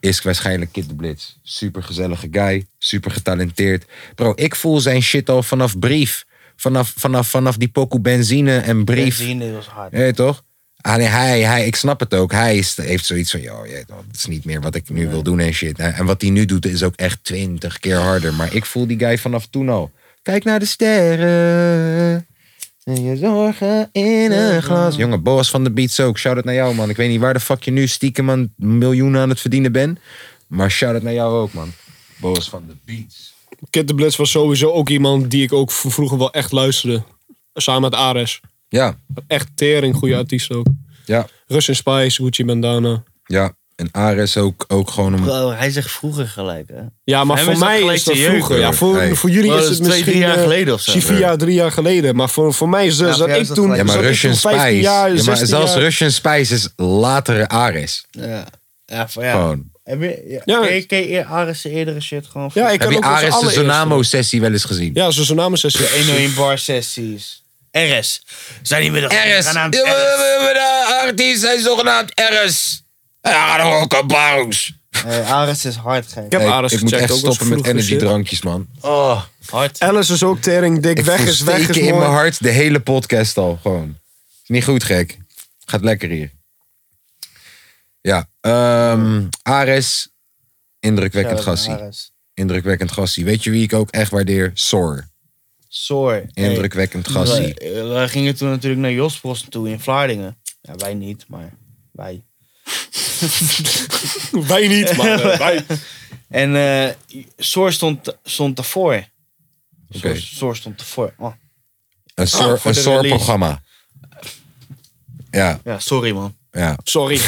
Speaker 5: is waarschijnlijk Kid de Blitz. Super gezellige guy, super getalenteerd. Bro, ik voel zijn shit al vanaf brief. Vanaf, vanaf, vanaf die pokoe benzine en brief.
Speaker 6: Benzine was hard.
Speaker 5: Ja, toch? Alleen hij, hij, ik snap het ook. Hij is, heeft zoiets van, joh, het is niet meer wat ik nu wil doen en shit. En wat hij nu doet is ook echt twintig keer harder. Maar ik voel die guy vanaf toen al. Kijk naar de sterren. En je zorgen in een glas. Jongen, Boas van de Beats ook. Shout-out naar jou, man. Ik weet niet waar de fuck je nu stiekem aan miljoenen aan het verdienen bent. Maar shout-out naar jou ook, man. Boas van de Beats.
Speaker 7: Kid de Blitz was sowieso ook iemand die ik ook v- vroeger wel echt luisterde. Samen met Ares.
Speaker 5: Ja,
Speaker 7: Echt tering, goede artiest ook.
Speaker 5: ja,
Speaker 7: Russian Spice, Gucci Bandana.
Speaker 5: ja. En Ares ook, ook gewoon een...
Speaker 6: Bro, hij zegt vroeger gelijk, hè?
Speaker 7: Ja, maar
Speaker 6: hem
Speaker 7: voor
Speaker 6: is dat
Speaker 7: mij
Speaker 6: gelijk
Speaker 7: is dat
Speaker 6: te jeuken.
Speaker 7: vroeger. Ja, voor,
Speaker 5: Hey.
Speaker 7: voor jullie
Speaker 6: Wel,
Speaker 7: is
Speaker 6: dat
Speaker 7: het
Speaker 6: is twee,
Speaker 7: misschien...
Speaker 6: drie jaar
Speaker 7: eh,
Speaker 6: geleden of zo.
Speaker 7: Misschien vier jaar, drie jaar geleden. Maar voor, voor mij is dat,
Speaker 11: Ja, voor
Speaker 7: dat
Speaker 11: jou
Speaker 7: ik
Speaker 11: is dat
Speaker 7: toen...
Speaker 5: Ja,
Speaker 11: gelijk.
Speaker 7: zat
Speaker 5: maar
Speaker 7: ik toen
Speaker 5: Russian
Speaker 7: 15
Speaker 5: Spice.
Speaker 7: Jaar,
Speaker 5: ja, maar
Speaker 7: 16
Speaker 5: zelfs
Speaker 7: jaar.
Speaker 5: Russian Spice is latere Ares.
Speaker 6: Ja. Ja, van ja.
Speaker 5: Gewoon.
Speaker 6: Heb je, ja,
Speaker 7: Ja.
Speaker 6: E, Ken je, ken je Ares' eerdere shit gewoon?
Speaker 7: Ja,
Speaker 5: Heb
Speaker 7: ik kan
Speaker 5: je
Speaker 7: ook onze
Speaker 5: Ares de
Speaker 7: allereerste.
Speaker 5: Zonamo-sessie wel eens gezien?
Speaker 7: Ja, zo'n Zonamo-sessie.
Speaker 6: De 101 bar sessies. RS. Zijn die middag.
Speaker 5: RS. Ja,
Speaker 6: Genaamd
Speaker 5: we-
Speaker 6: RS.
Speaker 5: we- we- de artiest zijn zogenaamd RS. Ja, dan ook een baus.
Speaker 6: Nee, Ares is hard, gek.
Speaker 7: Ik heb
Speaker 5: Hey,
Speaker 7: Ares
Speaker 5: ik moet
Speaker 7: gecheckt,
Speaker 5: echt
Speaker 7: ook als
Speaker 5: stoppen met
Speaker 7: vroeger shit.
Speaker 5: energiedrankjes, man.
Speaker 6: Oh, hard.
Speaker 7: Alice is ook tering, dik.
Speaker 5: Ik
Speaker 7: weg
Speaker 5: voel
Speaker 7: is weg is
Speaker 5: steken in
Speaker 7: mooi.
Speaker 5: mijn hart de hele podcast al, gewoon. Is niet goed, gek. Gaat lekker hier. Ja, ehm, Ares. Indrukwekkend gassie.
Speaker 6: Ares.
Speaker 5: Indrukwekkend gassie. Weet je wie ik ook echt waardeer? Sor.
Speaker 6: Soor.
Speaker 5: Indrukwekkend gassie.
Speaker 6: We, we gingen toen natuurlijk naar Jospos toe in Vlaardingen. Ja, wij niet, maar wij.
Speaker 7: Wij
Speaker 6: <laughs>
Speaker 7: niet, maar eh, wij.
Speaker 6: En eh Soor stond, stond daarvoor. Soor,
Speaker 5: Oké.
Speaker 6: Soor stond ervoor. Oh,
Speaker 5: Een Sor,
Speaker 6: voor
Speaker 5: een
Speaker 6: de
Speaker 5: Sor
Speaker 6: release.
Speaker 5: programma. Ja,
Speaker 6: ja, sorry man.
Speaker 5: ja.
Speaker 7: Sorry.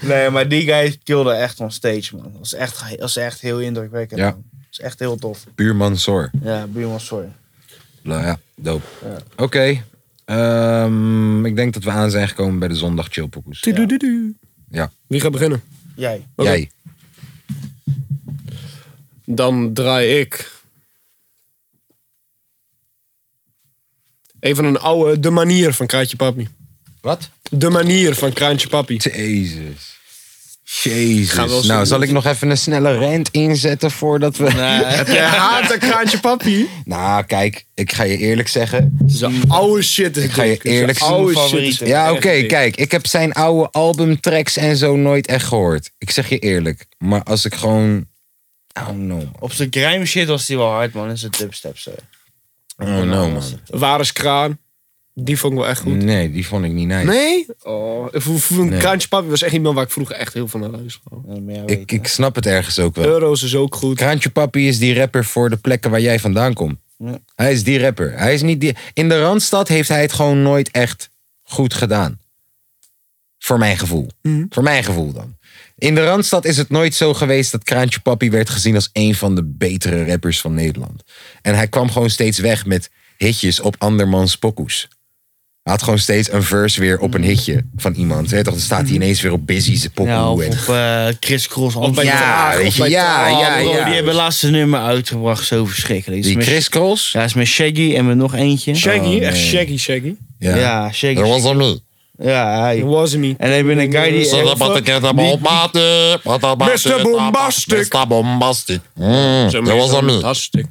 Speaker 6: Nee, maar die guy killde echt on stage, man. Dat was echt, dat was echt heel indrukwekkend.
Speaker 5: Ja.
Speaker 6: man. Dat is echt heel tof.
Speaker 5: Buurman Sor.
Speaker 6: Ja, buurman, sorry.
Speaker 5: Nou ja, dope. Oké. Ehm, ik denk dat we aan zijn gekomen bij de zondag chillpokoes.
Speaker 7: Wie gaat beginnen?
Speaker 6: Jij.
Speaker 5: Jij.
Speaker 7: Dan draai ik. Even een oude, de manier van Kraantje Papi.
Speaker 5: Wat?
Speaker 7: De manier van Kraantje Papi.
Speaker 5: Jezus.
Speaker 7: Gaan we wel
Speaker 5: Jezus.
Speaker 7: zo
Speaker 5: Nou,
Speaker 7: doen.
Speaker 5: zal ik nog even een snelle rent inzetten voordat we...
Speaker 7: Jij haat een Kraantje Papi?
Speaker 5: <laughs> Nou, kijk, ik ga je eerlijk zeggen.
Speaker 7: Zijn oude shit is Ik
Speaker 5: ga je eerlijk
Speaker 7: zijn.
Speaker 5: zeggen,
Speaker 7: Oude
Speaker 6: mijn
Speaker 7: Oh, shit.
Speaker 6: favoriete.
Speaker 5: Ja, oké,
Speaker 7: Echt dik.
Speaker 5: kijk. Ik heb zijn oude albumtracks en zo nooit echt gehoord. Ik zeg je eerlijk. Maar als ik gewoon... Oh no.
Speaker 6: Op zijn grime shit was hij wel hard, man. In zijn dubstep, zo.
Speaker 5: Oh no, man.
Speaker 7: Waar is Kraan? Die vond ik wel echt goed.
Speaker 5: Nee, die vond ik niet nice.
Speaker 7: Nee? Oh, ik voel- voel-
Speaker 5: Mm. Nee.
Speaker 7: Kraantje Papi was echt iemand waar ik vroeger echt heel van naar luisterde.
Speaker 6: Ja, maar jij weet
Speaker 5: Ik, ik snap het ergens ook wel.
Speaker 7: Euro's is ook goed.
Speaker 5: Kraantje Papi is die rapper voor de plekken waar jij vandaan komt.
Speaker 6: Ja.
Speaker 5: Hij is die rapper. Hij is niet die... In de Randstad heeft hij het gewoon nooit echt goed gedaan. Voor mijn gevoel.
Speaker 6: Mhm.
Speaker 5: Voor mijn gevoel dan. In de Randstad is het nooit zo geweest dat Kraantje Papi werd gezien als een van de betere rappers van Nederland. En hij kwam gewoon steeds weg met hitjes op andermans pokoes. Hij had gewoon steeds een verse weer op een hitje van iemand. Weet je toch, dan staat
Speaker 6: Mhm.
Speaker 5: hij ineens weer op Busy's pokoe.
Speaker 6: Ja, of
Speaker 5: en-
Speaker 6: op eh, Chris Cross Amsterdam.
Speaker 5: ja, weet je, ja, ja,
Speaker 6: Bro,
Speaker 5: ja.
Speaker 6: Oh, die hebben laatst een nummer uitgebracht, zo verschrikkelijk.
Speaker 5: Die
Speaker 6: Is met-
Speaker 5: Chris Cross?
Speaker 6: Ja, is met Shaggy en met nog eentje.
Speaker 7: Shaggy,
Speaker 5: Oh,
Speaker 7: echt
Speaker 5: nee.
Speaker 7: Shaggy, Shaggy.
Speaker 5: Ja.
Speaker 6: Ja, Shaggy.
Speaker 5: Dat was hem niet.
Speaker 6: Ja, hij.
Speaker 7: It was me.
Speaker 6: En ik ben een guy die...
Speaker 5: Zeg dat wat ik het allemaal opmaakte. Wat dat maakte.
Speaker 7: Mr. Bombastic.
Speaker 5: Mr. Bombastic. Mm, Dat was hem niet.
Speaker 7: Fantastisch.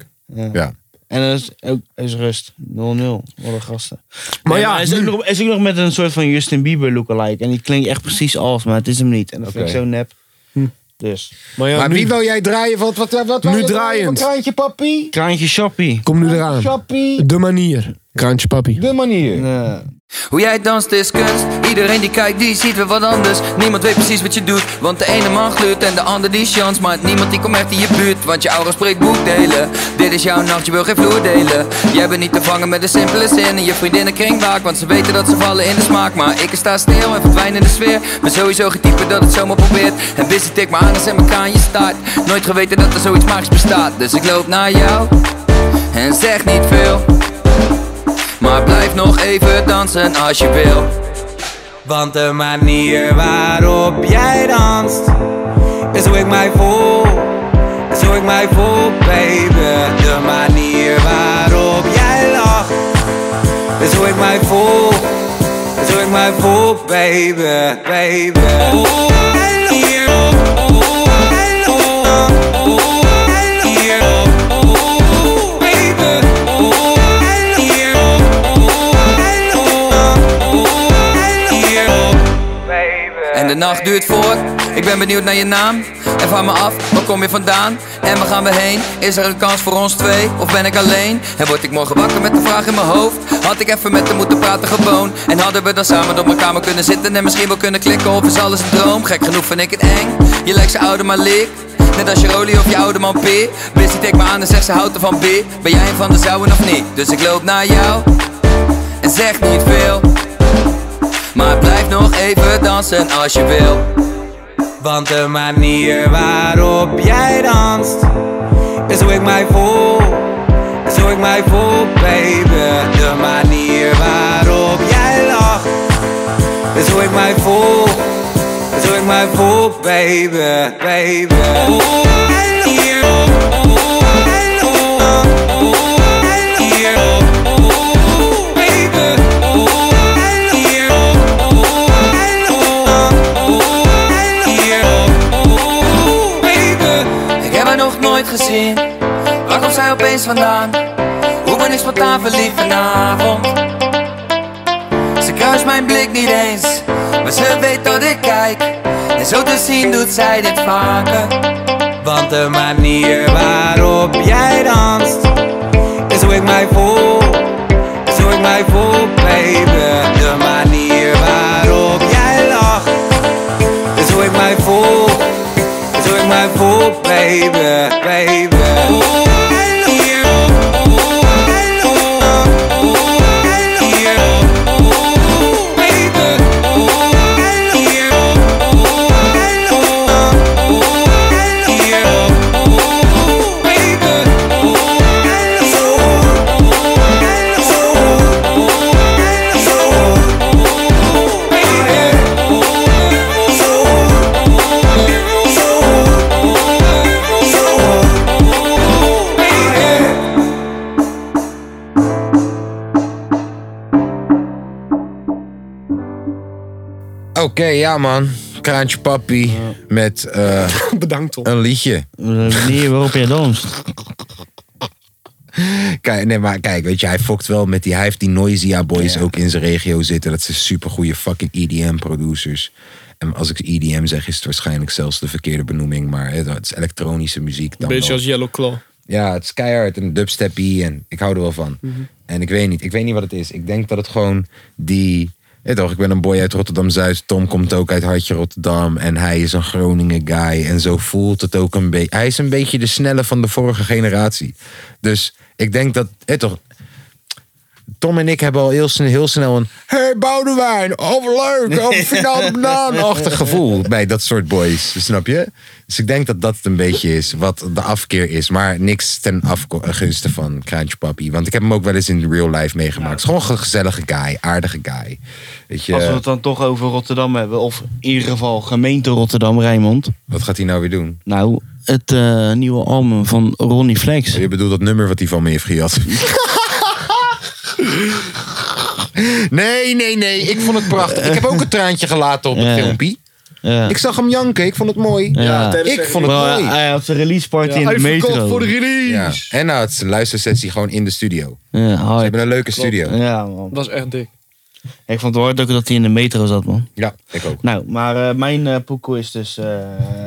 Speaker 5: Ja.
Speaker 6: En dat is, ook, is rust. 0-0. Wat een gasten.
Speaker 7: Maar
Speaker 6: Nee,
Speaker 7: ja,
Speaker 6: hij is, ook
Speaker 7: nu-
Speaker 6: nog, hij is ook nog met een soort van Justin Bieber lookalike. En die klinkt echt precies als, maar het is hem niet. En dat vind
Speaker 5: Oké.
Speaker 6: ik zo nep. Dus.
Speaker 7: Maar ja,
Speaker 5: Maar
Speaker 7: nu,
Speaker 5: wie wil jij draaien? Wat, wat, wat, wat
Speaker 7: Nu
Speaker 5: wat- wat-
Speaker 7: draaiend.
Speaker 5: wat- Kraantje papi.
Speaker 6: Kraantje Shoppie.
Speaker 7: kom nu eraan.
Speaker 5: Chappie.
Speaker 7: De manier. Kraantje papi.
Speaker 5: De manier.
Speaker 6: Ja.
Speaker 11: Hoe jij danst is kunst, iedereen die kijkt die ziet weer wat anders Niemand weet precies wat je doet, want de ene man gluurt en de ander die chance Maakt niemand die komt echt in je buurt, want je aura spreekt boekdelen Dit is jouw nacht, je wil geen vloer delen Jij bent niet te vangen met de simpele zin en je vriendinnen kringwaak Want ze weten dat ze vallen in de smaak, maar ik sta stil en verdwijn in de sfeer Ben sowieso getypen dat het zomaar probeert En busy tik me aan en zet me aan je staart Nooit geweten dat er zoiets magisch bestaat Dus ik loop naar jou en zeg niet veel maar blijf nog even dansen als je wil. Want de manier waarop jij danst, is hoe ik mij voel. Is hoe ik mij voel, baby. De manier waarop jij lacht, is hoe ik mij voel. Is hoe ik mij voel, baby, baby. En de nacht duurt voort, ik ben benieuwd naar je naam. En van me af, waar kom je vandaan? En waar gaan we heen? Is er een kans voor ons twee? Of ben ik alleen? En word ik morgen wakker met de vraag in mijn hoofd? Had ik even met hem moeten praten gewoon? En hadden we dan samen op mijn kamer kunnen zitten en misschien wel kunnen klikken? Of is alles een droom? Gek genoeg vind ik het eng. Je lijkt ze ouder maar leek. Net als je Rolie of je oude man P. Bessie tikt me aan en zegt ze houdt er van B. Ben jij een van de zouden of niet? Dus ik loop naar jou en zeg niet veel. Maar blijf nog even dansen als je wil.
Speaker 12: Want de manier waarop jij danst Is hoe ik mij voel Is hoe ik mij voel, baby De manier waarop jij lacht Is hoe ik mij voel Is hoe ik mij voel, baby, baby Oh, I love you. Oh, I love you.
Speaker 11: Ik heb haar nog nooit gezien. Waar komt zij opeens vandaan? Hoe ben ik spontaan verliefd vanavond? Ze kruist mijn blik niet eens, maar ze weet dat ik kijk. En zo te zien doet zij dit vaker.
Speaker 12: Want de manier waarop jij danst Is hoe ik mij voel Is hoe ik mij voel, baby De manier waarop jij lacht Is hoe ik mij voel Is hoe ik mij voel, baby, baby Oh, I love you. Oh, I love you. Oh, I love you. Oh, baby. Oh, I love you. Oh, I love you.
Speaker 5: Oké, ja man. Kraantje Papi met <laughs> eh,
Speaker 7: <laughs> Bedankt, Tom.
Speaker 5: een liedje.
Speaker 6: De manier waarop je danst.
Speaker 5: Kijk, nee, maar kijk, weet je, hij fokt wel met die. Hij heeft die Noisia Boys ook in zijn regio zitten. Dat zijn supergoeie fucking E EDM-producers. En als ik EDM zeg, is het waarschijnlijk zelfs de verkeerde benoeming. Maar hè, het is elektronische muziek. Dan
Speaker 7: Beetje
Speaker 5: wel.
Speaker 7: als Yellow Claw.
Speaker 5: Ja, het is keihard en dubsteppy en ik hou er wel van. En ik weet niet, ik weet niet wat het is. Ik denk dat het gewoon die... Ja, toch, ik ben een boy uit Rotterdam-Zuid. Tom komt ook uit Hartje Rotterdam. En hij is een Groningen guy. En zo voelt het ook een beetje. Hij is een beetje de snelle van de vorige generatie. Dus ik denk dat... Ja, toch, Tom en ik hebben al heel snel, heel snel een... Hey Boudewijn, oh wat leuk, oh finale banaan-achtig gevoel bij dat soort boys, snap je? Dus ik denk dat dat het een beetje is, wat de afkeer is. Maar niks ten afko- eh, gunste van Kraantje Papi. Want ik heb hem ook wel eens in real life meegemaakt. Het is gewoon een gezellige guy, aardige guy. Weet je,
Speaker 6: Als we het dan toch over Rotterdam hebben, of in ieder geval gemeente Rotterdam, Rijnmond.
Speaker 5: wat gaat hij nou weer doen?
Speaker 6: Nou, het eh, nieuwe album van Ronnie Flex.
Speaker 5: Je bedoelt dat nummer wat hij van me heeft gejat. Nee, nee, nee. Ik vond het prachtig. Ik heb ook een traantje gelaten op het
Speaker 6: Ja.
Speaker 5: filmpje.
Speaker 6: Ja.
Speaker 5: Ik zag hem janken. Ik vond het mooi.
Speaker 6: Ja.
Speaker 5: Ik vond het
Speaker 6: Wel,
Speaker 5: mooi.
Speaker 6: hij had zijn release party in de metro.
Speaker 5: Ja. En nou, het is een luistersessie gewoon in de studio.
Speaker 6: Ja,
Speaker 5: We
Speaker 6: hype.
Speaker 5: hebben een leuke studio.
Speaker 6: Ja, man.
Speaker 7: Dat is echt dik.
Speaker 6: Ik vond het hard ook dat hij in de metro zat, man.
Speaker 5: Ja, ik ook.
Speaker 6: Nou, maar eh, mijn eh poeko is dus eh,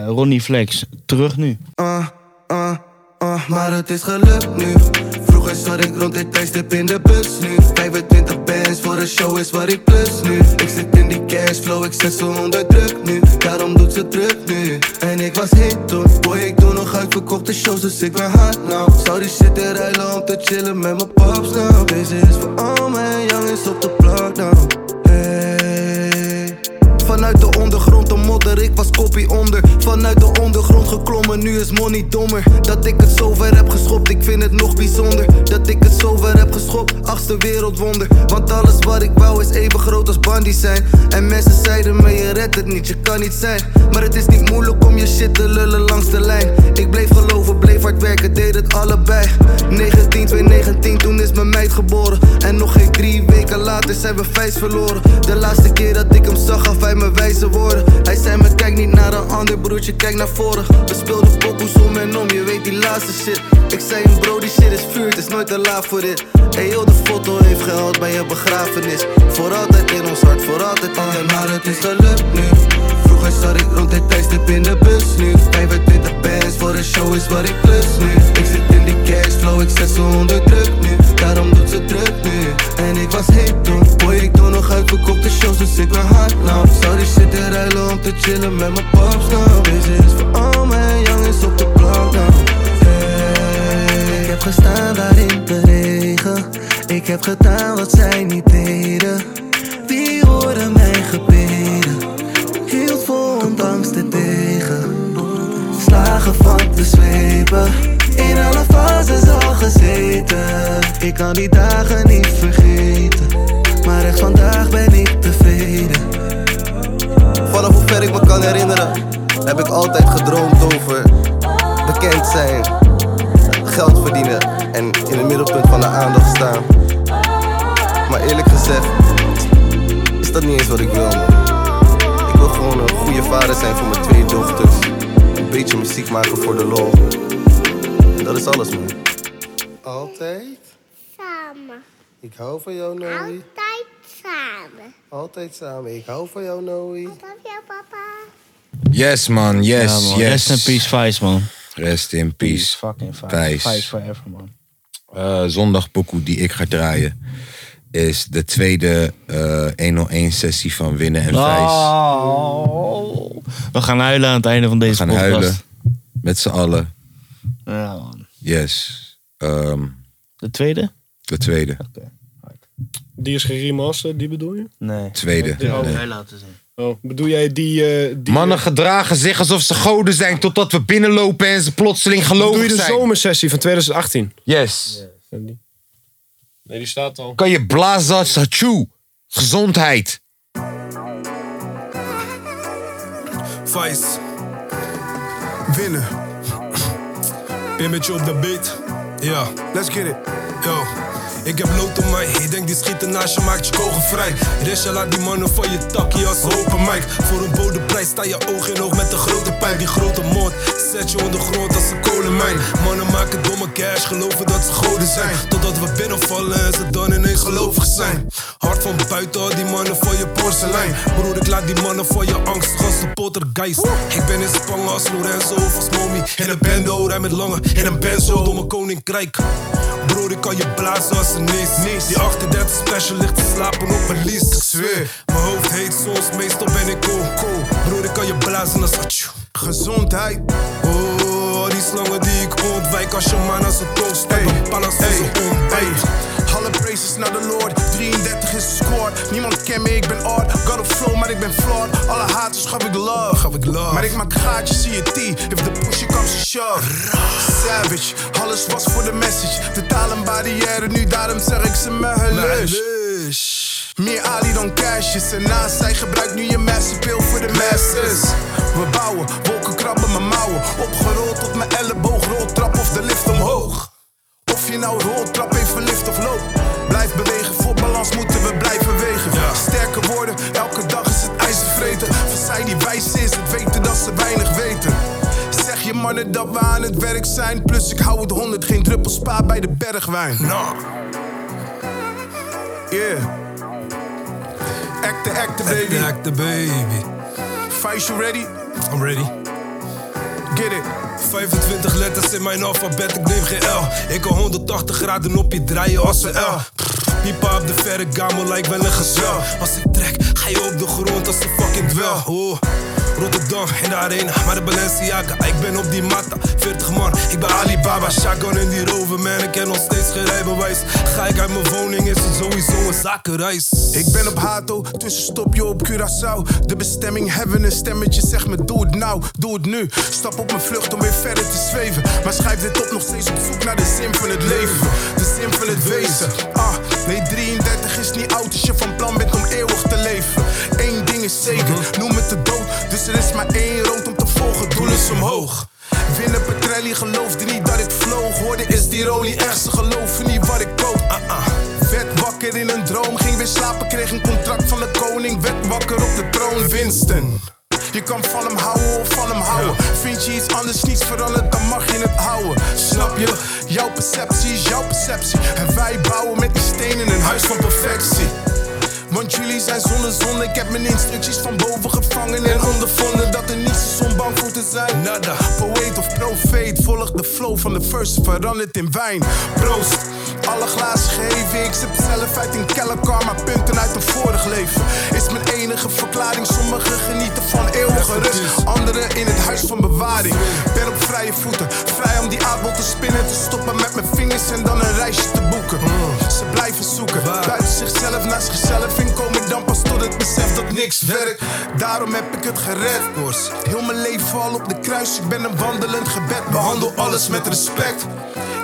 Speaker 6: Ronnie Flex. Terug nu.
Speaker 12: Ah, ah, ah, maar het is gelukt nu. Vroeger zat ik rond dit tijdstip in de bus nu. 25 bands voor een show is wat ik plus nu. Ik zit in die cashflow, ik zit zo onder druk nu. Daarom doet ze druk nu. En ik was hit toen. Boy, ik doe nog uitverkochte shows, dus ik ben hard nou. Zou die shit eruilen om te chillen met mijn pops nou. Deze is voor al mijn jongens op de plak nou. Hey. Vanuit de ondergrond de modder, ik was kopie onder. Vanuit de ondergrond geklommen, nu is money dommer. Dat ik het zo ver heb geschopt, ik vind het nog bijzonder. Dat ik het zo ver heb geschopt, achtste wereldwonder. Want alles wat ik wou is even groot als bandy zijn. En mensen zeiden me, je redt het niet, je kan niet zijn. Maar het is niet moeilijk om je shit te lullen langs de lijn. Ik bleef geloven, bleef hard werken, deed het allebei. 19, 2, 19, toen is mijn meid geboren. En nog geen drie weken later zijn we vijs verloren. De laatste keer dat ik hem zag, gaf hij me wijze woorden. Hij zei me, kijk niet naar een ander broertje, kijk naar voren. We speelden pokoes om en om, je weet die laatste shit. Ik zei hem, bro, die shit is vuur, het is nooit te laat voor dit. Hey, yo, de foto heeft gehaald bij je begrafenis. Voor altijd in ons hart, voor altijd in de Maar het is gelukt nu. Vroeger Vroeger zat ik rond dit tijdstip in de bus nu 25 bands voor een show is wat ik plus nu Ik zit in die cashflow, ik zet ze onder druk nu Daarom doet ze druk nu En ik was hip toen Boy, ik doe nog uitverkochte shows, dus ik ben hard nou Zou die shit te ruilen om te chillen met mijn pops nou Deze is voor al mijn jongens op de blok nou Hey, ik heb gestaan daar in de regen Ik heb gedaan wat zij niet deden Wie hoorde mijn gebeden Hield vol ondanks de tegen Slagen van de zwepen In alle fases al gezeten Ik kan die dagen niet vergeten Maar echt vandaag ben ik tevreden Vanaf hoe ver ik me kan herinneren Heb ik altijd gedroomd over Bekend zijn Geld verdienen En in het middelpunt van de aandacht staan Maar eerlijk gezegd Is dat niet eens wat ik wil man. Ik wil gewoon een goede vader zijn voor mijn twee dochters. Een beetje muziek maken voor de lol. En dat is alles, man. Altijd?
Speaker 13: Samen.
Speaker 12: Ik hou van jou, Noe.
Speaker 13: Altijd samen.
Speaker 12: Altijd samen. Ik hou van jou, Noe.
Speaker 13: Tot jou, papa.
Speaker 5: Yes, man. Yes,
Speaker 6: Ja, man.
Speaker 5: yes.
Speaker 6: Rest in peace, Vice, man.
Speaker 5: Rest in peace.
Speaker 6: Fucking
Speaker 5: Vice.
Speaker 6: Vice forever, man.
Speaker 5: Eh, zondag pokoe die ik ga draaien is de tweede eh 101 sessie van Winnen
Speaker 6: Ah.
Speaker 5: en Vijs.
Speaker 6: Oh. We gaan huilen aan het einde van deze
Speaker 5: We gaan
Speaker 6: podcast.
Speaker 5: huilen. Met z'n allen.
Speaker 6: Ja, man.
Speaker 5: Yes. Ehm,
Speaker 6: De tweede?
Speaker 5: de tweede.
Speaker 7: Die is geremasterd, die bedoel je?
Speaker 6: Nee.
Speaker 5: Tweede. Nee.
Speaker 6: laten zien.
Speaker 7: Oh, bedoel jij die... eh die
Speaker 5: Mannen gedragen zich alsof ze goden zijn totdat we binnenlopen en ze plotseling
Speaker 7: Bedoel eh, je
Speaker 5: gelovig
Speaker 7: de
Speaker 5: zijn.
Speaker 7: zomersessie van 2018?
Speaker 5: Yes.
Speaker 7: Nee, die staat al.
Speaker 5: Kan je blazen, sachu. Gezondheid.
Speaker 3: Vice. Winnen. Ben met je op de beat. Ja, let's get it. Yo. Ik heb lood om mij, ik denk die schieten naast je maakt je kogel vrij. Resha laat die mannen van je takkie als open mic. Voor een bodemprijs sta je oog in oog met een grote pijp. Die grote mond zet je ondergrond als een kolenmijn. Mannen maken domme cash, geloven dat ze goden zijn. Totdat we binnenvallen en ze dan ineens gelovig zijn. Hart van buiten, al die mannen van je porselein. Broer, ik laat die mannen van je angst als de poltergeist. Ik ben in Spanje als Lorenzo of als Momi. In een bendo, rij met lange. In een benzo, door mijn koninkrijk. Broer, ik kan je blazen als een nees. Die 38 special ligt te slapen op een lease. Ik zweer, mijn hoofd heet soms, meestal ben ik cool. cool. Broer, ik kan je blazen als atjoe. Gezondheid. Oh, die slangen die ik ontwijk als je man als een toast. Hey, een palas hey, ontbijt.
Speaker 14: Alle praises naar de Lord, 33 is de score. Niemand kent me, ik ben odd. God of flow, maar ik ben flawed. Alle haters gaf ik love.
Speaker 3: Gaf ik love.
Speaker 14: Maar ik maak gaatjes, zie je T. If the push comes to shove. Savage, alles was voor de message. De taal een barrière, nu daarom zeg ik ze me
Speaker 3: Lush.
Speaker 14: gelust. Meer Ali dan Cashes. En naast zij gebruikt nu je masterpil voor de masses. We bouwen, wolken krabben mijn mouwen. Opgerold tot mijn elleboog, roltrap of de lift omhoog. Of je nou rolt, trap even lift of loop. Blijf bewegen, voor balans moeten we blijven wegen. Sterke woorden, elke dag is het ijzer vreten. Van zij die wijs is, het weten dat ze weinig weten. Zeg je mannen dat we aan het werk zijn. Plus ik hou het 100, geen druppel spa bij de bergwijn.
Speaker 3: Nou,
Speaker 14: Yeah. Act the act the
Speaker 3: baby.
Speaker 14: baby.
Speaker 3: Act the baby.
Speaker 14: Fight you ready?
Speaker 3: I'm ready.
Speaker 14: Get it.
Speaker 3: 25 letters in mijn alfabet, ik neem geen L. Ik kan 180 graden op je draaien als een L. Piepa op de verre gamel lijkt wel een gezel. Als ik trek, ga je op de grond als een fucking dwel. Oh. Rotterdam in de arena, maar de Balenciaga. Ik ben op die mata, 40 man. Ik ben Alibaba, shotgun in die rover, man. Ik heb nog steeds geen rijbewijs. Ga ik uit mijn woning, is het sowieso een zakenreis.
Speaker 14: Ik ben op Hato, tussenstopje op Curaçao. De bestemming hebben een stemmetje, zeg me doe het nou, doe het nu. Stap op mijn vlucht om weer verder te zweven. Maar schrijf dit op, nog steeds op zoek naar de zin van het leven. De zin van het wezen. Ah, nee, 33 is niet oud als je van plan bent om eeuwig te leven. Eén ding is zeker, noem het de dood. Dus er is maar één rood om te volgen, doel is omhoog. Winnen Petrelli geloofde niet dat ik vloog. Hoorde is die rolie echt, ze geloven niet wat ik koop. Ah ah. Werd wakker in een droom, ging weer slapen, kreeg een contract van de koning. Werd wakker op de troon, Winston. Je kan van hem houden of van hem houden. Vind je iets anders niets veranderd, dan mag je het houden. Snap je? Jouw perceptie is jouw perceptie. En wij bouwen met die stenen een huis van perfectie. Want jullie zijn zonder zon. Ik heb mijn instructies van boven gevangen en ondervonden dat er niets is om bang voor te zijn. Nada, poëet of profeet. Volg de flow van de verse, veranderd in wijn. Proost, alle glazen geven. Ik zip zelf uit een kellerkar, maar punten uit een vorig leven. Is mijn enige verklaring. Sommigen genieten van eeuwige rust, anderen in het huis van bewaring. Ben op vrije voeten, vrij om die aardbol te spinnen. Te stoppen met mijn vingers en dan een reisje te boeken. Ze blijven zoeken, buiten zichzelf, naar zichzelf in komen dan pas tot het besef dat niks werkt. Daarom heb ik het gered, Koers. Heel mijn leven al op de kruis, ik ben een wandelend gebed. Behandel alles met respect.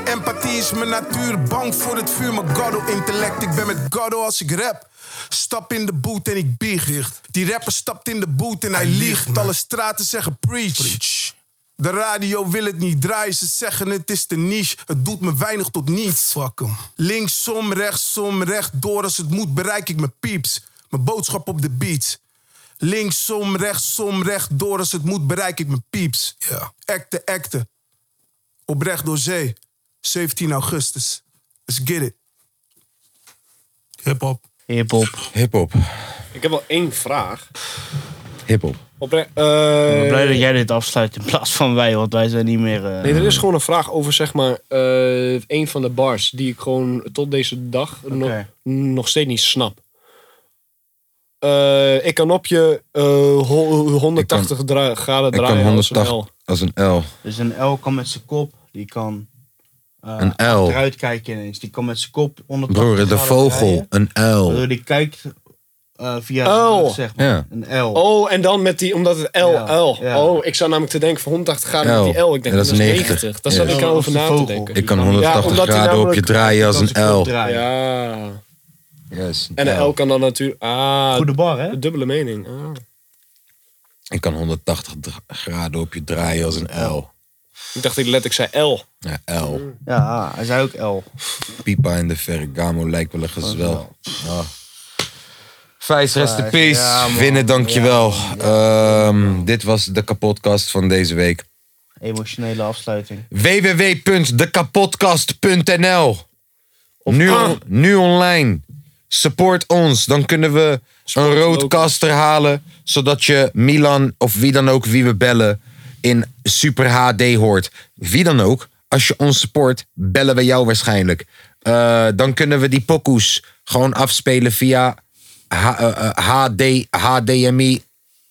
Speaker 14: Empathie is mijn natuur, bang voor het vuur, maar Goddo intellect. Ik ben met Goddo als ik rap. Stap in de boot en ik biecht. Die rapper stapt in de boot en hij liegt. Alle straten zeggen preach. De radio wil het niet draaien, ze zeggen het is de niche. Het doet me weinig tot niets. Fuck em. Linksom, rechtsom, rechtdoor. Als het moet bereik ik mijn pieps. Mijn boodschap op de beat. Linksom, rechtsom, rechtdoor. Als het moet bereik ik mijn pieps. Acte, acte. Oprecht door zee. 17 augustus. Let's get it. Hip-hop.
Speaker 6: Hip-hop.
Speaker 5: Hip-hop.
Speaker 7: Ik heb wel één vraag.
Speaker 5: Hip-hop.
Speaker 7: Opre-
Speaker 6: Ik ben blij
Speaker 7: eh
Speaker 6: dat jij dit afsluit in plaats van wij, want wij zijn niet meer. eh,
Speaker 7: nee, er is gewoon een vraag over zeg maar eh een van de bars die ik gewoon tot deze dag nog, nog steeds niet snap. Eh, ik kan op je eh, ho- 180 dra- graden
Speaker 5: Ik
Speaker 7: draaien.
Speaker 5: kan
Speaker 7: als een
Speaker 5: 180
Speaker 7: L.
Speaker 5: als een L.
Speaker 6: Dus een L kan met zijn kop, die kan. eh
Speaker 5: Een L.
Speaker 6: Eruit kijken ineens. Die kan met zijn kop onder
Speaker 5: Broer, de vogel. Een L.
Speaker 6: die kijkt eh, via zijn rug, zeg maar.
Speaker 5: Ja.
Speaker 6: Een L.
Speaker 7: Oh, en dan met die, omdat het L,
Speaker 6: Ja,
Speaker 7: L.
Speaker 6: ja.
Speaker 7: Oh, ik zou namelijk te denken van 180 graden met die
Speaker 5: L.
Speaker 7: L. Ik denk
Speaker 5: Ja,
Speaker 7: dat is 90. Daar zat
Speaker 5: Ja.
Speaker 7: ik al over na te denken.
Speaker 5: Ik kan
Speaker 7: Ja,
Speaker 5: 180
Speaker 7: omdat hij
Speaker 5: graden op je
Speaker 7: namelijk-
Speaker 5: draaien als
Speaker 7: omdat
Speaker 5: een
Speaker 7: hij
Speaker 5: L.
Speaker 6: draaien.
Speaker 7: Ja.
Speaker 5: Yes,
Speaker 7: En een L kan dan natuurlijk... Ah,
Speaker 6: Goede bar, hè?
Speaker 7: dubbele mening. Ah.
Speaker 5: Ik kan 180 dra- graden op je draaien als een L.
Speaker 7: Ik dacht, ik let, ik zei L.
Speaker 5: Ja, L.
Speaker 6: Ja, ah, hij zei ook L.
Speaker 5: Pipa in de Ferragamo lijkt wel een gezwel. Ja. Vijs, rest in
Speaker 6: Vijs,
Speaker 5: peace.
Speaker 6: Ah. ja, man.
Speaker 5: Winnen, dankjewel. Ehm, dit was de kapotcast van deze week.
Speaker 6: Emotionele afsluiting.
Speaker 5: www.dekapodcast.nl nu, on- nu online. Support ons. Dan kunnen we een roodkaster halen. Zodat je Milan of wie dan ook wie we bellen in Super HD hoort. Wie dan ook. Als je ons support, bellen we jou waarschijnlijk. Eh, dan kunnen we die pokoes gewoon afspelen via H- eh, eh, HD, HDMI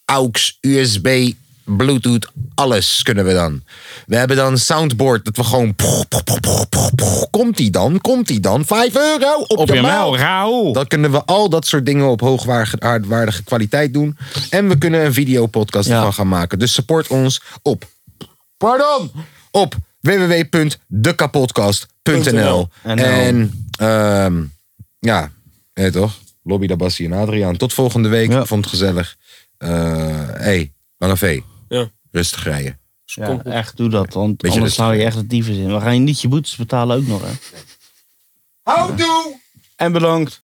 Speaker 5: AUX, USB, Bluetooth, alles kunnen we dan. We hebben dan een soundboard dat we gewoon... komt die dan? Komt die dan? 5 euro op, je mail.
Speaker 6: rauw.
Speaker 5: Dan kunnen we al dat soort dingen op hoogwaardige kwaliteit doen. En we kunnen een videopodcast ervan gaan maken. Dus support ons op... Pardon! Op www.dekapodcast.nl
Speaker 6: En-
Speaker 5: En ehm, ja, hè toch? Lobby Dabassi en Adriaan. Tot volgende week.
Speaker 6: Ja.
Speaker 5: Vond het gezellig. Eh, hey, Lange V.
Speaker 7: Ja.
Speaker 5: Rustig rijden.
Speaker 6: Ja, echt, doe dat. Want
Speaker 5: Beetje
Speaker 6: anders
Speaker 5: rustig.
Speaker 6: hou je echt het dieven in. We gaan je niet je boetes betalen ook nog, hè. Houdoe! En bedankt.